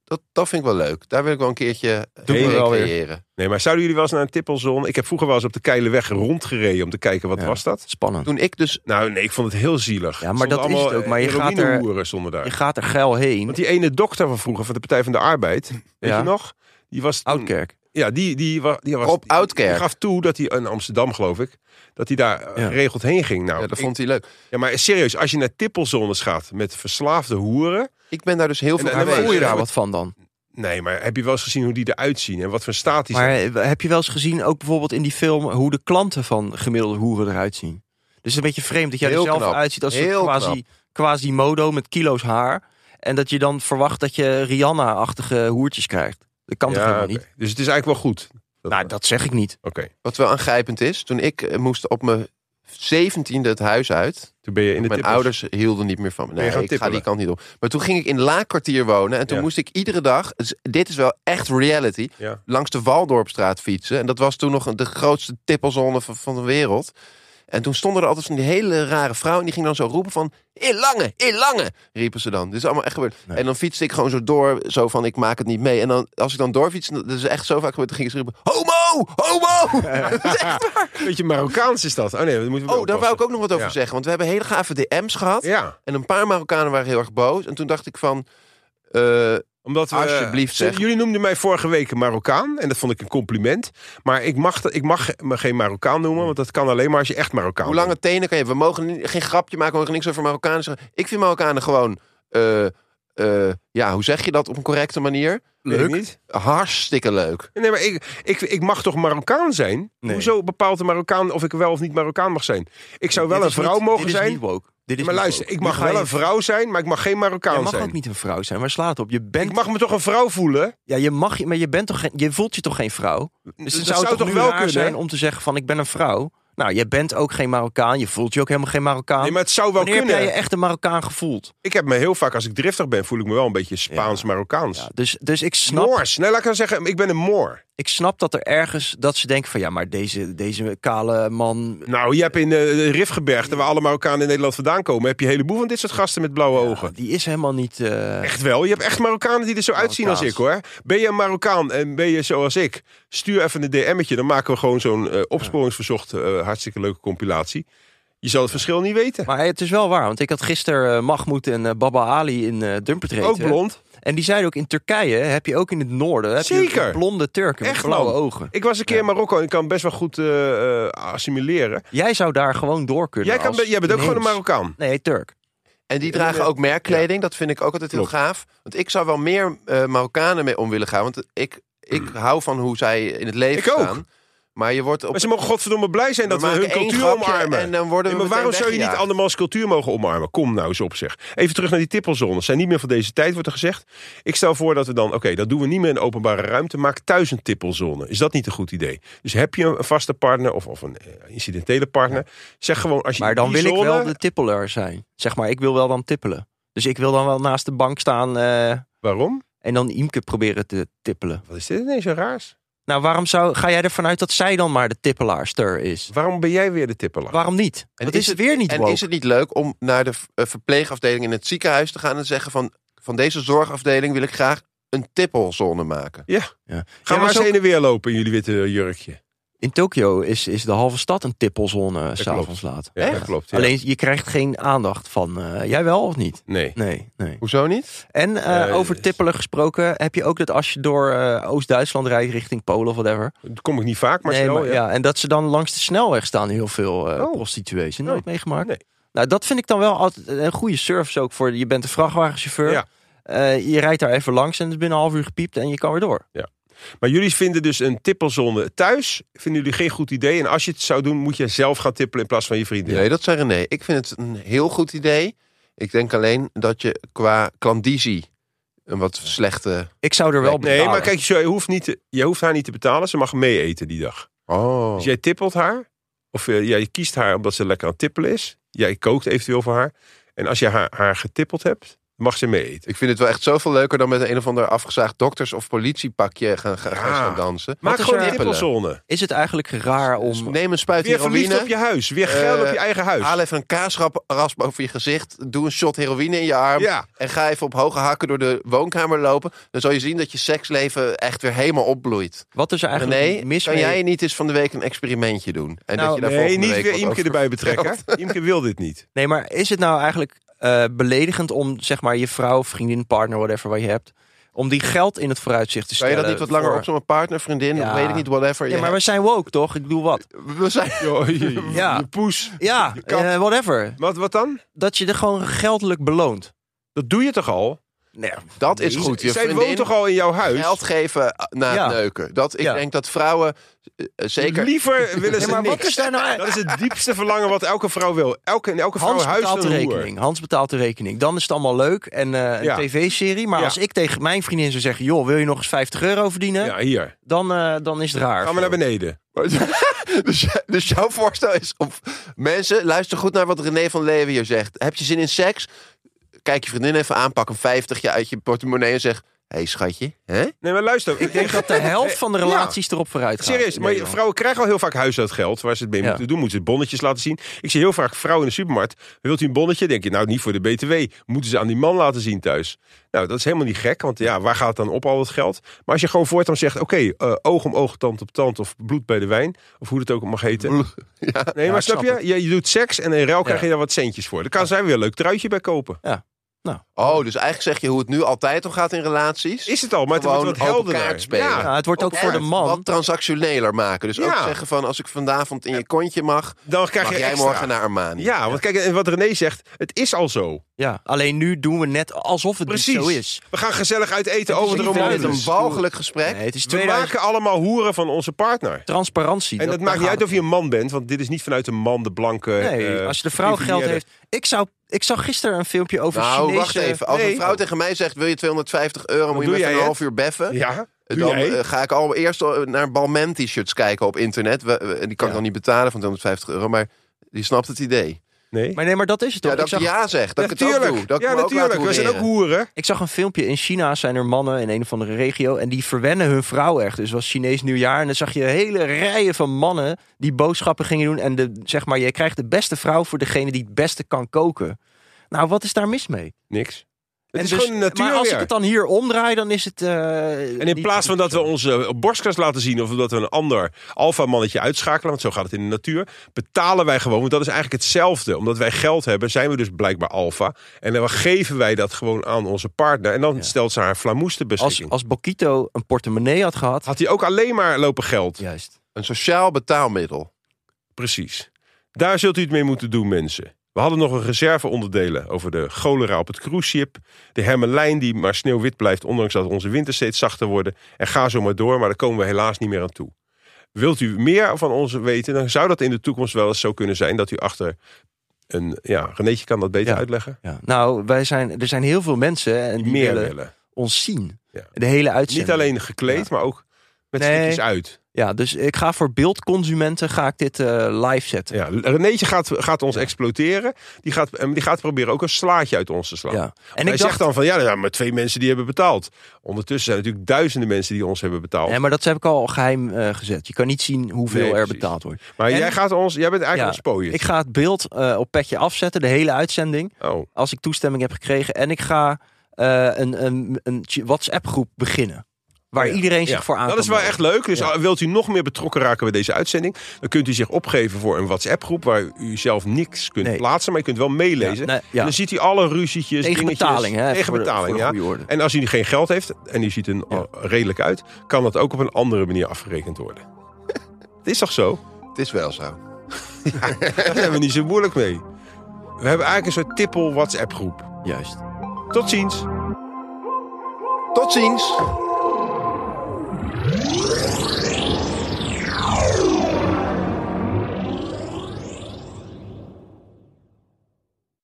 [SPEAKER 1] dat, dat vind ik wel leuk. Daar wil ik wel een keertje
[SPEAKER 2] Doen we
[SPEAKER 1] heen
[SPEAKER 2] wel weer.
[SPEAKER 1] recreëren.
[SPEAKER 2] Nee, maar zouden jullie wel eens naar een tippelzone? Ik heb vroeger wel eens op de Keileweg rondgereden om te kijken, wat
[SPEAKER 3] Ja.
[SPEAKER 2] was dat?
[SPEAKER 3] Spannend.
[SPEAKER 1] Toen ik dus
[SPEAKER 2] Nou, nee, ik vond het heel zielig.
[SPEAKER 3] Ja, maar dat is het ook. Maar je gaat er-
[SPEAKER 2] zonder eh, daar.
[SPEAKER 3] Je gaat er geil heen.
[SPEAKER 2] Want die ene dokter van vroeger, van de Partij van de Arbeid, weet
[SPEAKER 3] Ja.
[SPEAKER 2] je nog? Die was toen-
[SPEAKER 3] Oudkerk.
[SPEAKER 2] Ja, die, die, wa- die was...
[SPEAKER 1] Rob
[SPEAKER 2] die-
[SPEAKER 1] Oudkerk.
[SPEAKER 2] Die gaf toe dat hij, in Amsterdam geloof ik, dat hij daar eh,
[SPEAKER 3] Ja.
[SPEAKER 2] geregeld heen ging. Nou,
[SPEAKER 1] Ja,
[SPEAKER 2] ik-
[SPEAKER 1] dat vond hij leuk.
[SPEAKER 2] ja, maar serieus, als je naar tippelzones gaat met verslaafde hoeren...
[SPEAKER 1] Ik ben daar dus heel
[SPEAKER 2] En-
[SPEAKER 1] veel
[SPEAKER 2] en
[SPEAKER 3] Maar
[SPEAKER 2] dan
[SPEAKER 1] geweest.
[SPEAKER 3] voel je daar
[SPEAKER 2] Ja,
[SPEAKER 3] wat van dan?
[SPEAKER 2] Nee, maar heb je wel eens gezien hoe die eruit zien en wat voor statisch...
[SPEAKER 3] Maar heb je wel eens gezien, ook bijvoorbeeld in die film, hoe de klanten van gemiddelde hoeren eruit zien? Dus het is een beetje vreemd dat jij er
[SPEAKER 1] Heel
[SPEAKER 3] zelf
[SPEAKER 1] knap.
[SPEAKER 3] uitziet als
[SPEAKER 1] Heel
[SPEAKER 3] een quasi, quasi modo met kilo's haar. En dat je dan verwacht dat je Rihanna-achtige hoertjes krijgt. Dat kan toch
[SPEAKER 2] ja,
[SPEAKER 3] helemaal
[SPEAKER 2] oké.
[SPEAKER 3] niet?
[SPEAKER 2] Dus het is eigenlijk wel goed. Dat-
[SPEAKER 3] Nou, dat zeg ik niet.
[SPEAKER 2] Oké,
[SPEAKER 1] Wat wel aangrijpend is, toen ik eh, moest op mijn zeventiende het huis uit.
[SPEAKER 2] toen ben je in de
[SPEAKER 1] Mijn
[SPEAKER 2] tippels.
[SPEAKER 1] ouders hielden niet meer van me.
[SPEAKER 2] Ben je
[SPEAKER 1] Nee,
[SPEAKER 2] gaan
[SPEAKER 1] ik ga
[SPEAKER 2] tippelen?
[SPEAKER 1] die kant niet op. Maar toen ging ik in Laakkwartier wonen. En toen
[SPEAKER 2] Ja.
[SPEAKER 1] moest ik iedere dag, dus dit is wel echt reality,
[SPEAKER 2] Ja.
[SPEAKER 1] langs de Waldorpstraat fietsen. En dat was toen nog een- de grootste tippelzone van, van de wereld. En toen stonden er altijd van die hele rare vrouw. En die ging dan zo roepen van... In lange, in lange, riepen ze dan. Dit is allemaal echt gebeurd. En dan fietste ik gewoon zo door. Zo van, ik maak het niet mee. En dan, als ik dan doorfiets, dat is echt zo vaak gebeurd. Dan ging ze roepen, homo, homo. Dat is echt waar.
[SPEAKER 2] Beetje Marokkaans is dat. Oh nee, dat moeten we
[SPEAKER 1] Oh, daar wou ik ook nog wat over
[SPEAKER 2] Ja.
[SPEAKER 1] zeggen. Want we hebben hele gave DM's gehad.
[SPEAKER 2] Ja,
[SPEAKER 1] En een paar Marokkanen waren heel erg boos. En toen dacht ik van... eh,
[SPEAKER 2] omdat we,
[SPEAKER 1] Alsjeblieft,
[SPEAKER 2] Ze-
[SPEAKER 1] zeg.
[SPEAKER 2] Jullie noemden mij vorige week een Marokkaan en dat vond ik een compliment. Maar ik mag, dat- ik mag me geen Marokkaan noemen, want dat kan alleen maar als je echt Marokkaan
[SPEAKER 1] hoe lange
[SPEAKER 2] bent.
[SPEAKER 1] tenen kan je... We mogen ni- geen grapje maken, we mogen niks over Marokkanen zeggen. Ik vind Marokkanen gewoon... eh, eh, ja, hoe zeg je dat op een correcte manier?
[SPEAKER 2] Weet ik niet.
[SPEAKER 1] Hartstikke leuk.
[SPEAKER 2] Nee, maar ik, ik, ik mag toch Marokkaan zijn?
[SPEAKER 3] Nee.
[SPEAKER 2] Hoezo bepaalt de Marokkaan of ik wel of niet Marokkaan mag zijn? Ik zou wel
[SPEAKER 3] Dit
[SPEAKER 2] een
[SPEAKER 3] is
[SPEAKER 2] vrouw
[SPEAKER 3] niet-
[SPEAKER 2] mogen
[SPEAKER 3] dit Is
[SPEAKER 2] zijn.
[SPEAKER 3] niet woke. Dit is
[SPEAKER 2] maar
[SPEAKER 3] niet
[SPEAKER 2] luister,
[SPEAKER 3] woke.
[SPEAKER 2] ik
[SPEAKER 3] Nu
[SPEAKER 2] mag
[SPEAKER 3] ga
[SPEAKER 2] wel
[SPEAKER 3] je-
[SPEAKER 2] een vrouw zijn, maar ik mag geen
[SPEAKER 3] Je
[SPEAKER 2] Marokkaan
[SPEAKER 3] mag
[SPEAKER 2] zijn.
[SPEAKER 3] ook niet een vrouw zijn, waar slaat het op? Je bent,
[SPEAKER 2] Ik mag me toch een vrouw voelen?
[SPEAKER 3] ja, je mag, maar je, bent toch geen, je voelt je toch geen vrouw? Dus het
[SPEAKER 2] dat
[SPEAKER 3] zou, toch, wel kunnen zijn
[SPEAKER 2] hè?
[SPEAKER 3] om te zeggen van ik ben een vrouw. Nou, je bent ook geen Marokkaan, je voelt je ook helemaal geen Marokkaan.
[SPEAKER 2] Nee, maar het zou wel
[SPEAKER 3] Wanneer heb
[SPEAKER 2] kunnen.
[SPEAKER 3] jij je echt een Marokkaan gevoeld?
[SPEAKER 2] Ik heb me heel vaak, als ik driftig ben, voel ik me wel een beetje Spaans-Marokkaans.
[SPEAKER 3] Ja, dus, dus ik snap
[SPEAKER 2] Moors. Nee, laat ik dan zeggen, ik ben een Moor.
[SPEAKER 3] Ik snap dat er ergens dat ze denken van ja, maar deze, deze kale man.
[SPEAKER 2] Nou, je hebt in eh, de Rifgebergte, waar alle Marokkanen in Nederland vandaan komen, heb je een heleboel van dit soort gasten met blauwe ogen.
[SPEAKER 3] Die is helemaal niet. eh,
[SPEAKER 2] Echt wel. Je hebt echt Marokkanen die er zo uitzien als ik hoor. Ben je een Marokkaan en ben je zoals ik? Stuur even een DM'tje. Dan maken we gewoon zo'n eh, opsporingsverzocht. eh, hartstikke leuke compilatie. Je zal het verschil niet weten.
[SPEAKER 3] Maar het is wel waar, want ik had gisteren eh, Mahmoud en eh, Baba Ali in eh Dumpertree.
[SPEAKER 2] Ook blond.
[SPEAKER 3] En die zeiden ook in Turkije heb je ook in het noorden heb je
[SPEAKER 2] Zeker.
[SPEAKER 3] ook blonde Turken met
[SPEAKER 2] Echt,
[SPEAKER 3] blauwe
[SPEAKER 2] man.
[SPEAKER 3] ogen.
[SPEAKER 2] Ik was een keer in Marokko en ik kan best wel goed eh, eh, assimileren.
[SPEAKER 3] Jij zou daar gewoon door kunnen.
[SPEAKER 2] Jij, kan,
[SPEAKER 3] als
[SPEAKER 2] be- jij bent ook gewoon een
[SPEAKER 3] inheems.
[SPEAKER 2] Marokkaan.
[SPEAKER 3] Nee, Turk.
[SPEAKER 1] En die dragen ook merkkleding. Dat vind ik ook altijd heel
[SPEAKER 2] Klopt.
[SPEAKER 1] gaaf. Want ik zou wel meer eh, Marokkanen mee om willen gaan. Want ik, ik hou van hoe zij in het leven
[SPEAKER 2] Hmm. Ik ook.
[SPEAKER 1] staan. Maar je wordt op...
[SPEAKER 2] Maar ze mogen godverdomme blij zijn dat we,
[SPEAKER 1] maken
[SPEAKER 2] hun
[SPEAKER 1] één
[SPEAKER 2] cultuur
[SPEAKER 1] grapje
[SPEAKER 2] omarmen.
[SPEAKER 1] En dan worden
[SPEAKER 2] Nee,
[SPEAKER 1] we
[SPEAKER 2] maar waarom
[SPEAKER 1] meteen
[SPEAKER 2] zou je niet
[SPEAKER 1] weggejaagd.
[SPEAKER 2] andermans cultuur mogen omarmen? Kom nou eens op zeg. Even terug naar die tippelzones. Zijn niet meer van deze tijd, wordt er gezegd. Ik stel voor dat we dan, oké, dat doen we niet meer in de openbare ruimte. Maak thuis een tippelzone. Is dat niet een goed idee? Dus heb je een vaste partner of, of een eh, incidentele partner. Zeg gewoon als je
[SPEAKER 3] Maar dan
[SPEAKER 2] die
[SPEAKER 3] wil ik
[SPEAKER 2] zone-
[SPEAKER 3] wel de tippeler zijn. Zeg maar, ik wil wel dan tippelen. Dus ik wil dan wel naast de bank staan eh,
[SPEAKER 2] Waarom?
[SPEAKER 3] en dan Imke proberen te tippelen.
[SPEAKER 2] Wat is dit ineens zo raars?
[SPEAKER 3] Nou, waarom zou, ga jij ervan uit dat zij dan maar de tippelaarster is?
[SPEAKER 2] Waarom ben jij weer de tippelaar?
[SPEAKER 3] Waarom niet?
[SPEAKER 1] En
[SPEAKER 3] Wat is, het weer niet
[SPEAKER 1] En
[SPEAKER 3] woke?
[SPEAKER 1] is het niet leuk om naar de v- eh, verpleegafdeling in het ziekenhuis te gaan en te zeggen van... van deze zorgafdeling wil ik graag een tippelzone maken.
[SPEAKER 2] Ja.
[SPEAKER 3] Ja.
[SPEAKER 2] Gaan
[SPEAKER 3] Ja,
[SPEAKER 2] we
[SPEAKER 3] maar
[SPEAKER 2] eens
[SPEAKER 3] zo-
[SPEAKER 2] heen en weer lopen in jullie witte jurkje.
[SPEAKER 3] In Tokio is, is de halve stad een tippelzone s'avonds laat.
[SPEAKER 2] Ja, dat klopt. ja.
[SPEAKER 3] Alleen je krijgt geen aandacht van eh, jij wel of niet.
[SPEAKER 2] Nee.
[SPEAKER 3] Nee, nee.
[SPEAKER 1] Hoezo niet?
[SPEAKER 3] En eh,
[SPEAKER 2] Eh,
[SPEAKER 3] over tippelen gesproken heb je ook dat als je door eh, Oost-Duitsland rijdt richting Polen of whatever.
[SPEAKER 2] Dat kom ik niet vaak, maar
[SPEAKER 3] nee,
[SPEAKER 2] snel.
[SPEAKER 3] maar-
[SPEAKER 2] ja.
[SPEAKER 3] ja, en dat ze dan langs de snelweg staan heel veel eh
[SPEAKER 2] Oh.
[SPEAKER 3] prostituees. Nooit
[SPEAKER 2] Oh.
[SPEAKER 3] meegemaakt.
[SPEAKER 2] Nee.
[SPEAKER 3] Nou, dat vind ik dan wel altijd een goede service ook voor. Je bent een vrachtwagenchauffeur.
[SPEAKER 2] Ja.
[SPEAKER 3] Eh, je rijdt daar even langs en het is binnen een half uur gepiept en je kan weer door.
[SPEAKER 2] Maar jullie vinden dus een tippelzone thuis, vinden jullie geen goed idee. En als je het zou doen, moet je zelf gaan tippelen in plaats van je vrienden.
[SPEAKER 1] Nee, dat zei René. Ik vind het een heel goed idee. Ik denk alleen dat je qua klandizie een wat slechte...
[SPEAKER 3] Ik zou er wel
[SPEAKER 2] Nee,
[SPEAKER 3] betalen.
[SPEAKER 2] maar kijk, je hoeft, niet te- je hoeft haar niet te betalen. Ze mag mee eten die dag.
[SPEAKER 1] Oh.
[SPEAKER 2] Dus jij tippelt haar. Of eh, jij kiest haar omdat ze lekker aan het tippelen is. Jij kookt eventueel voor haar. En als je haar, haar getippeld hebt, mag ze mee eten.
[SPEAKER 1] Ik vind het wel echt zoveel leuker dan met een, een of ander afgezaagd dokters- of politiepakje gaan, gaan,
[SPEAKER 2] Ja.
[SPEAKER 1] gaan dansen.
[SPEAKER 2] Maak
[SPEAKER 3] is
[SPEAKER 2] gewoon
[SPEAKER 3] er-
[SPEAKER 2] een tippelzone.
[SPEAKER 3] Is het eigenlijk raar
[SPEAKER 1] Dus
[SPEAKER 3] om...
[SPEAKER 1] Neem een spuit
[SPEAKER 2] Weer verliefd
[SPEAKER 1] heroïne.
[SPEAKER 2] op je huis. Weer geil op je
[SPEAKER 1] Eh,
[SPEAKER 2] eigen huis.
[SPEAKER 1] Haal even een kaasrasp over je gezicht. Doe een shot heroïne in je arm.
[SPEAKER 2] Ja.
[SPEAKER 1] En ga even op hoge hakken door de woonkamer lopen. Dan zal je zien dat je seksleven echt weer helemaal opbloeit.
[SPEAKER 3] Wat is er eigenlijk
[SPEAKER 1] Nee,
[SPEAKER 3] mis
[SPEAKER 1] kan
[SPEAKER 3] mee?
[SPEAKER 1] jij niet eens van de week een experimentje doen? En
[SPEAKER 3] Nou,
[SPEAKER 1] dat je daar
[SPEAKER 2] Nee,
[SPEAKER 1] volgende
[SPEAKER 2] niet
[SPEAKER 1] week
[SPEAKER 2] weer
[SPEAKER 1] wat
[SPEAKER 2] Imke
[SPEAKER 1] over-
[SPEAKER 2] erbij betrekken. Imke wil dit niet.
[SPEAKER 3] Nee, maar is het nou eigenlijk eh, beledigend om zeg maar je vrouw, vriendin, partner, whatever wat je hebt, om die geld in het vooruitzicht te
[SPEAKER 1] Kan je
[SPEAKER 3] stellen?
[SPEAKER 1] dat niet wat langer
[SPEAKER 3] voor-
[SPEAKER 1] op zo'n partner, vriendin,
[SPEAKER 3] Ja.
[SPEAKER 1] weet ik niet, whatever.
[SPEAKER 3] Ja, maar we zijn woke, toch? Ik bedoel wat?
[SPEAKER 1] we zijn...
[SPEAKER 3] Ja.
[SPEAKER 2] Je poes.
[SPEAKER 3] Ja,
[SPEAKER 2] kat.
[SPEAKER 3] eh, whatever.
[SPEAKER 2] Wat, wat dan?
[SPEAKER 3] Dat je er gewoon geldelijk beloont.
[SPEAKER 2] Dat doe je toch al?
[SPEAKER 3] Nee,
[SPEAKER 1] Dat is goed. Je
[SPEAKER 2] Zij woont
[SPEAKER 1] vriendin
[SPEAKER 2] toch al in jouw huis?
[SPEAKER 1] geld geven na
[SPEAKER 3] Ja.
[SPEAKER 1] het neuken. Dat, ik
[SPEAKER 3] Ja.
[SPEAKER 1] denk dat vrouwen eh, eh, zeker...
[SPEAKER 2] Liever willen ze
[SPEAKER 3] maar wat
[SPEAKER 2] niks.
[SPEAKER 3] is daar nou
[SPEAKER 2] Dat
[SPEAKER 3] eigenlijk?
[SPEAKER 2] is het diepste verlangen wat elke vrouw wil. Elke, in elke vrouw
[SPEAKER 3] Hans
[SPEAKER 2] huis
[SPEAKER 3] betaalt de
[SPEAKER 2] een hoer.
[SPEAKER 3] rekening. Hans betaalt de rekening. Dan is het allemaal leuk en eh, een
[SPEAKER 2] Ja.
[SPEAKER 3] tv-serie. Maar
[SPEAKER 2] Ja.
[SPEAKER 3] als ik tegen mijn vriendin zou zeggen: joh, wil je nog eens 50 euro verdienen?
[SPEAKER 2] Ja, hier.
[SPEAKER 3] Dan, eh, dan is het raar.
[SPEAKER 2] Gaan we naar beneden.
[SPEAKER 1] Dus, j- dus jouw voorstel is om... Mensen, luister goed naar wat René van Leeuwen hier zegt. Heb je zin in seks? Kijk je vriendin even aan, pak een 50 uit je portemonnee en zeg... Hé hey, schatje, hè?
[SPEAKER 2] Nee, maar luister.
[SPEAKER 3] Ik denk dat de helft van de
[SPEAKER 2] Ja.
[SPEAKER 3] relaties erop vooruit gaat.
[SPEAKER 2] Serieus,
[SPEAKER 3] in
[SPEAKER 2] maar
[SPEAKER 3] Nederland.
[SPEAKER 2] vrouwen krijgen al heel vaak huishoudgeld waar ze het mee
[SPEAKER 3] Ja.
[SPEAKER 2] moeten doen. Moeten ze bonnetjes laten zien. Ik zie heel vaak vrouwen in de supermarkt. Wilt u een bonnetje? Denk je, nou niet voor de BTW. Moeten ze aan die man laten zien thuis. Nou, dat is helemaal niet gek, want ja, waar gaat het dan op al dat geld? Maar als je gewoon voortaan zegt, oké, eh, oog om oog, tand op tand of bloed bij de wijn. Of hoe het ook mag heten. Nee, maar
[SPEAKER 3] ik
[SPEAKER 2] snap,
[SPEAKER 3] snap
[SPEAKER 2] je? je? Je doet seks en in ruil krijg je daar wat centjes voor. Dan kan zij weer een leuk truitje bij kopen.
[SPEAKER 1] Oh, dus eigenlijk zeg je hoe het nu altijd om gaat in relaties.
[SPEAKER 2] Is het al, maar het
[SPEAKER 1] Gewoon
[SPEAKER 2] wordt wat
[SPEAKER 1] open
[SPEAKER 2] helderder.
[SPEAKER 1] kaart spelen.
[SPEAKER 2] Ja.
[SPEAKER 3] Ja, het wordt ook
[SPEAKER 1] Ja,
[SPEAKER 3] voor de man.
[SPEAKER 1] Wat transactioneler maken. Dus
[SPEAKER 2] Ja.
[SPEAKER 1] ook zeggen van, als ik vanavond in je kontje mag...
[SPEAKER 2] Dan krijg
[SPEAKER 1] mag
[SPEAKER 2] je
[SPEAKER 1] jij
[SPEAKER 2] extra.
[SPEAKER 1] morgen naar Armani.
[SPEAKER 2] Ja, want kijk, en wat René zegt, het is al zo.
[SPEAKER 3] Ja, alleen nu doen we net alsof het
[SPEAKER 2] Precies.
[SPEAKER 3] niet zo is.
[SPEAKER 2] We gaan gezellig uit eten
[SPEAKER 1] Over
[SPEAKER 2] over
[SPEAKER 1] de
[SPEAKER 2] de
[SPEAKER 1] roman. Het een
[SPEAKER 2] romantisch.
[SPEAKER 1] walgelijk gesprek.
[SPEAKER 3] Nee, het is
[SPEAKER 2] We
[SPEAKER 3] 2000
[SPEAKER 2] maken allemaal hoeren van onze partner.
[SPEAKER 3] transparantie.
[SPEAKER 2] En dat,
[SPEAKER 3] daar
[SPEAKER 2] maakt niet
[SPEAKER 3] gaat
[SPEAKER 2] uit of je een man bent, want dit is niet vanuit de man, de blanke.
[SPEAKER 3] het- Nee,
[SPEAKER 2] eh,
[SPEAKER 3] als je de vrouw geld
[SPEAKER 2] geprivileerde-
[SPEAKER 3] heeft. Ik, zou, ik zag gisteren een filmpje over
[SPEAKER 1] nou,
[SPEAKER 3] Chinese...
[SPEAKER 1] wacht even. Als
[SPEAKER 2] Nee.
[SPEAKER 1] een vrouw tegen mij zegt, wil je 250 euro, moet je me
[SPEAKER 2] doe
[SPEAKER 1] even
[SPEAKER 2] jij
[SPEAKER 1] een
[SPEAKER 2] het.
[SPEAKER 1] half uur beffen.
[SPEAKER 2] Ja, doe
[SPEAKER 1] Dan
[SPEAKER 2] jij?
[SPEAKER 1] eh, ga ik al eerst al naar Balmain t-shirts kijken op internet. We- we- die kan ik dan niet betalen van 250 euro, maar die snapt het idee.
[SPEAKER 2] nee.
[SPEAKER 3] Maar nee, maar dat is het toch.
[SPEAKER 1] Ja, dat
[SPEAKER 3] ik, zag,
[SPEAKER 1] ik ja zeg, dat ik het ook doe.
[SPEAKER 2] natuurlijk.
[SPEAKER 1] Dat ik
[SPEAKER 2] ja,
[SPEAKER 1] me ook laat
[SPEAKER 2] natuurlijk. We zijn ook
[SPEAKER 1] hoereren.
[SPEAKER 2] hoeren.
[SPEAKER 3] ik zag een filmpje. In China zijn er mannen in een of andere regio... en die verwennen hun vrouw echt. Dus het was Chinees nieuwjaar. En dan zag je hele rijen van mannen die boodschappen gingen doen. En de, zeg maar, je krijgt de beste vrouw voor degene die het beste kan koken. Nou, wat is daar mis mee?
[SPEAKER 2] Niks. Het
[SPEAKER 3] En
[SPEAKER 2] is
[SPEAKER 3] dus-
[SPEAKER 2] gewoon de natuur
[SPEAKER 3] maar als
[SPEAKER 2] weer.
[SPEAKER 3] ik het dan hier omdraai, dan is het... eh,
[SPEAKER 2] En in plaats van dat we onze borstkas laten zien of dat we een ander alfamannetje uitschakelen, want zo gaat het in de natuur, betalen wij gewoon, want dat is eigenlijk hetzelfde. Omdat wij geld hebben, zijn we dus blijkbaar alfa. En dan geven wij dat gewoon aan onze partner. En dan
[SPEAKER 3] Ja.
[SPEAKER 2] stelt ze haar flamoes te beschikking.
[SPEAKER 3] Als, als Bokito een portemonnee had gehad...
[SPEAKER 2] Had hij ook alleen maar lopen geld.
[SPEAKER 3] Juist.
[SPEAKER 1] Een sociaal betaalmiddel.
[SPEAKER 2] Precies. Daar zult u het mee moeten doen, mensen. We hadden nog een reserveonderdelen over de cholera op het cruiseschip. De hermelijn die maar sneeuwwit blijft, ondanks dat onze winters steeds zachter worden. En ga zo maar door, maar daar komen we helaas niet meer aan toe. Wilt u meer van ons weten, dan zou dat in de toekomst wel eens zo kunnen zijn dat u achter een. Ja, Renéetje kan dat beter
[SPEAKER 3] Ja.
[SPEAKER 2] uitleggen.
[SPEAKER 3] Ja. Nou, wij zijn, er zijn heel veel mensen en die
[SPEAKER 2] Meer
[SPEAKER 3] willen
[SPEAKER 2] willen.
[SPEAKER 3] ons zien.
[SPEAKER 2] Ja.
[SPEAKER 3] De hele uitzending.
[SPEAKER 2] Niet alleen gekleed, maar ook met
[SPEAKER 3] Nee.
[SPEAKER 2] stukjes uit.
[SPEAKER 3] Ja, dus ik ga voor beeldconsumenten ga ik dit eh, live zetten.
[SPEAKER 2] Ja, Renéetje gaat, gaat ons exploiteren. Die gaat, en die gaat proberen ook een slaatje uit ons te slaan.
[SPEAKER 3] Ja. En
[SPEAKER 2] En
[SPEAKER 3] ik
[SPEAKER 2] ik
[SPEAKER 3] dacht,
[SPEAKER 2] zeg dan van ja, nou, maar twee mensen die hebben betaald. Ondertussen zijn natuurlijk duizenden mensen die ons hebben betaald.
[SPEAKER 3] nee, maar dat heb ik al geheim eh, gezet. Je kan niet zien hoeveel
[SPEAKER 2] Nee,
[SPEAKER 3] er
[SPEAKER 2] precies.
[SPEAKER 3] betaald wordt.
[SPEAKER 2] maar
[SPEAKER 3] en-
[SPEAKER 2] jij, gaat ons, jij bent eigenlijk ons pooien.
[SPEAKER 3] Ik ga het beeld eh, op petje afzetten, de hele uitzending.
[SPEAKER 2] Oh,
[SPEAKER 3] Als ik toestemming heb gekregen. En ik ga eh, een, een, een WhatsApp groep beginnen. Waar
[SPEAKER 2] Oh Ja.
[SPEAKER 3] iedereen zich
[SPEAKER 2] Ja.
[SPEAKER 3] voor aan
[SPEAKER 2] Dat
[SPEAKER 3] kan
[SPEAKER 2] is wel
[SPEAKER 3] melden.
[SPEAKER 2] echt leuk. Dus
[SPEAKER 3] Ja.
[SPEAKER 2] uh, wilt u nog meer betrokken raken bij deze uitzending, dan kunt u zich opgeven voor een WhatsApp-groep waar u zelf niks kunt
[SPEAKER 3] Nee.
[SPEAKER 2] plaatsen, maar je kunt wel meelezen.
[SPEAKER 3] Ja, nee, ja.
[SPEAKER 2] En dan ziet u alle ruzietjes,
[SPEAKER 3] Tegen
[SPEAKER 2] dingetjes.
[SPEAKER 3] betaling, hè,
[SPEAKER 2] Tegen
[SPEAKER 3] voor de-
[SPEAKER 2] betaling,
[SPEAKER 3] voor de
[SPEAKER 2] ja.
[SPEAKER 3] goede orde.
[SPEAKER 2] En als u geen geld heeft en u ziet een
[SPEAKER 3] Ja.
[SPEAKER 2] uh, redelijk uit, kan dat ook op een andere manier afgerekend worden. Het is toch zo?
[SPEAKER 1] Het is wel zo.
[SPEAKER 2] Daar zijn we niet zo moeilijk mee. We hebben eigenlijk een soort tippel WhatsApp-groep.
[SPEAKER 3] Juist.
[SPEAKER 2] Tot ziens.
[SPEAKER 1] Tot ziens!